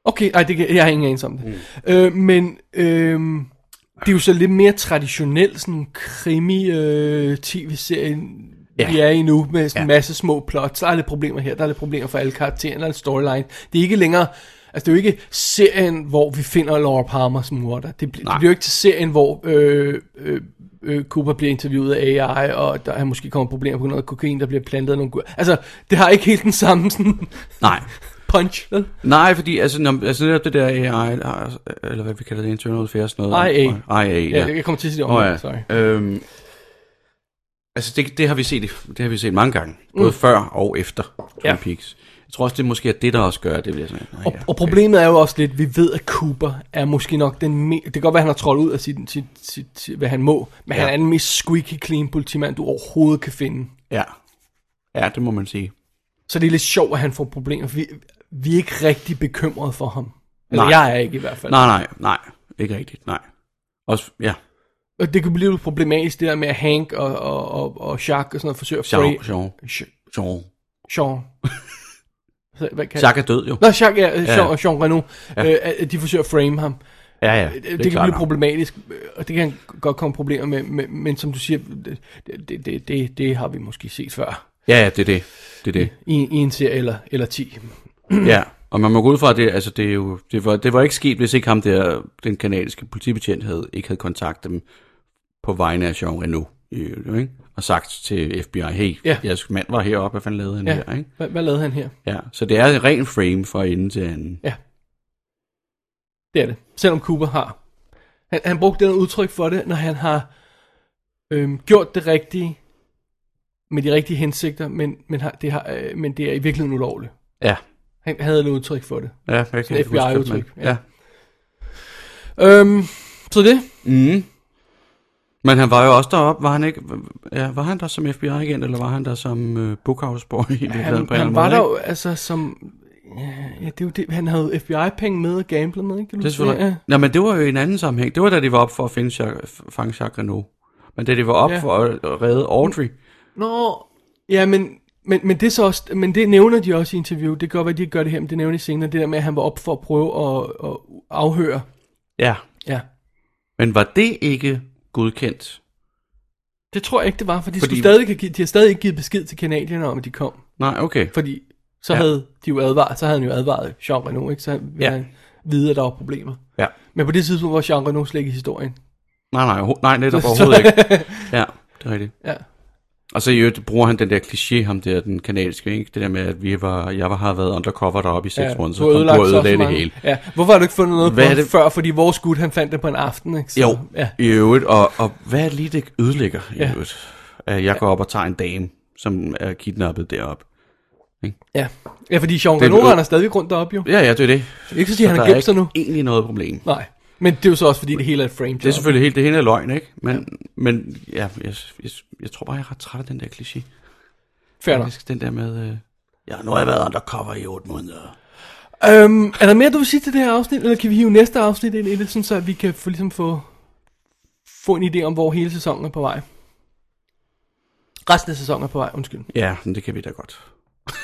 Speaker 4: okay, nej, det, kan- jeg har ingen anelse om det. Mm. Øh, men øh, det er jo så lidt mere traditionel sådan krimi-tv-serie,
Speaker 5: Ja.
Speaker 4: ja. vi er i nu, med sådan en
Speaker 5: Ja.
Speaker 4: masse små plots. Der er lidt problemer her, der er lidt problemer for alle karaktererne, der er en storyline. Det er ikke længere... Altså, det er jo ikke serien, hvor vi finder Laura Palmer som morder. Det, bl- det bliver jo ikke til serien, hvor øh, øh, øh, Cooper bliver interviewet af AI, og der er måske kommer problemer på grund af kokain, der bliver plantet af nogle... gu- Altså, det har ikke helt den samme sådan
Speaker 5: Nej,
Speaker 4: punch, vel?
Speaker 5: Nej, fordi altså, når, altså netop det der AI, altså, eller hvad vi kalder det, internal affairs, noget.
Speaker 4: IA.
Speaker 5: IA,
Speaker 4: Ja,
Speaker 5: ja.
Speaker 4: ja. jeg kommer til at sige det om,
Speaker 5: Nå
Speaker 4: oh,
Speaker 5: ja.
Speaker 4: ja. sorry.
Speaker 5: Øhm, altså det, det, har vi set, i- det har vi set mange gange, både før og efter Twin
Speaker 4: Mm. Ja.
Speaker 5: Peaks. Jeg tror også, det er måske er det, der også gør, det bliver sådan, nej,
Speaker 4: Og, og problemet er jo også lidt, vi ved, at Cooper er måske nok den me- Det kan godt være, han har trådt ud af sit, sit, sit, sit hvad han må, men ja. han er den mest squeaky clean politimand, du overhovedet kan finde.
Speaker 5: Ja. ja, det må man sige.
Speaker 4: Så det er lidt sjovt, at han får problemer, for vi, vi er ikke rigtig bekymrede for ham. Eller
Speaker 5: Nej.
Speaker 4: jeg er ikke i hvert fald.
Speaker 5: Nej, nej, nej, ikke rigtigt, nej. Også, ja,
Speaker 4: Og det kan blive lidt problematisk, det der med, at Hank og, og, og, og Jacques og sådan noget forsøger at
Speaker 5: Jean,
Speaker 4: free-
Speaker 5: Jean,
Speaker 4: Sh-
Speaker 5: Jean.
Speaker 4: [LAUGHS] Sean. Så, hvad kan...
Speaker 5: Jacques er død jo.
Speaker 4: Nå, Jacques, ja, Jean,
Speaker 5: ja.
Speaker 4: ja. Jean Reno. Ja. Øh, at de forsøger at frame ham.
Speaker 5: Ja, ja,
Speaker 4: Øh, det,
Speaker 5: er
Speaker 4: det, det kan
Speaker 5: klart
Speaker 4: blive
Speaker 5: nok.
Speaker 4: problematisk, øh, og det kan godt komme problemer med, med men som du siger, det, det, det, det, det har vi måske set før
Speaker 5: Ja, ja, det er det, det er det.
Speaker 4: i, i en serie eller, eller 10.
Speaker 5: Ja, og man må gå ud fra, at det, altså, det, er jo, det, var, det var ikke sket, hvis ikke ham der, den kanadiske politibetjent, havde, ikke havde kontaktet dem på vegne af Jean Reno, ikke? og sagt til FBI, hey, ja.
Speaker 4: Ja.
Speaker 5: jeres mand var heroppe, hvad fanden lavede han ja.
Speaker 4: Ja.
Speaker 5: her? Ikke?
Speaker 4: Hvad, hvad lavede han her?
Speaker 5: Ja, så det er ren frame fra ende til anden.
Speaker 4: Ja. Det er det. Selvom Cooper har. Han, han brugte det udtryk for det, når han har øhm, gjort det rigtige med de rigtige hensigter, men, men, har, det, har, øh, men det er i virkeligheden ulovligt.
Speaker 5: Ja,
Speaker 4: Han havde et udtryk for det.
Speaker 5: ja jeg kan
Speaker 4: Sådan
Speaker 5: ikke huske, hvad
Speaker 4: FBI-udtryk,
Speaker 5: man- Ja.
Speaker 4: Øhm, så det.
Speaker 5: Mm. Men han var jo også deroppe, var han ikke? Ja, var han der som FBI-agent, eller var han der som øh, bookhouse-boy? i virkeligheden
Speaker 4: Han,
Speaker 5: på en eller anden
Speaker 4: han var
Speaker 5: måde,
Speaker 4: der
Speaker 5: ikke?
Speaker 4: jo, altså som... Ja, ja, det er jo det. Han havde FBI-penge med og gamble med, ikke? Kan du
Speaker 5: Det er
Speaker 4: se?
Speaker 5: selvfølgelig... Ja.
Speaker 4: Ja.
Speaker 5: Nå, men det var jo i en anden sammenhæng. Det var da de var op for at finde Jacques, fange Jacques Renault. Men da de var op ja.
Speaker 4: Ja.
Speaker 5: for at redde Audrey.
Speaker 4: Nå, ja, men, men, men, det er så også, men det nævner de også i interview. Det kan godt være, de ikke gør det her, men det nævner de senere. Det der med, at han var op for at prøve at, at afhøre.
Speaker 5: Ja.
Speaker 4: Ja.
Speaker 5: Men var det ikke godkendt?
Speaker 4: Det tror jeg ikke, det var, for de,
Speaker 5: Fordi-
Speaker 4: fordi... stadig, ikke give- de har stadig ikke givet besked til kanadierne om, at de kom.
Speaker 5: Nej, okay.
Speaker 4: Fordi så
Speaker 5: Ja.
Speaker 4: ja. havde de jo advaret, så havde han jo advaret Jean Reno, ikke? Så han
Speaker 5: Ja.
Speaker 4: ville han vide, at der var problemer.
Speaker 5: Ja.
Speaker 4: Men på det tidspunkt var Jean Reno slet ikke i historien.
Speaker 5: Nej, nej, ho- nej netop overhovedet [LAUGHS] ikke. Ja, det er rigtigt.
Speaker 4: [LAUGHS] Ja.
Speaker 5: Og så i øvrigt bruger han den der kliché, ham der, den kanadiske, ikke? Det der med, at vi var, jeg var, har været undercover deroppe i seks måneder, så kom du og ødelagde det hele.
Speaker 4: Ja. Hvorfor har du ikke fundet noget
Speaker 5: Hvad
Speaker 4: Hvad
Speaker 5: er
Speaker 4: på
Speaker 5: det-
Speaker 4: det? før? Fordi vores gut, han fandt det på en aften, ikke? Så,
Speaker 5: Jo, ja.
Speaker 4: Ja.
Speaker 5: i øvrigt. Og, og hvad er lige det ødelægger i ja.
Speaker 4: Ja.
Speaker 5: øvrigt? At jeg går op og tager en dame, som er kidnappet deroppe.
Speaker 4: Ja. ja, fordi Jean
Speaker 5: Det er
Speaker 4: Reno
Speaker 5: vel-
Speaker 4: render stadig rundt deroppe jo.
Speaker 5: Ja, ja, det er det.
Speaker 4: Ikke
Speaker 5: Så
Speaker 4: fordi han
Speaker 5: der
Speaker 4: har
Speaker 5: er
Speaker 4: gemt sig nu.
Speaker 5: egentlig noget problem.
Speaker 4: Nej. Men det er jo så også fordi, det hele er et frame job.
Speaker 5: Det er selvfølgelig helt, det hele er løgn, ikke? Men, ja. men ja, jeg, jeg, jeg, tror bare, jeg er ret træt af den der kliché.
Speaker 4: Fair nok.
Speaker 5: Faktisk den der med, øh, ja, nu har jeg været undercover i otte måneder.
Speaker 4: Øhm, er der mere, du vil sige til det her afsnit? Eller kan vi hive næste afsnit ind i det, sådan så at vi kan få, ligesom få, få en idé om, hvor hele sæsonen er på vej? Resten af sæsonen er på vej, undskyld.
Speaker 5: Ja, men det kan vi da godt. [LAUGHS]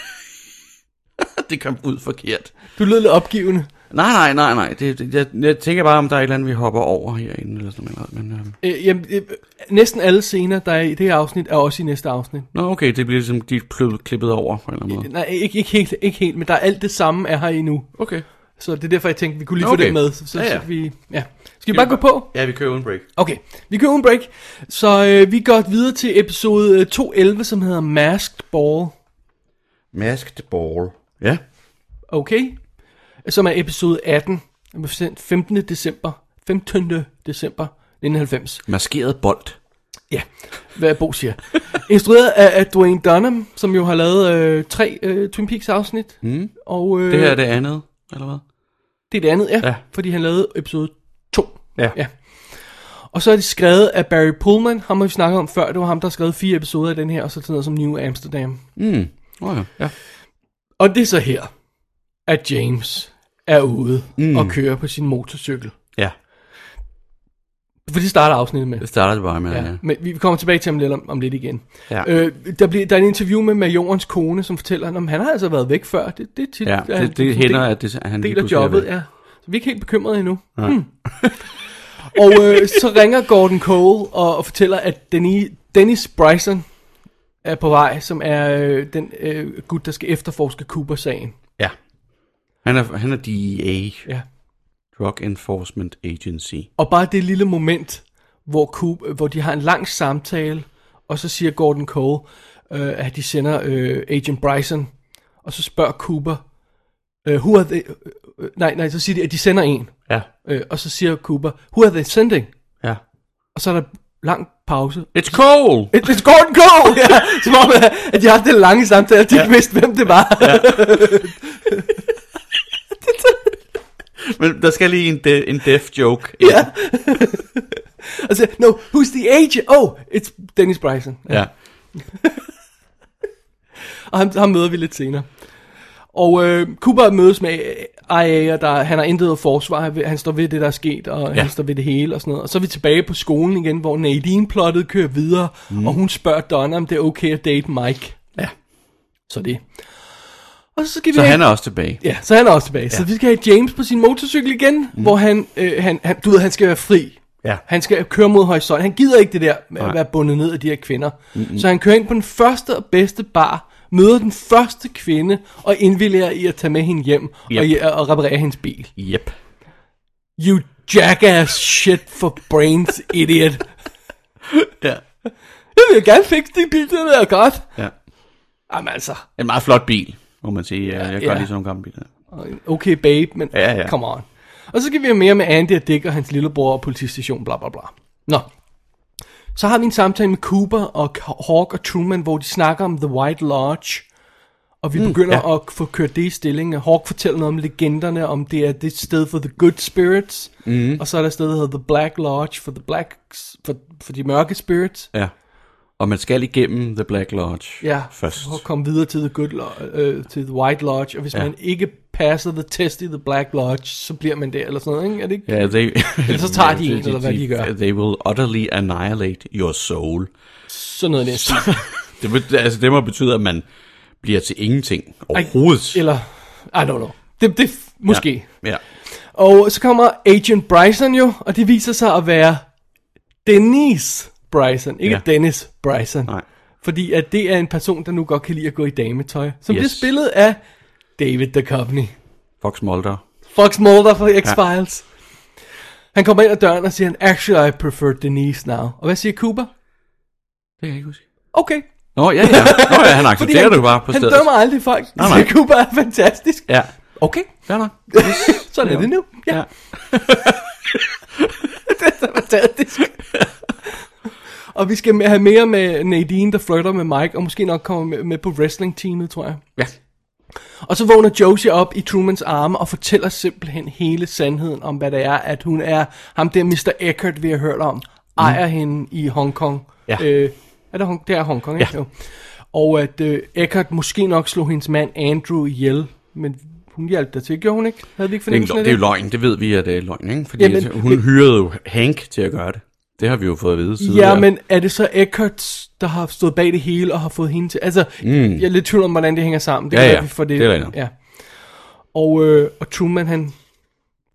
Speaker 5: det kom ud forkert.
Speaker 4: Du lød lidt opgivende.
Speaker 5: Nej, nej, nej, nej. Det, det, jeg, jeg, tænker bare, om der er et eller andet, vi hopper over herinde, eller sådan noget. Men, øh,
Speaker 4: Øh, jamen, øh, næsten alle scener, der er i det her afsnit, er også i næste afsnit.
Speaker 5: nå, okay, det bliver ligesom, de er plø- klippet over på en eller anden måde.
Speaker 4: Nej, ikke, ikke, helt, ikke helt, men der er alt det samme er her endnu.
Speaker 5: Okay.
Speaker 4: Så det er derfor, jeg tænkte, vi kunne lige få
Speaker 5: Okay.
Speaker 4: det med. Så, så,
Speaker 5: Ja,
Speaker 4: ja,
Speaker 5: ja.
Speaker 4: ja. så vi, ja. Skal vi bare gå på?
Speaker 5: Ja, vi kører uden break.
Speaker 4: Okay, vi kører en break. Så øh, vi går videre til episode øh, 2.11, som hedder Masked Ball.
Speaker 5: Masked ball. Ja.
Speaker 4: Okay? Som er episode 18, som blev sendt 15. december, 15. december 1990.
Speaker 5: Maskeret bold.
Speaker 4: Ja, hvad Bo
Speaker 5: [LAUGHS]
Speaker 4: siger. Instrueret af, af Dwayne Dunham, som jo har lavet øh, tre øh, Twin Peaks afsnit. Mm. Og, øh,
Speaker 5: Det her er det andet, eller hvad?
Speaker 4: Det er det andet, ja.
Speaker 5: Ja.
Speaker 4: ja. Fordi han lavede episode 2.
Speaker 5: Ja.
Speaker 4: ja. Og så er det skrevet af Barry Pullman. Ham har vi snakket om før. Det var ham, der har skrevet fire episoder af den her, og så sådan noget som New Amsterdam.
Speaker 5: Mm. Oh, ja. ja.
Speaker 4: Og det er så her, at James er ude mm. og kører på sin motorcykel.
Speaker 5: Ja,
Speaker 4: For det starter afsnittet med.
Speaker 5: det starter det bare med, ja.
Speaker 4: Ja, men vi kommer tilbage til ham lidt om, om lidt igen.
Speaker 5: Ja.
Speaker 4: Øh, der, bliver, der er en interview med majorens kone, som fortæller, om han har altså været væk før. Det, det, er tit,
Speaker 5: Ja,
Speaker 4: at han-
Speaker 5: det, det
Speaker 4: sådan
Speaker 5: hænder,
Speaker 4: del-
Speaker 5: at det, at han lige
Speaker 4: del af
Speaker 5: pludselig er
Speaker 4: jobbet,
Speaker 5: væk.
Speaker 4: ja. Så vi er ikke helt bekymrede endnu.
Speaker 5: [LAUGHS]
Speaker 4: Hmm. og øh, så ringer Gordon Cole og, og fortæller, at Denny, Dennis Bryson er på vej, som er øh, den øh, gut, der skal efterforske Cooper-sagen.
Speaker 5: ja. Han er, han er DEA,
Speaker 4: Ja.
Speaker 5: Drug Enforcement Agency.
Speaker 4: Og bare det lille moment, hvor, Coop, øh, hvor de har en lang samtale, og så siger Gordon Cole, øh, at de sender øh, Agent Bryson, og så spørger Cooper, øh, who are they, øh, nej, nej, så siger de, at de sender en,
Speaker 5: Ja,
Speaker 4: øh, og så siger Cooper, who are they sending?
Speaker 5: ja.
Speaker 4: Og så er der lang pause.
Speaker 5: It's cold!
Speaker 4: It's, it's Gordon Cole! Ja, [LAUGHS] som om, at- at de har haft den lange samtale, og de ja. ikke vidste, hvem det var. Ja.
Speaker 5: [LAUGHS] Men der skal lige en, de- en deaf joke.
Speaker 4: ja. [LAUGHS] og så, no, who's the agent? Oh, it's Dennis Bryson.
Speaker 5: ja.
Speaker 4: Og ham, ham møder vi lidt senere. Og øh, Cooper mødes med IA, og der, han har intet at forsvare. Han står ved det, der er sket, og ja.
Speaker 5: Ja.
Speaker 4: han står ved det hele og sådan noget. Og så er vi tilbage på skolen igen, hvor Nadine-plottet kører videre, mm. og hun spørger Donna, om det er okay at date Mike.
Speaker 5: ja.
Speaker 4: Så det. Og så skal vi
Speaker 5: Så
Speaker 4: have-
Speaker 5: han er også tilbage.
Speaker 4: Ja, så han er også tilbage. Ja. Så vi skal have James på sin motorcykel igen, mm. hvor han, øh, han, han, du ved, han skal være fri.
Speaker 5: Ja.
Speaker 4: Han skal køre mod horisont. Han gider ikke det der med at være bundet ned af de her kvinder. Mm-hmm. Så han kører ind på den første og bedste bar, møder den første kvinde, og indvilliger i at tage med hende hjem yep. og, i- og reparere hendes bil.
Speaker 5: Yep.
Speaker 4: You jackass shit for brains, idiot.
Speaker 5: Ja.
Speaker 4: Jeg vil gerne fikse din bil, det er godt.
Speaker 5: ja.
Speaker 4: Jamen altså,
Speaker 5: En meget flot bil, må man sige. Jeg, jeg kan
Speaker 4: Ja.
Speaker 5: godt lide sådan nogle gamle biler.
Speaker 4: okay babe, men
Speaker 5: Ja, ja.
Speaker 4: come on. Og så skal vi have mere med Andy og Dick og hans lillebror og politistation, bla bla bla. Nå. Så har vi en samtale med Cooper og K- Hawk og Truman, hvor de snakker om The White Lodge. Og vi
Speaker 5: Hmm,
Speaker 4: mm, begynder ja. at få kørt det i stilling. Hawk fortæller noget om legenderne, om det er det sted for The Good Spirits.
Speaker 5: Mhm.
Speaker 4: Mm. Og så er der et sted, der hedder The Black Lodge for, the black, for, for de mørke spirits.
Speaker 5: Ja. Og man skal igennem The Black Lodge
Speaker 4: Ja,
Speaker 5: først.
Speaker 4: for at komme videre til The, good lo- øh, til the White Lodge. Og hvis ja. man ikke passer The Test i The Black Lodge, så bliver man der, eller sådan noget, ikke? Er det ikke?
Speaker 5: Ja, they,
Speaker 4: Ellers så tager
Speaker 5: [LAUGHS]
Speaker 4: de en, eller hvad de gør.
Speaker 5: They will utterly annihilate your soul.
Speaker 4: Sådan noget næsten.
Speaker 5: Det, bet- altså, det må betyde, at man bliver til ingenting overhovedet.
Speaker 4: Eller, I don't know. Det, det, måske. Ja.
Speaker 5: Ja. ja.
Speaker 4: Og så kommer Agent Bryson jo, og det viser sig at være Denise Bryson, ikke ja.
Speaker 5: Ja.
Speaker 4: Dennis Bryson.
Speaker 5: Nej.
Speaker 4: Fordi at det er en person, der nu godt kan lide at gå i dametøj, som yes.
Speaker 5: Yes.
Speaker 4: bliver spillet af David Duchovny.
Speaker 5: Fox Mulder.
Speaker 4: Fox Mulder fra X-Files. Ja. Han kommer ind ad døren og siger, actually I prefer Denise now. Og hvad siger Cooper?
Speaker 5: Det kan jeg ikke huske.
Speaker 4: Okay.
Speaker 5: Nå, ja, ja. Nå, ja han
Speaker 4: Fordi
Speaker 5: accepterer
Speaker 4: han,
Speaker 5: det jo bare på
Speaker 4: han
Speaker 5: stedet.
Speaker 4: dømmer aldrig folk.
Speaker 5: Nej,
Speaker 4: Nej,
Speaker 5: nej.
Speaker 4: nej. Så Cooper er fantastisk.
Speaker 5: Ja.
Speaker 4: Okay,
Speaker 5: [LAUGHS] Ja, nok.
Speaker 4: sådan er det nu. Ja,
Speaker 5: Ja.
Speaker 4: [LAUGHS] fantastisk. og vi skal have mere med Nadine, der flirter med Mike, og måske nok kommer med, med på wrestling-teamet, tror jeg.
Speaker 5: ja.
Speaker 4: Og så vågner Josie op i Trumans arme og fortæller simpelthen hele sandheden om, hvad det er, at hun er ham der Mr. Eckert, vi har hørt om, ejer mm. hende i Hongkong.
Speaker 5: Ja.
Speaker 4: Øh, er det, Hong- det er Hongkong, ikke?
Speaker 5: Ja.
Speaker 4: Jo. Og at øh, Eckert måske nok slog hendes mand Andrew ihjel, men hun hjalp der til, gjorde hun ikke? Havde vi ikke
Speaker 5: Det, er, en
Speaker 4: fornemmelsen
Speaker 5: løgn.
Speaker 4: af
Speaker 5: det er jo
Speaker 4: det?
Speaker 5: løgn, det ved vi, at det er løgn, ikke? Fordi
Speaker 4: Jamen,
Speaker 5: Jamen, hun
Speaker 4: men-
Speaker 5: hyrede jo Hank til at gøre det. Det har vi jo fået at vide siden
Speaker 4: Ja, men er det så Eckert, der har stået bag det hele og har fået hende til? Altså, mm. jeg er lidt i tvivl om, hvordan det hænger sammen. Det
Speaker 5: Ja,
Speaker 4: kan være,
Speaker 5: ja.
Speaker 4: vi får det.
Speaker 5: Det er rigtigt.
Speaker 4: ja. Og, øh, og Truman, han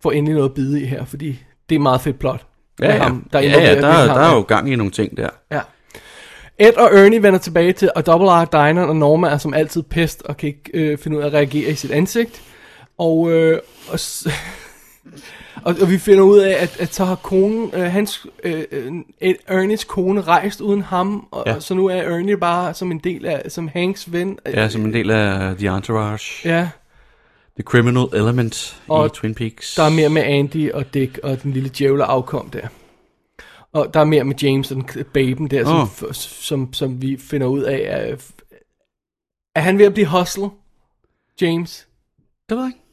Speaker 4: får endelig noget at bide i her, fordi det er meget fedt plot.
Speaker 5: Ja,
Speaker 4: Med
Speaker 5: ja.
Speaker 4: ham, der,
Speaker 5: ja,
Speaker 4: involverer
Speaker 5: ja,
Speaker 4: Dick
Speaker 5: der, er- der er
Speaker 4: Harmon.
Speaker 5: jo gang i nogle ting der.
Speaker 4: Ja. Ed og Ernie vender tilbage til, og Double R, Dinah og Norma er som altid pest, og kan ikke øh, finde ud af at reagere i sit ansigt. Og, øh, og, s- [LAUGHS] og, og vi finder ud af, at, at så har konen, øh, hans, øh, øh, Ed- Ernies kone rejst uden ham, og, ja.
Speaker 5: Ja.
Speaker 4: og så nu er Ernie bare som en del af, som Hanks ven.
Speaker 5: Ja, som en del af The Entourage.
Speaker 4: ja.
Speaker 5: The Criminal Element
Speaker 4: Og
Speaker 5: i Twin Peaks.
Speaker 4: Der er mere med Andy og Dick og den lille djævle afkom der. Og der er mere med James og den k- baben der, som,
Speaker 5: Åh.
Speaker 4: f- som, som vi finder ud af. Er, er han ved at blive hustle, James?
Speaker 5: Det ved jeg ikke.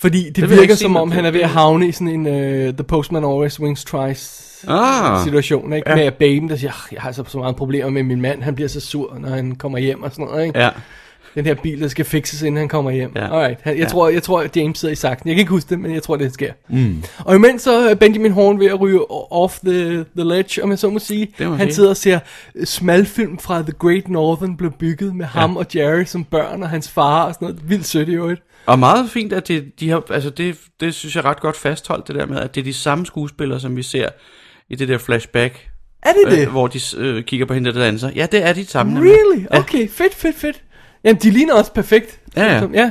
Speaker 4: Fordi det,
Speaker 5: vil
Speaker 4: det
Speaker 5: jeg
Speaker 4: virker
Speaker 5: ikke sige,
Speaker 4: som
Speaker 5: men
Speaker 4: om,
Speaker 5: det-
Speaker 4: han er ved
Speaker 5: det-
Speaker 4: at havne i sådan en uh, The Postman Always Wings Twice
Speaker 5: Ah.
Speaker 4: situation, ikke? Ja. Med at baben, der siger, "Ah, jeg har så, så mange problemer med min mand, han bliver så sur, når han kommer hjem og sådan noget, ikke?
Speaker 5: Ja.
Speaker 4: Den her bil, der skal fikses, inden han kommer hjem.
Speaker 5: Ja.
Speaker 4: Ja. Alright. Han, jeg,
Speaker 5: Ja.
Speaker 4: ja. tror, jeg tror, at James sidder i saksen. Jeg kan ikke huske det, men jeg tror, det sker. Mm. Og imens så er Benjamin Horn ved at ryge o- off the, the ledge, om jeg så må sige.
Speaker 5: Det må man
Speaker 4: han
Speaker 5: sige.
Speaker 4: sidder og ser øh, smalfilm fra The Great Northern blev bygget med ham og Jerry som børn og hans far og sådan noget. Vildt sødt i øvrigt.
Speaker 5: Og meget fint, at det, de har, altså det, det synes jeg ret godt fastholdt, det der med, at det er de samme skuespillere, som vi ser i det der flashback,
Speaker 4: Er det det?
Speaker 5: øh, hvor de øh, kigger på hende, der danser. Ja, det er de samme. nemlig.
Speaker 4: Really? Okay, fedt, fedt, fedt. Jamen, de ligner også perfekt.
Speaker 5: Ja, ja.
Speaker 4: Som- ja.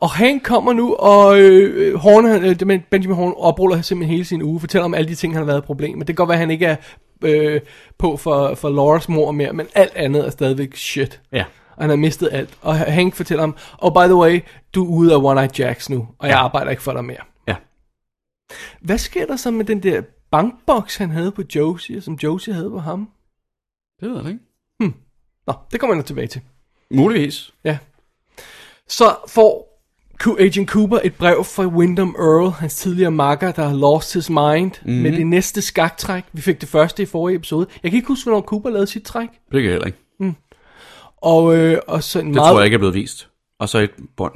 Speaker 4: Og han kommer nu, og øh, øh, Horn, han, øh, men Benjamin Horn opruller simpelthen hele sin uge, fortæller om alle de ting, han har været i problemer. Det kan godt være, at han ikke er øh, på for, for Lauras mor mere, men alt andet er stadigvæk shit.
Speaker 5: Ja.
Speaker 4: Og han har mistet alt. Og Hank fortæller ham, oh by the way, du er ude af One Eye Jacks nu, og jeg
Speaker 5: Ja.
Speaker 4: arbejder ikke for dig mere.
Speaker 5: Ja.
Speaker 4: Hvad sker der så med den der bankboks, han havde på Josie, og som Josie havde på ham.
Speaker 5: Det ved jeg da ikke.
Speaker 4: Nå, det kommer jeg nok tilbage til.
Speaker 5: Muligvis.
Speaker 4: Ja. Så får Ku- Agent Cooper et brev fra Wyndham Earl, hans tidligere makker, der har lost his mind,
Speaker 5: Mhm.
Speaker 4: mm-hmm. med det næste skaktræk. Vi fik det første i forrige episode. Jeg kan ikke huske, hvornår Cooper lavede sit træk.
Speaker 5: Det kan jeg heller ikke.
Speaker 4: Og, øh, og, så en
Speaker 5: Det
Speaker 4: meget,
Speaker 5: tror jeg ikke er blevet vist. Og så et bånd.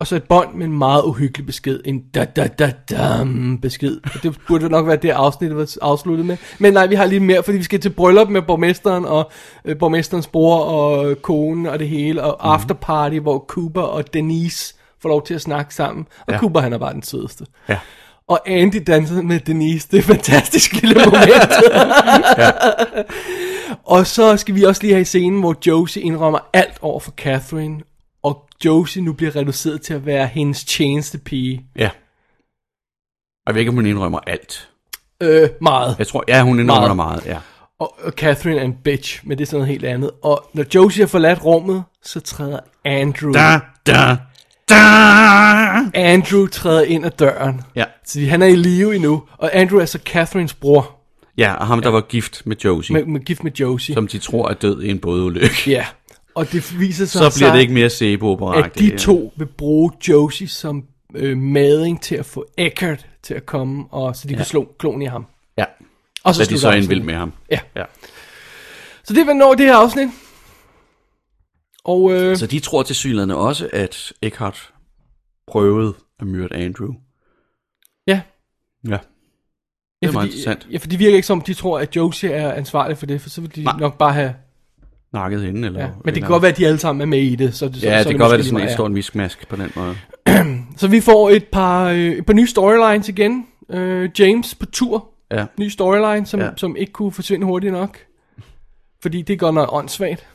Speaker 4: og så et bånd med en meget uhyggelig besked. En da da da dam besked. Og det burde nok være det afsnit, var afsluttet med. Men nej, vi har lige mere, fordi vi skal til bryllup med borgmesteren, og øh, borgmesterens bror, og øh, konen, og det hele. Og mm-hmm. afterparty, hvor Cooper og Denise får lov til at snakke sammen. Og ja. Cooper, han er bare den sødeste.
Speaker 5: Ja.
Speaker 4: Og Andy dansede med Denise. Det er et fantastisk lille
Speaker 5: [LAUGHS]
Speaker 4: moment. Og så skal vi også lige have i scenen, hvor Josie indrømmer alt over for Catherine. Og Josie nu bliver reduceret til at være hendes tjenestepige.
Speaker 5: Ja. Og jeg ved ikke, om hun indrømmer alt.
Speaker 4: Øh, meget.
Speaker 5: Jeg tror, ja, hun indrømmer
Speaker 4: Meget.
Speaker 5: meget. meget, ja.
Speaker 4: Og, og Catherine er en bitch, men det er sådan noget helt andet. Og når Josie har forladt rummet, så træder Andrew.
Speaker 5: Da, da, da.
Speaker 4: Andrew træder ind ad døren.
Speaker 5: Ja.
Speaker 4: Så han er i live endnu. Og Andrew er så Catherines bror,
Speaker 5: Ja, og ham, der var gift med Josie,
Speaker 4: med, med gift med Josie.
Speaker 5: som de tror er død i en bådeulykke.
Speaker 4: Ja. Og det viser sig
Speaker 5: Så bliver det ikke mere øh, sebo
Speaker 4: at de to vil bruge Josie som øh, mading til at få Eckert til at komme, og så de ja. kan slå klon i ham.
Speaker 5: Ja,
Speaker 4: Og så
Speaker 5: da de
Speaker 4: slutter
Speaker 5: så
Speaker 4: afsnittet.
Speaker 5: en vild med ham.
Speaker 4: Ja.
Speaker 5: ja.
Speaker 4: Så det vil nå det her afsnit. Og øh,
Speaker 5: Så de tror til synligheden også, at Eckhart prøvede at myrde Andrew.
Speaker 4: ja,
Speaker 5: Ja.
Speaker 4: ja,
Speaker 5: Det er meget
Speaker 4: fordi,
Speaker 5: interessant.
Speaker 4: ja, for de virker ikke som, de tror, at Josie er ansvarlig for det, for så vil de Nej.
Speaker 5: Nej.
Speaker 4: nok bare have...
Speaker 5: Nakket hende, eller...
Speaker 4: Ja. Men det kan godt være, at de alle sammen er med i det. Så, så,
Speaker 5: Ja,
Speaker 4: så
Speaker 5: det kan godt være, det
Speaker 4: måske
Speaker 5: er
Speaker 4: lige
Speaker 5: sådan en
Speaker 4: meget,
Speaker 5: stor miskmask på den måde.
Speaker 4: ja. Så vi får et par, øh, et par nye storylines igen. Øh, James på tur.
Speaker 5: Ja.
Speaker 4: Ny storyline, som, ja.
Speaker 5: Ja.
Speaker 4: som ikke kunne forsvinde hurtigt nok. Fordi det går nok åndssvagt.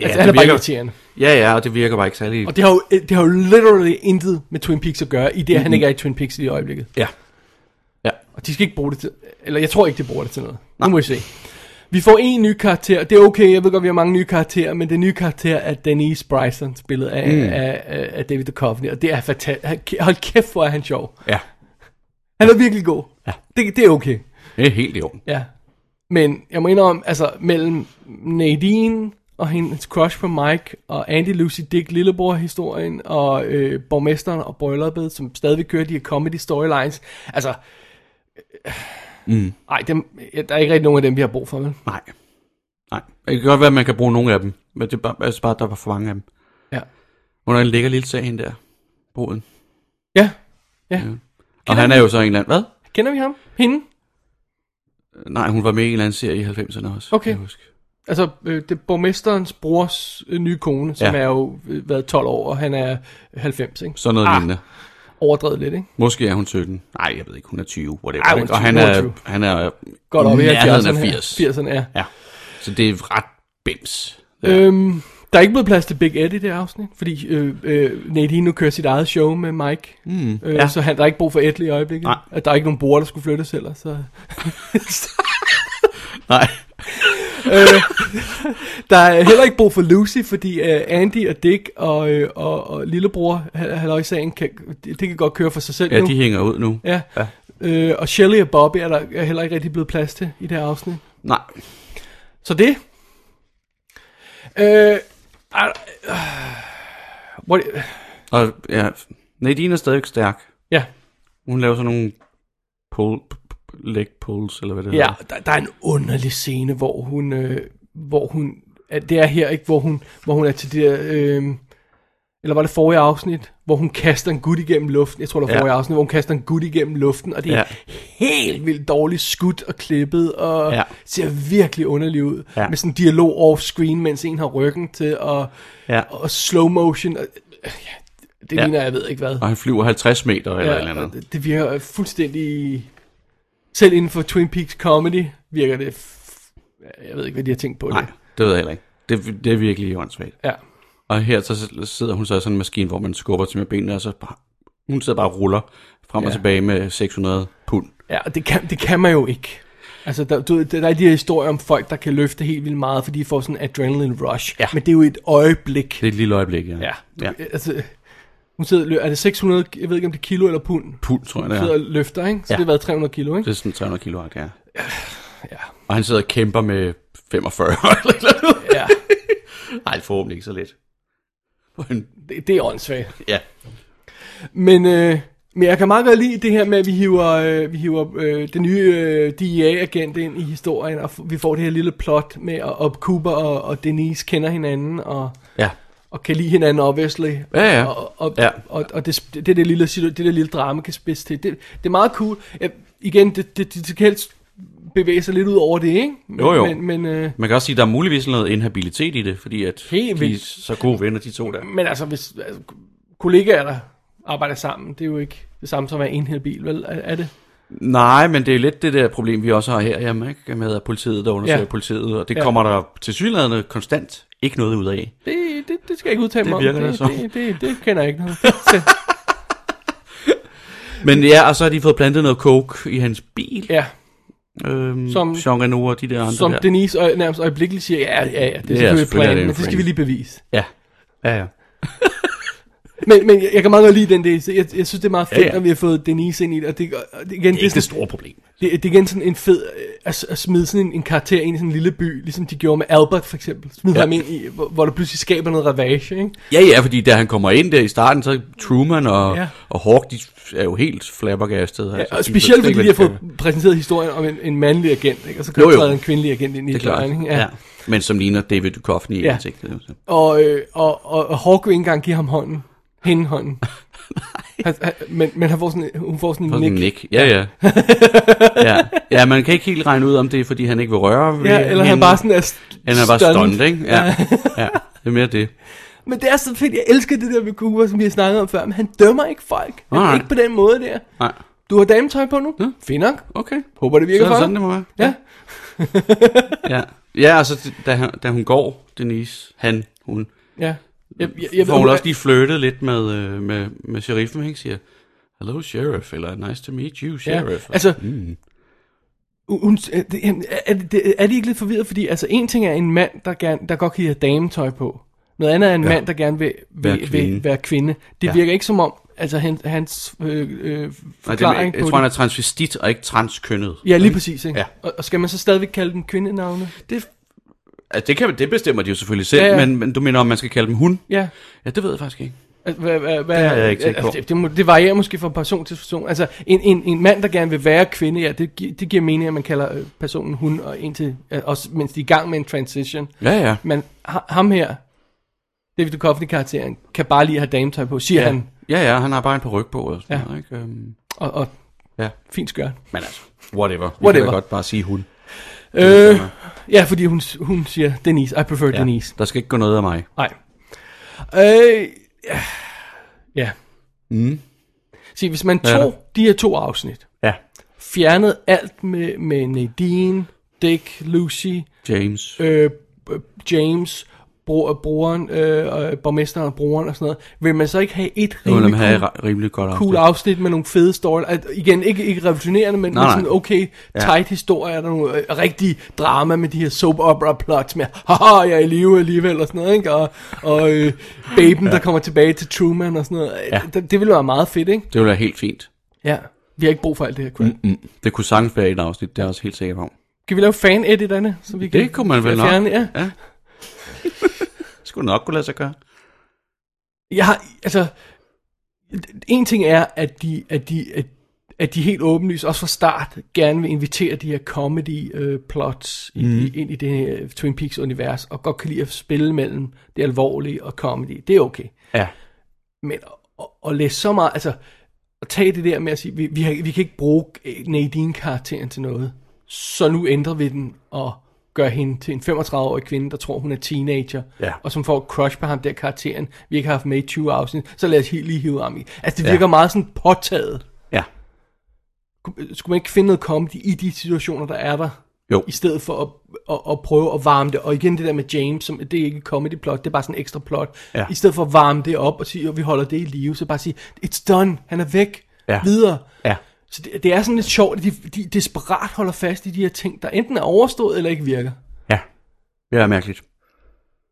Speaker 4: Ja, altså, han er bare irriterende.
Speaker 5: Ja, ja, og det virker bare ikke særlig...
Speaker 4: Og det har, jo, øh, det har jo literally intet med Twin Peaks at gøre, i det, at han ikke er i Twin Peaks i det øjeblikket.
Speaker 5: Ja.
Speaker 4: Og de skal ikke bruge det til... Eller jeg tror ikke, de bruger det til noget. Nu må vi se. Vi får en ny karakter. Det er okay, jeg ved godt, vi har mange nye karakterer, men den nye karakter er Denise Bryson, spillet af, mm. af, af, af David Duchovny, og det er fantastisk. Hold kæft, hvor er han sjov.
Speaker 5: Ja,
Speaker 4: Han er virkelig god. Ja. Det, det er okay.
Speaker 5: det er helt i orden.
Speaker 4: Ja. Men jeg må indrømme, altså mellem Nadine og hendes crush på Mike, og Andy Lucy Dick Lillebror-historien, og øh, borgmesteren og brylluppet, som stadig kører de her comedy storylines. Altså, nej, øh, mm. der er ikke rigtig nogen af dem, vi har brug for, vel?
Speaker 5: Nej. Nej. Det kan godt være, at man kan bruge nogle af dem, men det er bare, altså bare, at der var for mange af dem.
Speaker 4: Ja.
Speaker 5: Hvordan ligger lille sag hende der? Boden.
Speaker 4: Ja, ja.
Speaker 5: Og han er jo så en eller anden... Hvad?
Speaker 4: Kender vi ham? Hende?
Speaker 5: Nej, hun var med i en eller anden serie i 90'erne også.
Speaker 4: Okay.
Speaker 5: kan Jeg huske.
Speaker 4: Altså, øh, det er borgmesterens brors øh, nye kone, som
Speaker 5: Ja.
Speaker 4: er jo øh, været 12 år, og han er 90, ikke?
Speaker 5: Sådan noget ah. lignende.
Speaker 4: Overdrevet lidt, ikke?
Speaker 5: Måske er hun 17. Nej, jeg ved ikke. Hun er 20. Whatever.
Speaker 4: Ej, hun er
Speaker 5: ikke? og
Speaker 4: 20,
Speaker 5: han
Speaker 4: hun er 20.
Speaker 5: er, han er
Speaker 4: Godt op i
Speaker 5: i nærheden
Speaker 4: 70'erne
Speaker 5: af
Speaker 4: her.
Speaker 5: 80.
Speaker 4: 80'erne, ja.
Speaker 5: Ja. Så det er ret bims. Ja. Øh.
Speaker 4: Øhm, der er ikke blevet plads til Big Ed i det afsnit, fordi øh, øh, Nadine nu kører sit eget show med Mike, mm, øh, ja.
Speaker 5: ja.
Speaker 4: så han, der er ikke brug for Ed lige i øjeblikket.
Speaker 5: Nej.
Speaker 4: At der er ikke nogen bord, der skulle flyttes heller. Så.
Speaker 5: Nej.
Speaker 4: Der er heller ikke brug for Lucy, fordi øh, Andy og Dick og, øh, og, og lillebror, halløj sagen, kan, det det kan godt køre for sig selv
Speaker 5: Ja,
Speaker 4: nu.
Speaker 5: de hænger ud nu.
Speaker 4: Ja. ja. Øh, og Shelley og Bobby er der er heller ikke rigtig blevet plads til i det her afsnit.
Speaker 5: Nej.
Speaker 4: Så det. Øh, ah, øh, hvor,
Speaker 5: Og ja, Nadine er stadigvæk stærk.
Speaker 4: ja.
Speaker 5: Hun laver sådan nogle pull, p- p- leg pulls, eller hvad det
Speaker 4: Ja,
Speaker 5: hedder.
Speaker 4: der, der er en underlig scene, hvor hun, øh, hvor hun, at det er her ikke, hvor hun, hvor hun er til det der, øh, eller var det forrige afsnit, hvor hun kaster en gut igennem luften, jeg tror det var
Speaker 5: Ja.
Speaker 4: forrige afsnit, hvor hun kaster en gut igennem luften, og det er
Speaker 5: Ja.
Speaker 4: helt vildt dårligt skudt og klippet, og ja.
Speaker 5: Ja.
Speaker 4: ser virkelig underligt ud, ja.
Speaker 5: Ja.
Speaker 4: med sådan en dialog off-screen, mens en har ryggen til, og,
Speaker 5: Ja.
Speaker 4: og slow motion, og, ja, det
Speaker 5: Ja.
Speaker 4: ligner jeg ved ikke hvad.
Speaker 5: Og han flyver 50 meter, eller ja,
Speaker 4: Ja,
Speaker 5: eller
Speaker 4: og
Speaker 5: andet.
Speaker 4: det- Det virker øh, fuldstændig... Selv inden for Twin Peaks comedy virker det... F... Jeg ved ikke, hvad de har tænkt på.
Speaker 5: Nej,
Speaker 4: Det.
Speaker 5: det ved jeg heller ikke. Det, det er virkelig åndssvagt.
Speaker 4: Ja.
Speaker 5: Og her så sidder hun så i sådan en maskine, hvor man skubber til med benene, og så bare, hun sidder bare og ruller frem ja. og
Speaker 4: Ja.
Speaker 5: tilbage med 600 pund.
Speaker 4: ja, og det kan, det kan man jo ikke. Altså, der, du, ved, der der er de her historier om folk, der kan løfte helt vildt meget, fordi de får sådan en adrenaline rush.
Speaker 5: Ja.
Speaker 4: Men det er jo et øjeblik.
Speaker 5: Det er et lille øjeblik, ja.
Speaker 4: Ja.
Speaker 5: ja.
Speaker 4: Altså, Hun sidder, og lø- er det 600, jeg ved ikke om det er kilo eller pund, hun
Speaker 5: Pund, tror jeg, det
Speaker 4: sidder og
Speaker 5: er.
Speaker 4: løfter, ikke? Så ja.
Speaker 5: Ja.
Speaker 4: det har været 300 kilo, ikke?
Speaker 5: Det er sådan 300 kilo, ja. ja.
Speaker 4: Ja.
Speaker 5: Og han sidder og kæmper med 45 [LAUGHS] eller et eller andet.
Speaker 4: Ja,
Speaker 5: Ej, forhåbentlig ikke så let. Men,
Speaker 4: det, det er åndssvagt.
Speaker 5: ja.
Speaker 4: Men, øh, men jeg kan meget godt lide det her med, at vi hiver, øh, vi hiver øh, den nye øh, DEA-agent ind i historien, og f- vi får det her lille plot med, at og Cooper og, og Denise kender hinanden, og,
Speaker 5: Ja.
Speaker 4: og kan lide hinanden, obviously.
Speaker 5: Ja, ja.
Speaker 4: Og, og,
Speaker 5: Ja.
Speaker 4: og, og det, det, det, der lille, situ- det der lille drama kan spidse til. Det, det er meget cool. Jeg, igen, det, det, det kan helst bevæge sig lidt ud over det, ikke? Men,
Speaker 5: Jo, jo.
Speaker 4: Men, men, øh,
Speaker 5: Man kan også sige, at der er muligvis noget inhabilitet i det, fordi at
Speaker 4: Helt
Speaker 5: de er
Speaker 4: vildt.
Speaker 5: så gode venner, de to der.
Speaker 4: men altså, hvis altså, kollegaer, der arbejder sammen, det er jo ikke det samme som at være en hel bil, vel? Er, er det?
Speaker 5: Nej, men det er lidt det der problem, vi også har her hjemme, ikke? med at politiet, der undersøger
Speaker 4: Ja.
Speaker 5: ja. politiet, og det
Speaker 4: Ja.
Speaker 5: ja. kommer der til synligheden konstant ikke noget ud af.
Speaker 4: Det, det, det skal jeg ikke udtale
Speaker 5: Det
Speaker 4: mig
Speaker 5: virker
Speaker 4: om.
Speaker 5: da som.
Speaker 4: Det, det, det kender jeg ikke
Speaker 5: [LAUGHS]
Speaker 4: noget til.
Speaker 5: Men ja, og så har de fået plantet noget coke i hans bil,
Speaker 4: Ja,
Speaker 5: øhm,
Speaker 4: Som-
Speaker 5: som, Jean Reno og de der andre
Speaker 4: som
Speaker 5: der.
Speaker 4: Denise øj, nærmest øjeblikkeligt siger, ja, ja, ja det er
Speaker 5: Ja,
Speaker 4: selvfølgelig
Speaker 5: selvfølgelig
Speaker 4: et plan,
Speaker 5: er det en
Speaker 4: men det skal
Speaker 5: plan.
Speaker 4: vi lige bevise.
Speaker 5: Ja. Ja, ja.
Speaker 4: Men, men jeg jeg kan meget godt lide den del, jeg, jeg synes det er meget fedt,
Speaker 5: Ja,
Speaker 4: ja,
Speaker 5: ja.
Speaker 4: ja. at vi har fået Denise ind i det, og det, og det, igen,
Speaker 5: Det er
Speaker 4: det, er
Speaker 5: ikke det
Speaker 4: sådan,
Speaker 5: store problem.
Speaker 4: det, det er igen sådan en fed, øh, at, at smide sådan en, en karakter ind i sådan en lille by, ligesom de gjorde med Albert for eksempel, smide ja.
Speaker 5: Ja.
Speaker 4: ham ind i, hvor, hvor der pludselig skaber noget ravage, ikke?
Speaker 5: Ja, ja, fordi da han kommer ind der i starten, så Truman og,
Speaker 4: Ja.
Speaker 5: ja. og Hawk, de er jo helt flabbergastet. altså.
Speaker 4: Ja, og specielt fordi de har fået præsenteret historien om en, en mandlig agent, ikke? Og så kan
Speaker 5: Jo,
Speaker 4: der
Speaker 5: jo.
Speaker 4: træde en kvindelig agent ind i
Speaker 5: Det er klart.
Speaker 4: historien, ikke?
Speaker 5: Ja. ja. Men som ligner David Duchovny i
Speaker 4: Ja.
Speaker 5: ja. ansigtet.
Speaker 4: Og, øh, og, og, og Hawk vil ikke engang give ham hånden. Hende
Speaker 5: [LAUGHS]
Speaker 4: hånden. han, han, men men han får sådan, hun får sådan en
Speaker 5: Nick.
Speaker 4: nik.
Speaker 5: Nick. Ja,
Speaker 4: [LAUGHS]
Speaker 5: ja. ja. Ja, man kan ikke helt regne ud, om det er, fordi han ikke vil røre ved
Speaker 4: Ja, eller han
Speaker 5: hende.
Speaker 4: bare sådan er st-
Speaker 5: Han er bare stunned, ikke? Ja. ja. Det er mere det.
Speaker 4: Men det er så fedt. Jeg elsker det der ved Cooper, som vi har snakket om før. Men han dømmer ikke folk. Han,
Speaker 5: Nej.
Speaker 4: Ikke på den måde der.
Speaker 5: Nej.
Speaker 4: Du har dametøj på nu?
Speaker 5: Ja.
Speaker 4: Fint nok.
Speaker 5: Okay.
Speaker 4: Håber det
Speaker 5: Så
Speaker 4: virker
Speaker 5: er det
Speaker 4: for
Speaker 5: sådan,
Speaker 4: dig.
Speaker 5: det må være.
Speaker 4: Ja.
Speaker 5: Ja, ja altså, da, han, da hun går, Denise, han, hun,
Speaker 4: Ja. Jeg, jeg,
Speaker 5: jeg
Speaker 4: jeg
Speaker 5: får hun
Speaker 4: ved,
Speaker 5: også lige flirtet lidt med, øh, med, med sheriffen, ikke? Siger, hello sheriff, eller nice to meet you sheriff.
Speaker 4: Ja, altså-
Speaker 5: Mm.
Speaker 4: Hun, er, det- er, det- er de ikke lidt forvirret? Fordi altså, en ting er en mand, der, gerne, der godt kan lide at have dametøj på. Noget andet er en ja. mand, der gerne vil, vil,
Speaker 5: Være
Speaker 4: være, kvinde. vil
Speaker 5: kvinde.
Speaker 4: være kvinde. Det ja.
Speaker 5: Ja.
Speaker 4: virker ikke som om, altså han, hans øh, øh,
Speaker 5: Nej, det, er-
Speaker 4: forklaring
Speaker 5: jeg, jeg
Speaker 4: på
Speaker 5: tror, han
Speaker 4: det.
Speaker 5: er transvestit og ikke transkønnet.
Speaker 4: Ja, lige præcis. Ikke?
Speaker 5: Ja.
Speaker 4: Og, og skal man så stadigvæk kalde den kvindenavne?
Speaker 5: Det, altså, det, kan, det bestemmer de jo selvfølgelig selv,
Speaker 4: Ja,
Speaker 5: ja,
Speaker 4: ja.
Speaker 5: ja. Men, men du mener, om man skal kalde dem hun?
Speaker 4: Ja.
Speaker 5: Ja, det ved jeg faktisk ikke.
Speaker 4: Altså, hvad, hvad, hvad,
Speaker 5: har jeg ikke tænkt på.
Speaker 4: altså, det, det, må- det varierer måske fra person til person. Altså, en, en, en mand, der gerne vil være kvinde, ja, det, gi- det giver mening, at man kalder øh, personen hun, og indtil, øh, også mens de er i gang med en transition.
Speaker 5: Ja, ja.
Speaker 4: Men ha- ham her, David Duchovny-karakteren, kan bare lige have dametøj på, siger ja.
Speaker 5: Ja,
Speaker 4: han.
Speaker 5: ja, ja han har bare en par ryg på og sådan
Speaker 4: Ja.
Speaker 5: ja. noget, ikke? Øhm,
Speaker 4: Og, og
Speaker 5: Ja.
Speaker 4: fint skørt.
Speaker 5: men altså, whatever. Vi
Speaker 4: Whatever.
Speaker 5: kan da godt bare sige hun. Altså,
Speaker 4: Øh, ja, fordi hun, hun siger, Denise, I prefer ja. Denise.
Speaker 5: Der skal ikke gå noget af mig.
Speaker 4: Nej. Øh, ja. ja.
Speaker 5: Mm.
Speaker 4: Se, hvis man
Speaker 5: Ja.
Speaker 4: tog de her to afsnit,
Speaker 5: Ja.
Speaker 4: fjernede alt med, med Nadine, Dick, Lucy,
Speaker 5: James.
Speaker 4: øh, øh, James, bro, broren, øh, og borgmesteren og broren og sådan noget, vil man så ikke have et
Speaker 5: Det vil
Speaker 4: rimelig
Speaker 5: dem have
Speaker 4: cool,
Speaker 5: re- rimelig godt
Speaker 4: cool afsnit med nogle fede story? At, igen, ikke, ikke revolutionerende, men,
Speaker 5: Nej,
Speaker 4: men
Speaker 5: nej.
Speaker 4: sådan okay,
Speaker 5: Ja.
Speaker 4: tight historie, er der nogle øh, rigtig drama med de her soap opera plots med, haha, jeg er i live alligevel og sådan noget, ikke? Og, og øh, baben, ja. der kommer tilbage til Truman og sådan noget. Ja.
Speaker 5: Ja.
Speaker 4: Det, det ville være meget fedt, ikke?
Speaker 5: Det vil være helt fint.
Speaker 4: Ja. Vi har ikke brug for alt det her, crap.
Speaker 5: Mm. Det kunne sagtens være et afsnit, det er jeg også helt sikker på.
Speaker 4: Kan vi lave fan-edit, Anna? Så vi kan
Speaker 5: Det kunne man vel nok.
Speaker 4: fjerne, Ja.
Speaker 5: Ja. [LAUGHS] Det skulle nok kunne lade sig gøre.
Speaker 4: Jeg har, altså, en ting er, at de, at de, at, at de helt åbenlyst, også fra start, gerne vil invitere de her comedy-plots mm. i, ind i det her Twin Peaks-univers, og godt kan lide at spille mellem det alvorlige og comedy. Det er okay.
Speaker 5: Ja.
Speaker 4: Men at, at læse så meget, altså, at tage det der med at sige, vi, vi, har, vi kan ikke bruge øh, Nadine-karakteren til noget, så nu ændrer vi den og gør hende til en 35-årig kvinde, der tror, hun er teenager,
Speaker 5: Ja.
Speaker 4: og som får et crush på ham der karakteren, vi ikke har haft med i 20 afsnit, så lad os helt lige hive ham i. Altså, det virker ja. meget sådan påtaget.
Speaker 5: Ja.
Speaker 4: Kunne- Skulle man ikke finde noget comedy i de situationer, der er der?
Speaker 5: Jo.
Speaker 4: I stedet for at, at, at prøve at varme det. Og igen det der med James, som, det er ikke et comedy plot, det er bare sådan en ekstra plot.
Speaker 5: Ja.
Speaker 4: I stedet for at varme det op og sige, at vi holder det i live, så bare sige, it's done, han er væk,
Speaker 5: Ja.
Speaker 4: videre.
Speaker 5: Ja.
Speaker 4: Så det, det er sådan lidt sjovt, at de, de desperat holder fast i de her ting, der enten er overstået eller ikke virker.
Speaker 5: Ja. Det er mærkeligt.
Speaker 4: Og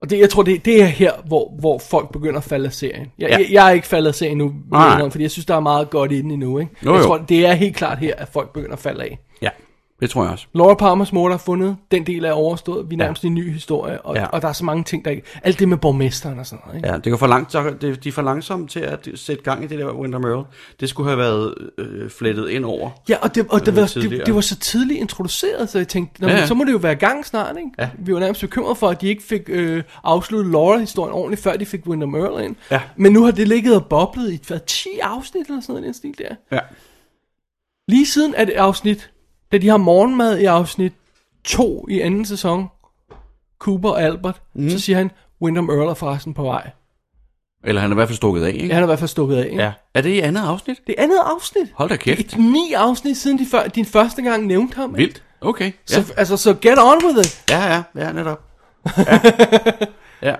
Speaker 4: Og det, jeg tror, det, det er her, hvor, hvor folk begynder at falde af serien. Jeg,
Speaker 5: Ja.
Speaker 4: ja. jeg, jeg er ikke faldet af serien nu,
Speaker 5: Nej.
Speaker 4: udenom, fordi jeg synes, der er meget godt i den endnu. Ikke?
Speaker 5: Jo,
Speaker 4: jeg
Speaker 5: jo.
Speaker 4: tror, det er helt klart her, at folk begynder at falde af.
Speaker 5: Ja, det tror jeg også.
Speaker 4: Laura Palmers mor, der er fundet, den del er overstået. Vi er nærmest i en ny historie, og,
Speaker 5: Ja.
Speaker 4: ja. og der er så mange ting, der ikke... Alt det med borgmesteren og sådan noget, ikke?
Speaker 5: Ja, det går for langt, så det, de er for langsomme til at sætte gang i det der Winter Merle. Det skulle have været øh, flettet ind over.
Speaker 4: Ja, og, det, og det,
Speaker 5: Øh,
Speaker 4: var,
Speaker 5: tidligere.
Speaker 4: det, det var så tidligt introduceret, så jeg tænkte, nå,
Speaker 5: Ja,
Speaker 4: ja,
Speaker 5: ja.
Speaker 4: så må det jo være i gang snart, ikke?
Speaker 5: Ja.
Speaker 4: Vi var nærmest bekymrede for, at de ikke fik øh, afsluttet Laura-historien ordentligt, før de fik Winter Merle ind.
Speaker 5: Ja.
Speaker 4: Men nu har det ligget og boblet i hvad, 10 afsnit eller sådan noget i den stil der.
Speaker 5: Ja.
Speaker 4: Lige siden af det afsnit, da de har morgenmad i afsnit 2 i anden sæson, Cooper og Albert, mm. så siger han, Winter Merle er forresten på vej.
Speaker 5: Eller han er i hvert fald stukket af, ikke?
Speaker 4: Ja, han er i hvert fald stukket af, ikke?
Speaker 5: ja. Er det i andet afsnit?
Speaker 4: Det andet afsnit.
Speaker 5: Hold da kæft. [LAUGHS]
Speaker 4: Det er ni afsnit siden de før, din første gang nævnte ham. ikke?
Speaker 5: Vildt. Okay.
Speaker 4: Så, altså, så get on with it.
Speaker 5: Ja, ja, ja, [LAUGHS] netop. Ja. ja.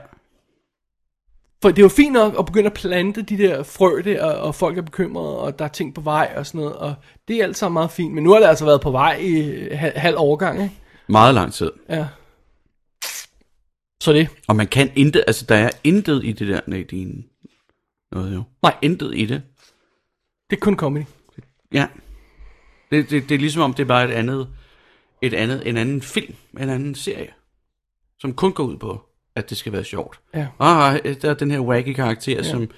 Speaker 4: For det er jo fint nok at begynde at plante de der frø der, og, og folk er bekymrede, og der er ting på vej og sådan noget, og det er alt sammen meget fint. Men nu har det altså været på vej i øh, hal, halv overgang, ikke?
Speaker 5: Meget lang tid.
Speaker 4: Ja. Så det.
Speaker 5: Og man kan intet, altså der er intet i det der Nadine. Noget jo.
Speaker 4: Nej.
Speaker 5: Intet i det.
Speaker 4: Det er kun comedy.
Speaker 5: Ja. Det, det, det er ligesom om, det er bare et andet, et andet, en anden film, en anden serie, som kun går ud på, at det skal være sjovt.
Speaker 4: Ja.
Speaker 5: Ah, der er den her wacky karakter, ja. som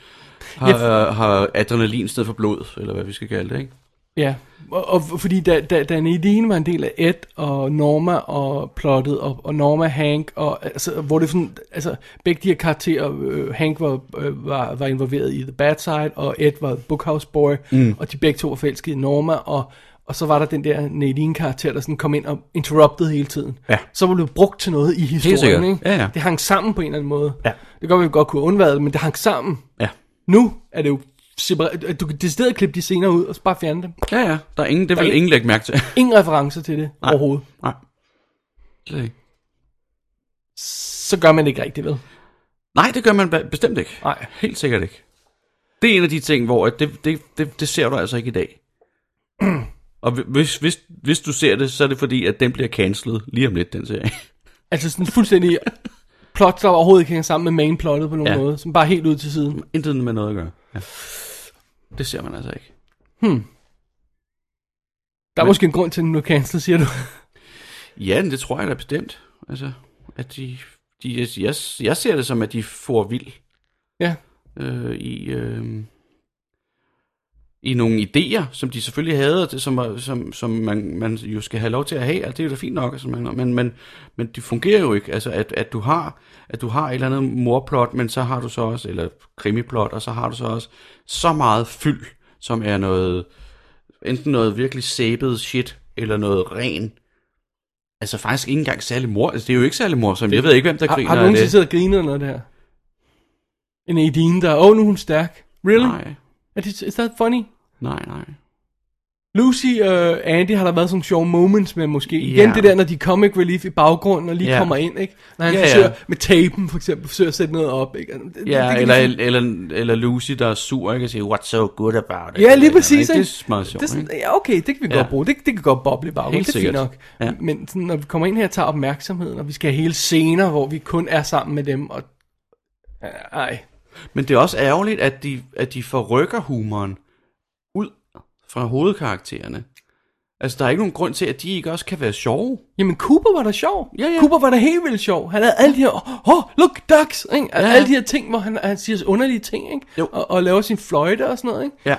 Speaker 5: har, ja. har adrenalin i stedet for blod, eller hvad vi skal kalde det, ikke?
Speaker 4: Ja. Og, og fordi da, da, da Nadine var en del af Ed og Norma og plottet, og, og Norma Hank, og altså, hvor det sådan, altså, begge de her karakterer, øh, Hank var, øh, var, var involveret i The Bad Side, og Ed var Bookhouse Boy, mm. og de begge to var forelskede i Norma, og, og så var der den der Nadine-karakter, der sådan kom ind og interrupted hele tiden.
Speaker 5: Ja.
Speaker 4: Så var det brugt til noget i
Speaker 5: sikkert.
Speaker 4: historien, ikke?
Speaker 5: Ja, ja.
Speaker 4: Det hang sammen på en eller anden måde.
Speaker 5: Ja.
Speaker 4: Det kan godt, være, vi godt kunne undvære det, men det hang sammen.
Speaker 5: Ja.
Speaker 4: Nu er det jo separat, du kan decideret klippe de senere ud, og så bare fjerne dem.
Speaker 5: Ja, ja. Der er ingen, det
Speaker 4: Der er
Speaker 5: vil
Speaker 4: ingen-
Speaker 5: ingen lægge mærke til. [LAUGHS]
Speaker 4: Ingen referencer til det Nej. overhovedet.
Speaker 5: Nej. Slet ikke.
Speaker 4: Så gør man det ikke rigtigt, vel?
Speaker 5: Nej, det gør man ba- bestemt ikke.
Speaker 4: Nej.
Speaker 5: Helt sikkert ikke. Det er en af de ting, hvor at det, det, det, det ser du altså ikke i
Speaker 4: [CLEARS THROAT]
Speaker 5: dag. Og hvi- hvis, hvis, hvis du ser det, så er det fordi, at den bliver cancelet lige om lidt, den serie.
Speaker 4: Altså sådan fuldstændig plot, der overhovedet ikke hænger sammen med mainplottet på nogen ja.
Speaker 5: Ja.
Speaker 4: måde. Som bare er helt ud til siden.
Speaker 5: Intet med noget at gøre. Ja. Det ser man altså ikke.
Speaker 4: Der er
Speaker 5: Men-
Speaker 4: måske en grund til, at den nu er cancelled, siger du. [LAUGHS]
Speaker 5: Ja, men det tror jeg da bestemt. Altså, at de, de jeg, jeg, jeg ser det som, at de får vild
Speaker 4: ja.
Speaker 5: øh, i, øh, i nogle idéer, som de selvfølgelig havde, og det, som, var- som, som man, man jo skal have lov til at have, og det er jo da fint nok, altså, man, men, men, men det fungerer jo ikke, altså at, at, du har, at du har et eller andet morplot, men så har du så også, eller krimiplot, og så har du så også så meget fyld, som er noget, enten noget virkelig sæbet shit, eller noget ren, altså faktisk ikke engang særlig mor, altså det er jo ikke særlig morsomt, jeg ved ikke, hvem der
Speaker 4: Har,
Speaker 5: griner
Speaker 4: har du
Speaker 5: af
Speaker 4: nogensinde
Speaker 5: det.
Speaker 4: siddet og grinet af noget der? En Edine, der, åh, oh, nu er hun stærk. Really?
Speaker 5: Nej,
Speaker 4: Er det, is that funny?
Speaker 5: nej, nej.
Speaker 4: Lucy og Andy har der været sådan sjove moments med måske.
Speaker 5: Ja.
Speaker 4: Yeah. Igen det der, når de er comic relief i baggrunden og lige
Speaker 5: Ja.
Speaker 4: yeah. kommer ind, ikke? Når han
Speaker 5: Ja,
Speaker 4: yeah,
Speaker 5: ja.
Speaker 4: forsøger med tapen for eksempel, forsøger at sætte noget op, ikke? Altså, Det- det- det
Speaker 5: Ja,
Speaker 4: kan ligesom-
Speaker 5: eller,
Speaker 4: de-
Speaker 5: eller, eller Lucy, der er sur, ikke? Og siger, what's so good about
Speaker 4: Ja,
Speaker 5: it? Eller
Speaker 4: lige præcis.
Speaker 5: et eller andet,
Speaker 4: Ikke?
Speaker 5: ikke? Det er meget sjovt,
Speaker 4: det, er sådan,
Speaker 5: ikke?
Speaker 4: Ja, okay, det kan vi
Speaker 5: Ja.
Speaker 4: godt bruge. Det, det kan godt boble i baggrunden.
Speaker 5: Helt
Speaker 4: Det er fint
Speaker 5: sikkert.
Speaker 4: nok.
Speaker 5: Ja.
Speaker 4: Ja. Men sådan, når vi kommer ind her og tager opmærksomheden, og vi skal have hele scener, hvor vi kun er sammen med dem, og... Ej.
Speaker 5: Men det er også ærgerligt, at de, at de forrykker humoren ud fra hovedkaraktererne. Altså, der er ikke nogen grund til, at de ikke også kan være sjove.
Speaker 4: Jamen, Cooper var da sjov.
Speaker 5: Ja, ja.
Speaker 4: Cooper var da helt vildt sjov. Han havde alle de her, oh, look, ducks, ikke?
Speaker 5: Ja,
Speaker 4: Ja.
Speaker 5: ja.
Speaker 4: alle de her ting, hvor han, han siger underlige ting, ikke?
Speaker 5: Jo.
Speaker 4: Og, og laver sin fløjte og sådan noget. Ikke?
Speaker 5: Ja.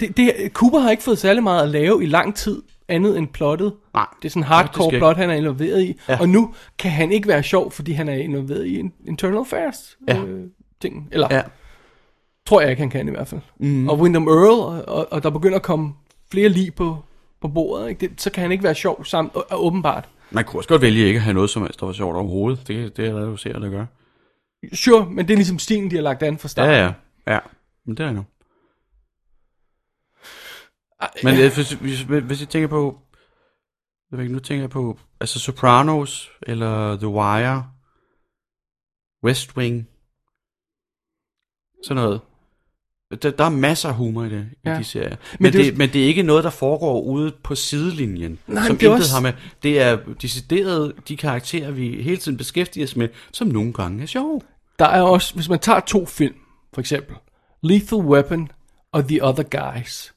Speaker 4: Det, det, Cooper har ikke fået særlig meget at lave i lang tid, andet end plottet.
Speaker 5: Nej,
Speaker 4: Det er sådan en
Speaker 5: faktisk
Speaker 4: hardcore
Speaker 5: ikke.
Speaker 4: plot, han er involveret i.
Speaker 5: Ja.
Speaker 4: Ja. Og nu kan han ikke være sjov, fordi han er involveret i en- internal affairs
Speaker 5: Ja.
Speaker 4: øh, ting. Eller
Speaker 5: Ja. Mhm.
Speaker 4: ja. tror jeg ikke, han kan i hvert fald. Mm. Og Wyndham Earl, og, og, og der begynder at komme flere lige på, på bordet, ikke? Det, så kan han ikke være sjov sammen, og, og åbenbart.
Speaker 5: Man kunne også godt vælge ikke at have noget, som helst, der var sjovt overhovedet. Det, det er der jo serier, der gør.
Speaker 4: Sure, men det er ligesom stilen, de har lagt an for start.
Speaker 5: Ja, ja. Ja, men det er jo. Men øh, hvis, hvis, hvis jeg tænker på... Jeg ved ikke, nu tænker jeg på... Altså Sopranos, eller The Wire, West Wing, sådan noget. Der, der er masser af humor i det, ja.
Speaker 4: Ja.
Speaker 5: i de serier. Men,
Speaker 4: Men
Speaker 5: men,
Speaker 4: det er
Speaker 5: det,
Speaker 4: jo-
Speaker 5: det, men det er ikke noget, der foregår ude på sidelinjen,
Speaker 4: Nej,
Speaker 5: som
Speaker 4: men det er
Speaker 5: intet
Speaker 4: også-
Speaker 5: har med. Det er decideret de karakterer, vi hele tiden beskæftiger os med, som nogle gange er sjove.
Speaker 4: Der er også, hvis man tager to film, for eksempel, Lethal Weapon og The Other Guys.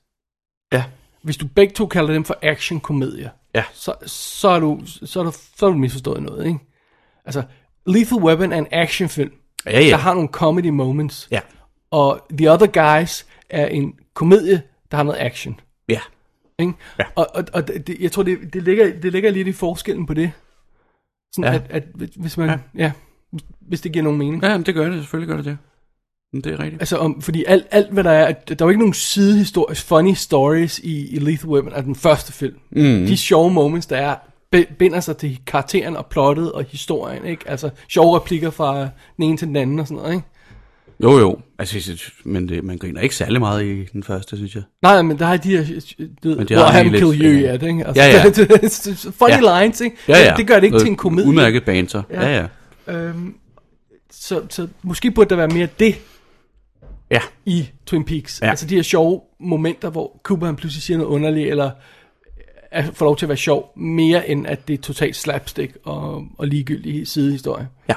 Speaker 5: Ja.
Speaker 4: Hvis du begge to kalder dem for action-komedier,
Speaker 5: Ja.
Speaker 4: så, så, er du, så, er du, så er du misforstået noget, ikke? Altså, Lethal Weapon er en actionfilm,
Speaker 5: Ja, ja.
Speaker 4: der har nogle comedy moments.
Speaker 5: Ja.
Speaker 4: Og The Other Guys er en komedie, der har noget action.
Speaker 5: Ja.
Speaker 4: Ikke?
Speaker 5: Ja.
Speaker 4: Og, og, og det, jeg tror, det, det, ligger, det ligger lidt i forskellen på det. Sådan
Speaker 5: Ja.
Speaker 4: at, at, hvis- hvis man, ja. ja. hvis det giver nogen mening.
Speaker 5: Ja, men det gør det. Selvfølgelig gør det det. Men det er rigtigt.
Speaker 4: Altså, om, fordi alt, alt, hvad der er, at der er jo ikke nogen sidehistorie, funny stories i, i Lethal Weapon, altså den første film. Mm. De sjove moments, der er, bi- binder sig til karakteren og plottet og historien, ikke? Altså, sjove replikker fra den ene til den anden og sådan noget, ikke?
Speaker 5: Jo, jo. Altså, jeg synes- men det, man griner ikke særlig meget i den første, synes jeg.
Speaker 4: Nej, men der er de her, du ved,
Speaker 5: Men de
Speaker 4: hvor
Speaker 5: har
Speaker 4: han
Speaker 5: lige
Speaker 4: kill
Speaker 5: lidt-
Speaker 4: you,
Speaker 5: ja.
Speaker 4: ja, ikke? Altså,
Speaker 5: Ja, ja.
Speaker 4: [LAUGHS] det- det- det- det- funny
Speaker 5: Ja.
Speaker 4: lines, ikke? Det- Det gør det ikke til en komedie.
Speaker 5: Udmærket banter. Ja, ja.
Speaker 4: Øhm, så, så måske burde der være mere det
Speaker 5: Ja.
Speaker 4: i Twin Peaks.
Speaker 5: Ja.
Speaker 4: Ja. Altså de her sjove momenter, hvor Cooper han pludselig siger noget underligt, eller er, får lov til at være sjov, mere end at det er totalt slapstick og, og ligegyldig sidehistorie.
Speaker 5: Ja.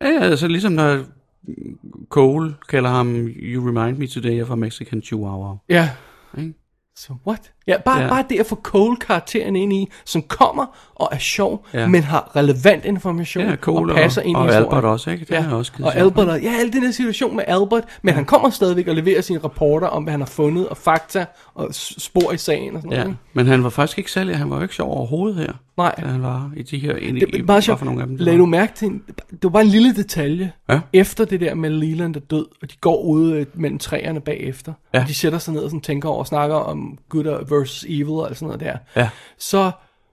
Speaker 5: Ja, ja, altså ligesom når Cole kalder ham You remind me today of a Mexican Chihuahua.
Speaker 4: Ja.
Speaker 5: Ikke?
Speaker 4: Så what? Ja, bare,
Speaker 5: Ja.
Speaker 4: ja. bare det at få Cole-karakteren ind i, som kommer og er sjov,
Speaker 5: Ja.
Speaker 4: ja. men har relevant information
Speaker 5: Ja, Cole
Speaker 4: og passer
Speaker 5: og-
Speaker 4: ind
Speaker 5: og
Speaker 4: i historien.
Speaker 5: Albert også, ikke? Det
Speaker 4: ja.
Speaker 5: har jeg også givet
Speaker 4: og
Speaker 5: sig.
Speaker 4: Albert, og, ja, alle den her situation med Albert, men han kommer stadigvæk og leverer sine rapporter om, hvad han har fundet, og fakta, og s- spor i sagen og sådan noget.
Speaker 5: Ja,
Speaker 4: ikke?
Speaker 5: men han var faktisk ikke særlig, han var jo ikke sjov overhovedet her.
Speaker 4: Nej.
Speaker 5: Da han var i de her, i,
Speaker 4: Det
Speaker 5: i-
Speaker 4: er bare
Speaker 5: hvad for nogle af dem.
Speaker 4: sjovt.
Speaker 5: det
Speaker 4: Lad
Speaker 5: var.
Speaker 4: du mærke til en, Det var bare en lille detalje.
Speaker 5: Ja.
Speaker 4: Efter det der med Leland er død, og de går ude øh, mellem træerne bagefter,
Speaker 5: Ja.
Speaker 4: og de sætter sig ned og sådan tænker over og snakker om good og versus evil og alt sådan noget der.
Speaker 5: Ja.
Speaker 4: Så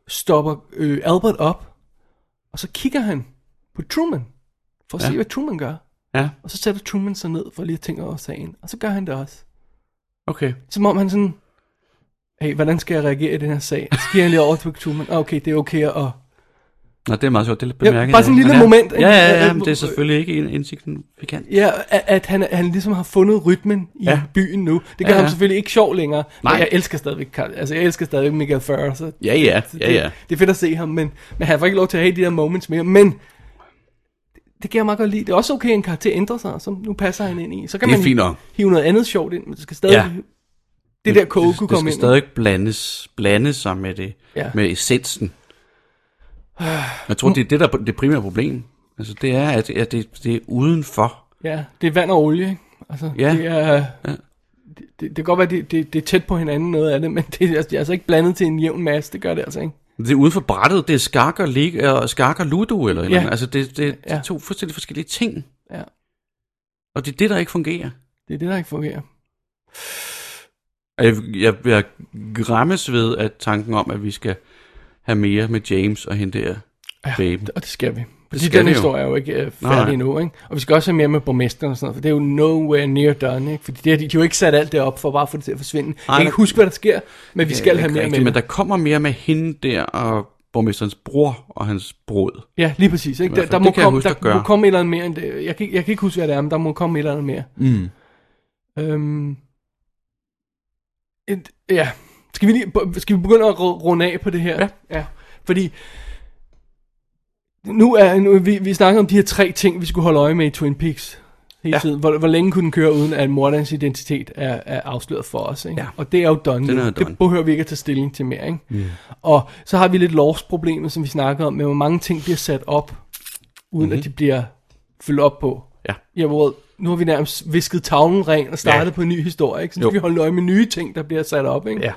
Speaker 4: stopper øh, Albert op, og så kigger han på Truman, for at ja.
Speaker 5: Ja.
Speaker 4: se, hvad Truman gør.
Speaker 5: Ja,
Speaker 4: Og så sætter Truman sig ned for lige at tænke over sagen, og så gør han det også.
Speaker 5: okay.
Speaker 4: Som om han sådan, hey, hvordan skal jeg reagere i den her sag? Og så giver han lige over til Truman, "Ah, okay, det er okay at...
Speaker 5: Nå, det er meget sjovt, det er lidt
Speaker 4: Ja,
Speaker 5: bemærket.
Speaker 4: bare sådan en
Speaker 5: ja.
Speaker 4: lille
Speaker 5: Men ja.
Speaker 4: moment, ikke?
Speaker 5: Ja, ja, ja,
Speaker 4: Ja,
Speaker 5: men det er
Speaker 4: hvor-
Speaker 5: selvfølgelig ikke en insignifikant.
Speaker 4: Ja, at, at han, han ligesom har fundet rytmen i
Speaker 5: Ja.
Speaker 4: ja. byen nu. Det gør
Speaker 5: Ja,
Speaker 4: ja,
Speaker 5: ja.
Speaker 4: ham selvfølgelig ikke sjov længere. Nej.
Speaker 5: Nej.
Speaker 4: Men jeg elsker stadigvæk, Carl- altså jeg elsker stadigvæk Michael Farrer. Så
Speaker 5: Ja, ja,
Speaker 4: Altså, det,
Speaker 5: ja, ja.
Speaker 4: Det, det er fedt at se ham, men, men han får ikke lov til at have de der moments mere. Men det- det kan jeg meget godt lide. Det er også okay, at en karakter ændrer sig, som nu passer han ind i. Så kan
Speaker 5: Det er
Speaker 4: man
Speaker 5: fint nok.
Speaker 4: hive noget andet sjovt ind, men det skal stadig...
Speaker 5: Ja.
Speaker 4: Ja. Det der koge kunne
Speaker 5: det skal
Speaker 4: komme ind.
Speaker 5: stadig blandes, blande sig med det, ja.
Speaker 4: Ja.
Speaker 5: med
Speaker 4: [SIGHS]
Speaker 5: essensen. Jeg tror, det er det, der er det primære problem. Altså, det er, at, at det, det er udenfor.
Speaker 4: Ja, det er vand og olie, ikke? Altså,
Speaker 5: Ja.
Speaker 4: det er...
Speaker 5: Ja.
Speaker 4: Det, det, det kan godt være, det, det, det er tæt på hinanden noget af det, men [LAUGHS] det, er- det er altså ikke blandet til en jævn masse, det gør det altså ikke.
Speaker 5: Det er uden for brættet, det er skak og, lig, og skak og ludo, eller, ja. eller andet. Altså, det, det, det er
Speaker 4: Ja.
Speaker 5: to fuldstændig forskellige ting.
Speaker 4: Ja.
Speaker 5: Og det er det, der ikke fungerer.
Speaker 4: Det er det, der ikke fungerer.
Speaker 5: Og Jeg, jeg, jeg græmmes ved at tanken om, at vi skal have mere med James og hende der ja, baben.
Speaker 4: Og det skal vi. Fordi
Speaker 5: skal
Speaker 4: den
Speaker 5: vi jo.
Speaker 4: historie er jo ikke øh,
Speaker 5: Nej, nej.
Speaker 4: færdig endnu, ikke? Og vi skal også have mere med borgmesteren og sådan noget, for det er jo nowhere near done, ikke? Fordi det, har de de har jo ikke sat alt det op for bare at få det til at forsvinde. Ej, jeg
Speaker 5: der-
Speaker 4: kan ikke huske, hvad der sker, men vi skal
Speaker 5: Ja,
Speaker 4: have
Speaker 5: Øh, ikke
Speaker 4: mere
Speaker 5: rigtigt,
Speaker 4: med.
Speaker 5: Men
Speaker 4: det.
Speaker 5: der kommer mere med hende der og borgmesterens bror og hans brod.
Speaker 4: Ja, lige præcis, ikke?
Speaker 5: I hvert
Speaker 4: Der,
Speaker 5: fald,
Speaker 4: der,
Speaker 5: det
Speaker 4: må,
Speaker 5: kan jeg
Speaker 4: komme,
Speaker 5: huske,
Speaker 4: der
Speaker 5: der gør.
Speaker 4: må komme et eller andet mere end det. Jeg kan, ikke- jeg kan ikke huske, hvad det er, men der må komme et eller andet mere.
Speaker 5: Mm.
Speaker 4: Øhm, et, ja. Skal vi, lige, skal vi begynde at ru- runde af på det her?
Speaker 5: Ja.
Speaker 4: ja. Fordi nu er nu, vi, vi snakker om de her tre ting, vi skulle holde øje med i Twin Peaks. Hele
Speaker 5: Ja.
Speaker 4: ja. tiden. Hvor, hvor længe kunne den køre, uden at morderens identitet er, er afsløret for os? Ikke?
Speaker 5: Ja.
Speaker 4: Og det er jo done.
Speaker 5: Den
Speaker 4: nu.
Speaker 5: er done.
Speaker 4: Det behøver vi ikke at tage stilling til mere. Ikke? Og så har vi lidt lovsproblemet, som vi snakker om, med hvor mange ting bliver sat op, uden mm-hmm. at de bliver fyldt op på.
Speaker 5: Mhm. Ja.
Speaker 4: Ja, hvor nu har vi nærmest visket tavlen ren og startet ja. på en ny historie, ikke? Så
Speaker 5: Jo.
Speaker 4: skal vi holde øje med nye ting, der bliver sat op, ikke?
Speaker 5: Ja.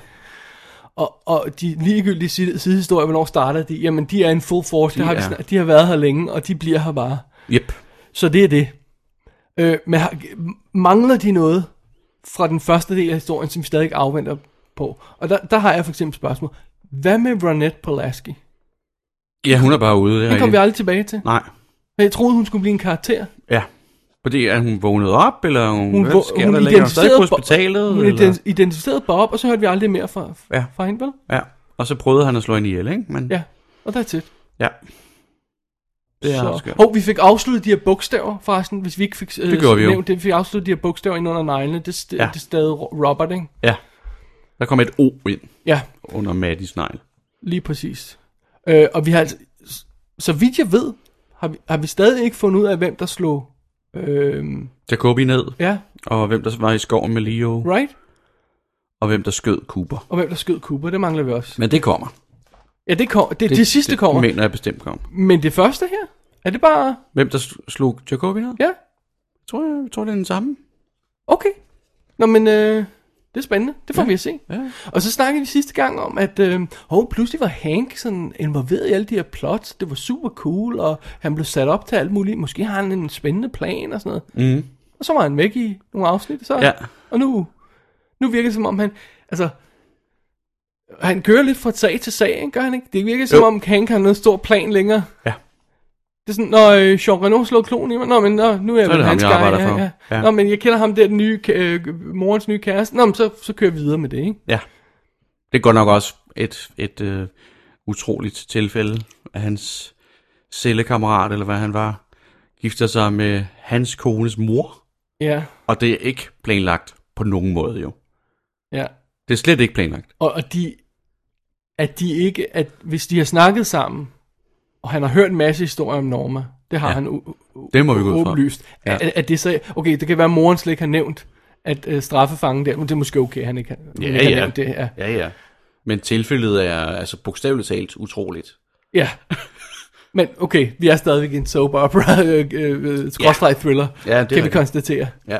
Speaker 4: Og, og de ligegyldige side- sidehistorier, hvornår starter de? Jamen, de er en full force,
Speaker 5: De
Speaker 4: de, har, vi
Speaker 5: er-
Speaker 4: snak, de har været her længe, og de bliver her bare.
Speaker 5: Yep.
Speaker 4: Så det er det. Øh, men har, mangler de noget fra den første del af historien, som vi stadig afventer på? Og der, der har jeg for eksempel et spørgsmål. Hvad med Ronette Polaski?
Speaker 5: Ja, hun er bare ude. Det
Speaker 4: Den kom
Speaker 5: er
Speaker 4: vi
Speaker 5: rigtigt.
Speaker 4: aldrig tilbage til.
Speaker 5: Nej.
Speaker 4: Jeg troede, hun skulle blive en karakter.
Speaker 5: Ja. Fordi er hun vågnet op, eller hun, hun
Speaker 4: Hun
Speaker 5: hvad
Speaker 4: vå-
Speaker 5: sker
Speaker 4: hun
Speaker 5: der? Ligger hun stadig på
Speaker 4: identificerede Bob-
Speaker 5: hospitalet?
Speaker 4: Hun
Speaker 5: eller?
Speaker 4: ident- identificerede Bob, og så hørte vi aldrig mere fra,
Speaker 5: Ja.
Speaker 4: ja. fra hende, vel?
Speaker 5: Ja. Og så prøvede han at slå hende ihjel, ikke? Men,
Speaker 4: Ja, og that's it.
Speaker 5: ja. Det er
Speaker 4: Så.
Speaker 5: skørt.
Speaker 4: Hov, vi fik afsluttet de her bogstaver, forresten, hvis vi ikke fik øh,
Speaker 5: Det gjorde vi jo.
Speaker 4: nævnt det. Vi fik afsluttet de her bogstaver ind under neglene. Det, st-
Speaker 5: Ja.
Speaker 4: ja. det stadig Robert, ikke?
Speaker 5: Ja. Der kom et O ind
Speaker 4: Ja,
Speaker 5: under Maddys negl.
Speaker 4: lige præcis. Øh, og vi har altså, så vidt jeg ved, har vi, har vi stadig ikke fundet ud af, hvem der slog... Øh,
Speaker 5: Jacobi ned,
Speaker 4: ja,
Speaker 5: og hvem der var i skoven med Leo, right.
Speaker 4: right?
Speaker 5: og hvem der skød Cooper.
Speaker 4: Og hvem der skød Cooper, det mangler vi også.
Speaker 5: Men det kommer.
Speaker 4: Ja, det, kom, det, det, det sidste det, kommer. Men...
Speaker 5: mener jeg bestemt kommer.
Speaker 4: men det første her, er det bare...
Speaker 5: Hvem der sl- slog Jacobi ned?
Speaker 4: Ja,
Speaker 5: Tror jeg, jeg tror, det er den samme.
Speaker 4: Okay. Nå, men øh, det er spændende. Det får ja. vi at se.
Speaker 5: ja.
Speaker 4: Og så snakkede vi sidste gang om, at øh, hov, pludselig var Hank sådan involveret i alle de her plots. Det var super cool, og han blev sat op til alt muligt. Måske har han en spændende plan og sådan noget.
Speaker 5: Mhm.
Speaker 4: Og så var han væk i nogle afsnit. Så,
Speaker 5: Ja.
Speaker 4: Og nu, nu virker det som om han... Altså, han kører lidt fra sag til sag, ikke? gør han ikke? Det virker som
Speaker 5: Jo.
Speaker 4: om Hank har noget stor plan længere.
Speaker 5: Ja.
Speaker 4: Det er sådan, når øh, Jean Reno slog klonen i mig, nå, men nå, nu er jeg
Speaker 5: Så er
Speaker 4: vel
Speaker 5: det ham,
Speaker 4: hans
Speaker 5: jeg
Speaker 4: guy,
Speaker 5: arbejder
Speaker 4: ja,
Speaker 5: for.
Speaker 4: Ja.
Speaker 5: Ja.
Speaker 4: Ja. Nå, men jeg kender ham der, den nye, ka- øh, morens nye kæreste. Nå, men så, så kører vi videre med det, ikke?
Speaker 5: Ja. Det er godt nok også et, et øh, utroligt tilfælde, at hans cellekammerat, eller hvad han var, gifter sig med hans kones mor.
Speaker 4: Ja,
Speaker 5: Og det er ikke planlagt på nogen måde, jo.
Speaker 4: ja.
Speaker 5: Det er slet ikke planlagt.
Speaker 4: Og, og de, at de ikke, at hvis de har snakket sammen, og han har hørt en masse historier om Norma, det har
Speaker 5: Ja.
Speaker 4: ja. han u- u-
Speaker 5: Det må vi gå ud fra.
Speaker 4: åbenlyst.
Speaker 5: Ja.
Speaker 4: Ja. At, at det så, okay, det kan være, at moren slet ikke har nævnt, at øh, straffefangen der, men det er måske okay, han ikke har, hun
Speaker 5: Ja,
Speaker 4: ikke har
Speaker 5: ja.
Speaker 4: nævnt det. Ja,
Speaker 5: Ja, ja. Men tilfældet er altså bogstaveligt talt utroligt.
Speaker 4: ja. [LAUGHS] Men okay, vi er stadigvæk i en soap opera, [LAUGHS] øh, øh, skråstreg thriller,
Speaker 5: Ja, det er
Speaker 4: kan vi
Speaker 5: rigtigt.
Speaker 4: konstatere.
Speaker 5: Ja.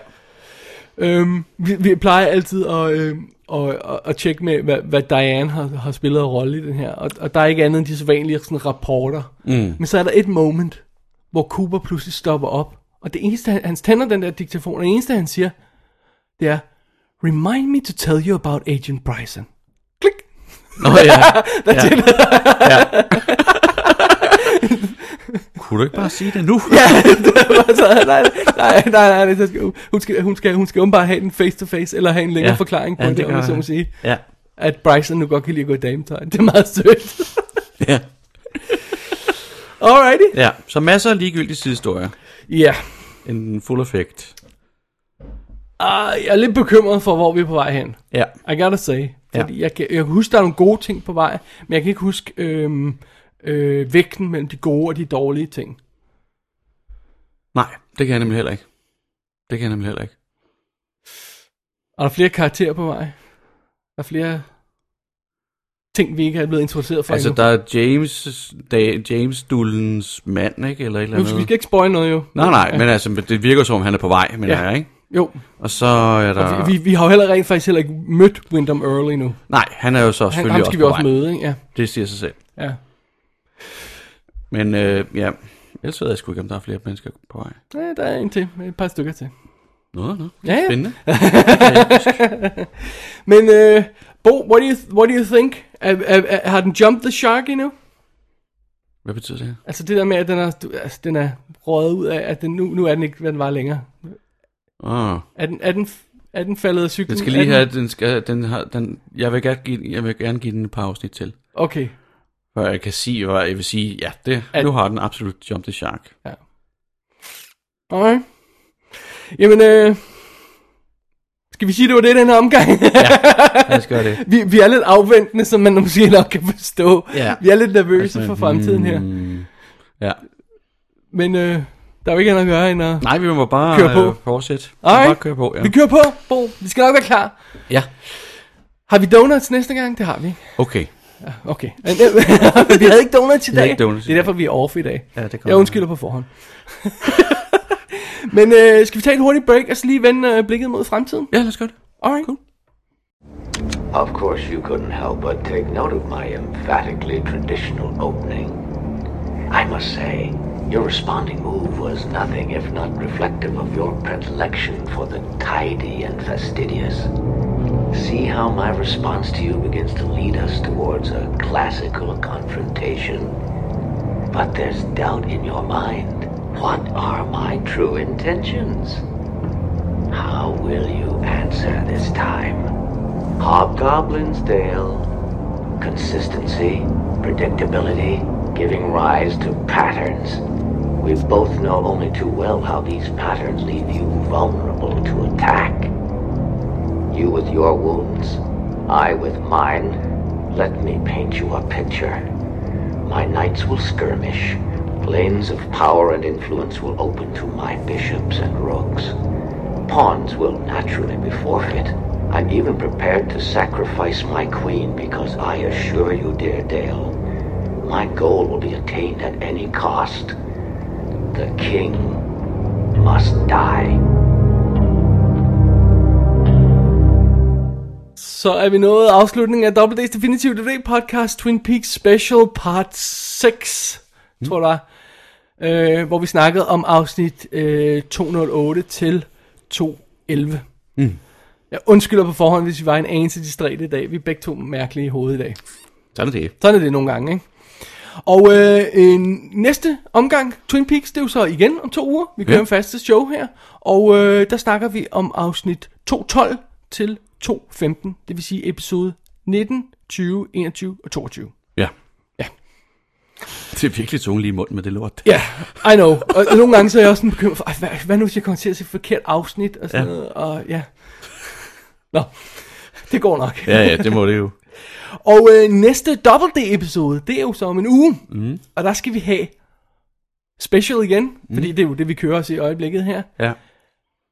Speaker 4: Øhm, vi, vi plejer altid at, øhm, at, at, at tjekke med, hvad, hvad Diane har, har spillet af rolle i den her. Og, og der er ikke andet end de sædvanlige sådan, rapporter. Mm. Men så er der et moment, hvor Cooper pludselig stopper op. Og det eneste, han, han tænder den der diktafon, og det eneste, han siger, det er, Remind me to tell you about Agent Bryson. Klik!
Speaker 5: Nå ja.
Speaker 4: That's ja. it.
Speaker 5: Kunne du ikke bare sige det nu?
Speaker 4: altså, nej, nej, nej, nej, nej, nej. Hun skal, hun skal, hun skal åbenbart have den face-to-face, eller have en længere ja. forklaring på ja, det, det om
Speaker 5: gør
Speaker 4: jeg så må
Speaker 5: jeg.
Speaker 4: sige.
Speaker 5: Ja.
Speaker 4: at Bryson nu godt kan lide at gå i dametøj. Det er meget sødt.
Speaker 5: ja.
Speaker 4: Alrighty.
Speaker 5: Ja, så masser af ligegyldige sidehistorier.
Speaker 4: Ja.
Speaker 5: En fuld effekt.
Speaker 4: Ah, jeg er lidt bekymret for, hvor vi er på vej hen.
Speaker 5: Ja.
Speaker 4: I gotta say.
Speaker 5: Ja.
Speaker 4: Fordi jeg, kan, jeg kan huske, der er nogle gode ting på vej, men jeg kan ikke huske øhm, øh, vægten mellem de gode og de dårlige ting.
Speaker 5: Nej, det kan jeg nemlig heller ikke. Det kan jeg nemlig heller ikke.
Speaker 4: Er der flere karakterer på vej? Er der flere ting, vi ikke er blevet introduceret for
Speaker 5: Altså,
Speaker 4: endnu?
Speaker 5: der er James, da, James Dullens mand, ikke? Eller et eller
Speaker 4: Nu,
Speaker 5: andet.
Speaker 4: vi skal ikke spoil noget jo.
Speaker 5: Nej, nej, men altså, det virker som om, han er på vej, men
Speaker 4: Ja.
Speaker 5: ja. er, ikke?
Speaker 4: Jo,
Speaker 5: Og så er der...
Speaker 4: vi, vi, vi har jo heller rent faktisk heller ikke mødt Wyndham Early nu.
Speaker 5: Nej, han er jo så
Speaker 4: Han,
Speaker 5: selvfølgelig
Speaker 4: ham
Speaker 5: også
Speaker 4: skal vi
Speaker 5: på
Speaker 4: også
Speaker 5: vej.
Speaker 4: møde, ikke? Ja.
Speaker 5: Det siger sig selv.
Speaker 4: ja.
Speaker 5: Men øh, ja, ellers ved jeg sgu ikke, om der er flere mennesker på vej.
Speaker 4: Ja, der er en til. Et par stykker til.
Speaker 5: Nå, nå.
Speaker 4: Ja, ja.
Speaker 5: Spændende.
Speaker 4: Men øh, Bo, what do you, what do you think? Er, er, er, har den jumped the shark endnu?
Speaker 5: Hvad betyder det?
Speaker 4: Altså det der med, at den er, du- altså, den er røget ud af, at den, nu, nu er den ikke, hvad den var længere.
Speaker 5: Åh,
Speaker 4: Er den, er den, er den faldet af cyklen?
Speaker 5: den skal
Speaker 4: Er
Speaker 5: lige
Speaker 4: den-
Speaker 5: have, den skal, den har, den, jeg vil gerne give, jeg vil gerne give den et par afsnit til.
Speaker 4: Okay,
Speaker 5: Før jeg kan sige, hvor jeg vil sige, ja, det,
Speaker 4: At-
Speaker 5: nu har den absolut jump the shark.
Speaker 4: [LAUGHS] ja. Alright. Jamen, øh, skal vi sige, det var det i den her omgang? [LAUGHS]
Speaker 5: Lad os gøre det.
Speaker 4: vi, vi er lidt afventende, som man måske nok kan forstå.
Speaker 5: Ja. Altså, mm.
Speaker 4: Vi er lidt nervøse for fremtiden her.
Speaker 5: Ja.
Speaker 4: Men øh, der er jo ikke andet at gøre end at...
Speaker 5: Nej, vi må bare
Speaker 4: Kør på.
Speaker 5: Øh, fortsætte. Vi må
Speaker 4: Alright.
Speaker 5: bare køre på, ja.
Speaker 4: Vi kører på, Bo. Vi skal nok være klar.
Speaker 5: ja.
Speaker 4: Har vi donuts næste gang? Det har vi.
Speaker 5: Okay. [LAUGHS]
Speaker 4: Okay. øh, [LAUGHS] vi havde ikke donuts i
Speaker 5: havde
Speaker 4: dag.
Speaker 5: ikke donuts i
Speaker 4: det er
Speaker 5: dag.
Speaker 4: derfor, vi er off i dag.
Speaker 5: Ja, det kommer.
Speaker 4: Jeg undskylder på forhånd. [LAUGHS] Men øh, skal vi tage et hurtigt break, og så lige vende øh, blikket mod fremtiden?
Speaker 5: Ja, lad os gøre det.
Speaker 4: Alright.
Speaker 5: Cool.
Speaker 9: Of course, you couldn't help but take note of my emphatically traditional opening. I must say, your responding move was nothing if not reflective of your predilection for the tidy and fastidious. See how my response to you begins to lead us towards a classical confrontation? But there's doubt in your mind. What are my true intentions? How will you answer this time? Hobgoblin's Dale. Consistency, predictability, giving rise to patterns. We both know only too well how these patterns leave you vulnerable to attack. You with your wounds, I with mine. Let me paint you a picture. My knights will skirmish. Lanes of power and influence will open to my bishops and rooks. Pawns will naturally be forfeit. I'm even prepared to sacrifice my queen because I assure you, dear Dale, my goal will be attained at any cost. The king must die.
Speaker 4: Så er vi nået afslutningen af Double Days Definitive DVD podcast Twin Peaks Special Part 6, mm. tror jeg, øh, hvor vi snakkede om afsnit øh, 208 til 211. Mm. Jeg undskylder på forhånd, hvis vi var en anelse distræt i dag. Vi er begge to mærkelige i hovedet i dag.
Speaker 5: Sådan er det.
Speaker 4: Sådan er det nogle gange, ikke? Og øh, øh, næste omgang, Twin Peaks, det er jo så igen om to uger. Vi kører
Speaker 5: Ja.
Speaker 4: ja. en faste show her. Og øh, der snakker vi om afsnit 212 til 215. Det vil sige episode 19, 20, 21 og 22.
Speaker 5: Ja.
Speaker 4: Ja.
Speaker 5: Det er virkelig tunge lige i munden med det lort.
Speaker 4: Ja, yeah, I know. Og nogle gange så er jeg også sådan bekymret for, "Ej, hvad, hvad nu hvis jeg kommer til at se forkert afsnit og sådan
Speaker 5: Ja.
Speaker 4: ja. noget. Og ja. Nå, det går nok.
Speaker 5: Ja, ja, det må det jo.
Speaker 4: Og øh, næste Double D-episode, det er jo så om en uge. Mm. Og der skal vi have special igen, fordi det er jo det, vi kører os i øjeblikket her.
Speaker 5: Ja.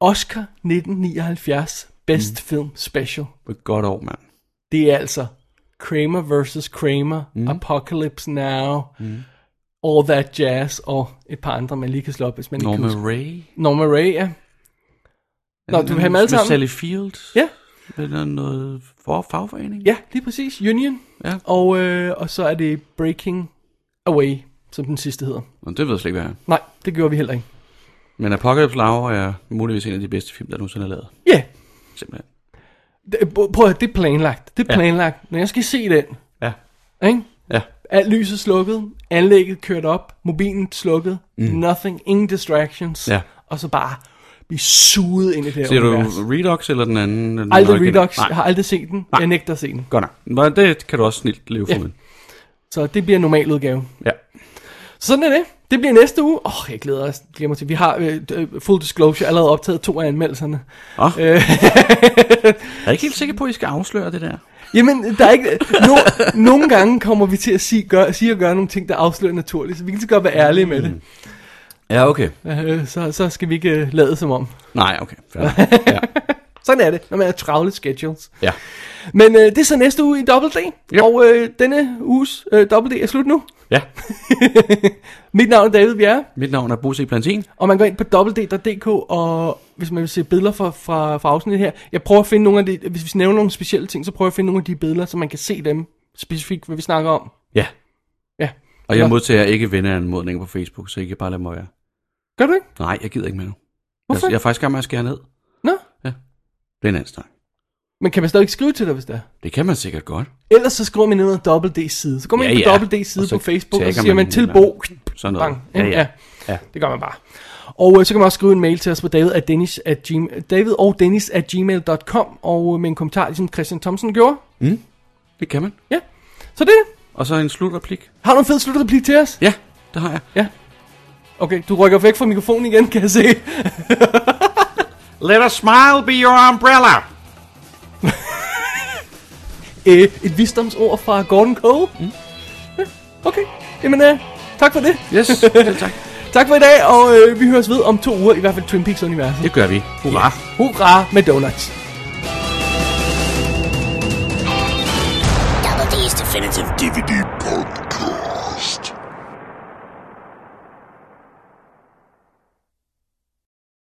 Speaker 4: Oscar 1979 Best mm. Film Special.
Speaker 5: Det er et Godt år, mand.
Speaker 4: Det er altså Kramer vs. Kramer, mm. Apocalypse Now, mm. All That Jazz og et par andre, man lige kan slå op, hvis man ikke kan
Speaker 5: Norma
Speaker 4: huske.
Speaker 5: Ray.
Speaker 4: Norma Ray, ja. Nå, du vil have dem alle
Speaker 5: Med
Speaker 4: sammen?
Speaker 5: Sally Field.
Speaker 4: Ja,
Speaker 5: Eller noget for fagforening.
Speaker 4: ja, lige præcis. Union.
Speaker 5: Ja.
Speaker 4: Og, øh, og så er det Breaking Away, som den sidste hedder.
Speaker 5: Nå, det ved jeg slet ikke, hvad jeg er.
Speaker 4: Nej, det gjorde vi heller ikke.
Speaker 5: Men Apocalypse Now er muligvis en af de bedste film, der nogensinde er lavet.
Speaker 4: Ja, yeah.
Speaker 5: Simpelthen.
Speaker 4: prøv at høre, det er planlagt. Det er
Speaker 5: Ja.
Speaker 4: planlagt. Når jeg skal se den,
Speaker 5: Ja.
Speaker 4: ikke?
Speaker 5: Ja.
Speaker 4: Alt lyset slukket, anlægget kørt op, mobilen slukket, mm. nothing, ingen distractions,
Speaker 5: Ja.
Speaker 4: og så bare blive suget ind i det her
Speaker 5: Ser du
Speaker 4: univers.
Speaker 5: Redux eller den anden? Den
Speaker 4: Aldrig
Speaker 5: originale?
Speaker 4: Redux, jeg har aldrig set den,
Speaker 5: Nej.
Speaker 4: jeg nægter at se den.
Speaker 5: Godt nok. Men det kan du også snilt leve
Speaker 4: Ja.
Speaker 5: for.
Speaker 4: Så det bliver normal udgave.
Speaker 5: Ja.
Speaker 4: Så sådan er det. Det bliver næste uge. Åh, oh, jeg glæder os. Glæder mig til. Vi har øh, øh, full disclosure allerede optaget to af anmeldelserne.
Speaker 5: Åh.
Speaker 4: Øh,
Speaker 5: Jeg er ikke helt sikker på, at I skal afsløre det der.
Speaker 4: Jamen, der er ikke... No, nogle gange kommer vi til at sige, gør, sige og gøre nogle ting, der afslører naturligt, så vi kan så godt være ærlige
Speaker 5: Mm.
Speaker 4: med det.
Speaker 5: Ja, okay.
Speaker 4: Øh, så, så skal vi ikke øh, lade som om.
Speaker 5: Nej, okay.
Speaker 4: [LAUGHS]
Speaker 5: Fair nok. ja.
Speaker 4: Sådan er det, når man har travle schedules.
Speaker 5: ja.
Speaker 4: Men øh, det er så næste uge i Double D,
Speaker 5: Ja.
Speaker 4: og øh, denne uges øh, Double D er slut nu. [LAUGHS]
Speaker 5: Ja.
Speaker 4: Mit navn er David Bjerre,
Speaker 5: Mit navn er Bosse Plantin.
Speaker 4: og man går ind på www.dk, og hvis man vil se billeder fra, fra, fra afsnittet her, jeg prøver at finde nogle af de, hvis vi nævner nogle specielle ting, så prøver jeg at finde nogle af de billeder, så man kan se dem specifikt, hvad vi snakker om.
Speaker 5: Ja.
Speaker 4: Ja.
Speaker 5: Og jeg
Speaker 4: Nå.
Speaker 5: modtager ikke venneanmodninger på Facebook, så I kan bare lade mig være.
Speaker 4: Gør du ikke?
Speaker 5: Nej, jeg gider ikke med nu.
Speaker 4: Hvorfor?
Speaker 5: Jeg, jeg er faktisk gammel med at skære ned.
Speaker 4: Nå.
Speaker 5: Det er en anden snak.
Speaker 4: Men kan man stadig skrive til dig, hvis det er?
Speaker 5: Det kan man sikkert godt.
Speaker 4: Ellers så skriver man ned ad Double D's side. Så går man
Speaker 5: Ja,
Speaker 4: ja, ind på
Speaker 5: ja.
Speaker 4: Double D's side
Speaker 5: Og så
Speaker 4: på Facebook, og
Speaker 5: tagger
Speaker 4: så siger
Speaker 5: man
Speaker 4: man til
Speaker 5: hinanden.
Speaker 4: Bo.
Speaker 5: Sådan noget.
Speaker 4: Bang. Ja, ja.
Speaker 5: Ja.
Speaker 4: ja, det gør man bare. Og øh, så kan man også skrive en mail til os på david, at Dennis at gmail, david og Dennis at gmail.com, og øh, med en kommentar, ligesom Christian Thomsen gjorde.
Speaker 5: Det kan man.
Speaker 4: Ja, så det. er det.
Speaker 5: Og så en slutreplik.
Speaker 4: Har du en fed slutreplik til os?
Speaker 5: Ja, det har jeg.
Speaker 4: Okay, du rykker væk fra mikrofonen igen, kan jeg se.
Speaker 5: [LAUGHS] Let a smile be your umbrella.
Speaker 4: [LAUGHS] Øh, et visdomsord fra Gordon Cole. Mm. Ja, okay, jamen øh, tak for det. [LAUGHS]
Speaker 5: Yes, selv tak.
Speaker 4: Tak for i dag, og øh, vi høres ved om to uger, i hvert fald Twin Peaks-universet.
Speaker 5: Det gør vi. Hurra. Yes.
Speaker 4: Hurra med donuts.
Speaker 3: Double D's Definitive
Speaker 6: DVD Podcast.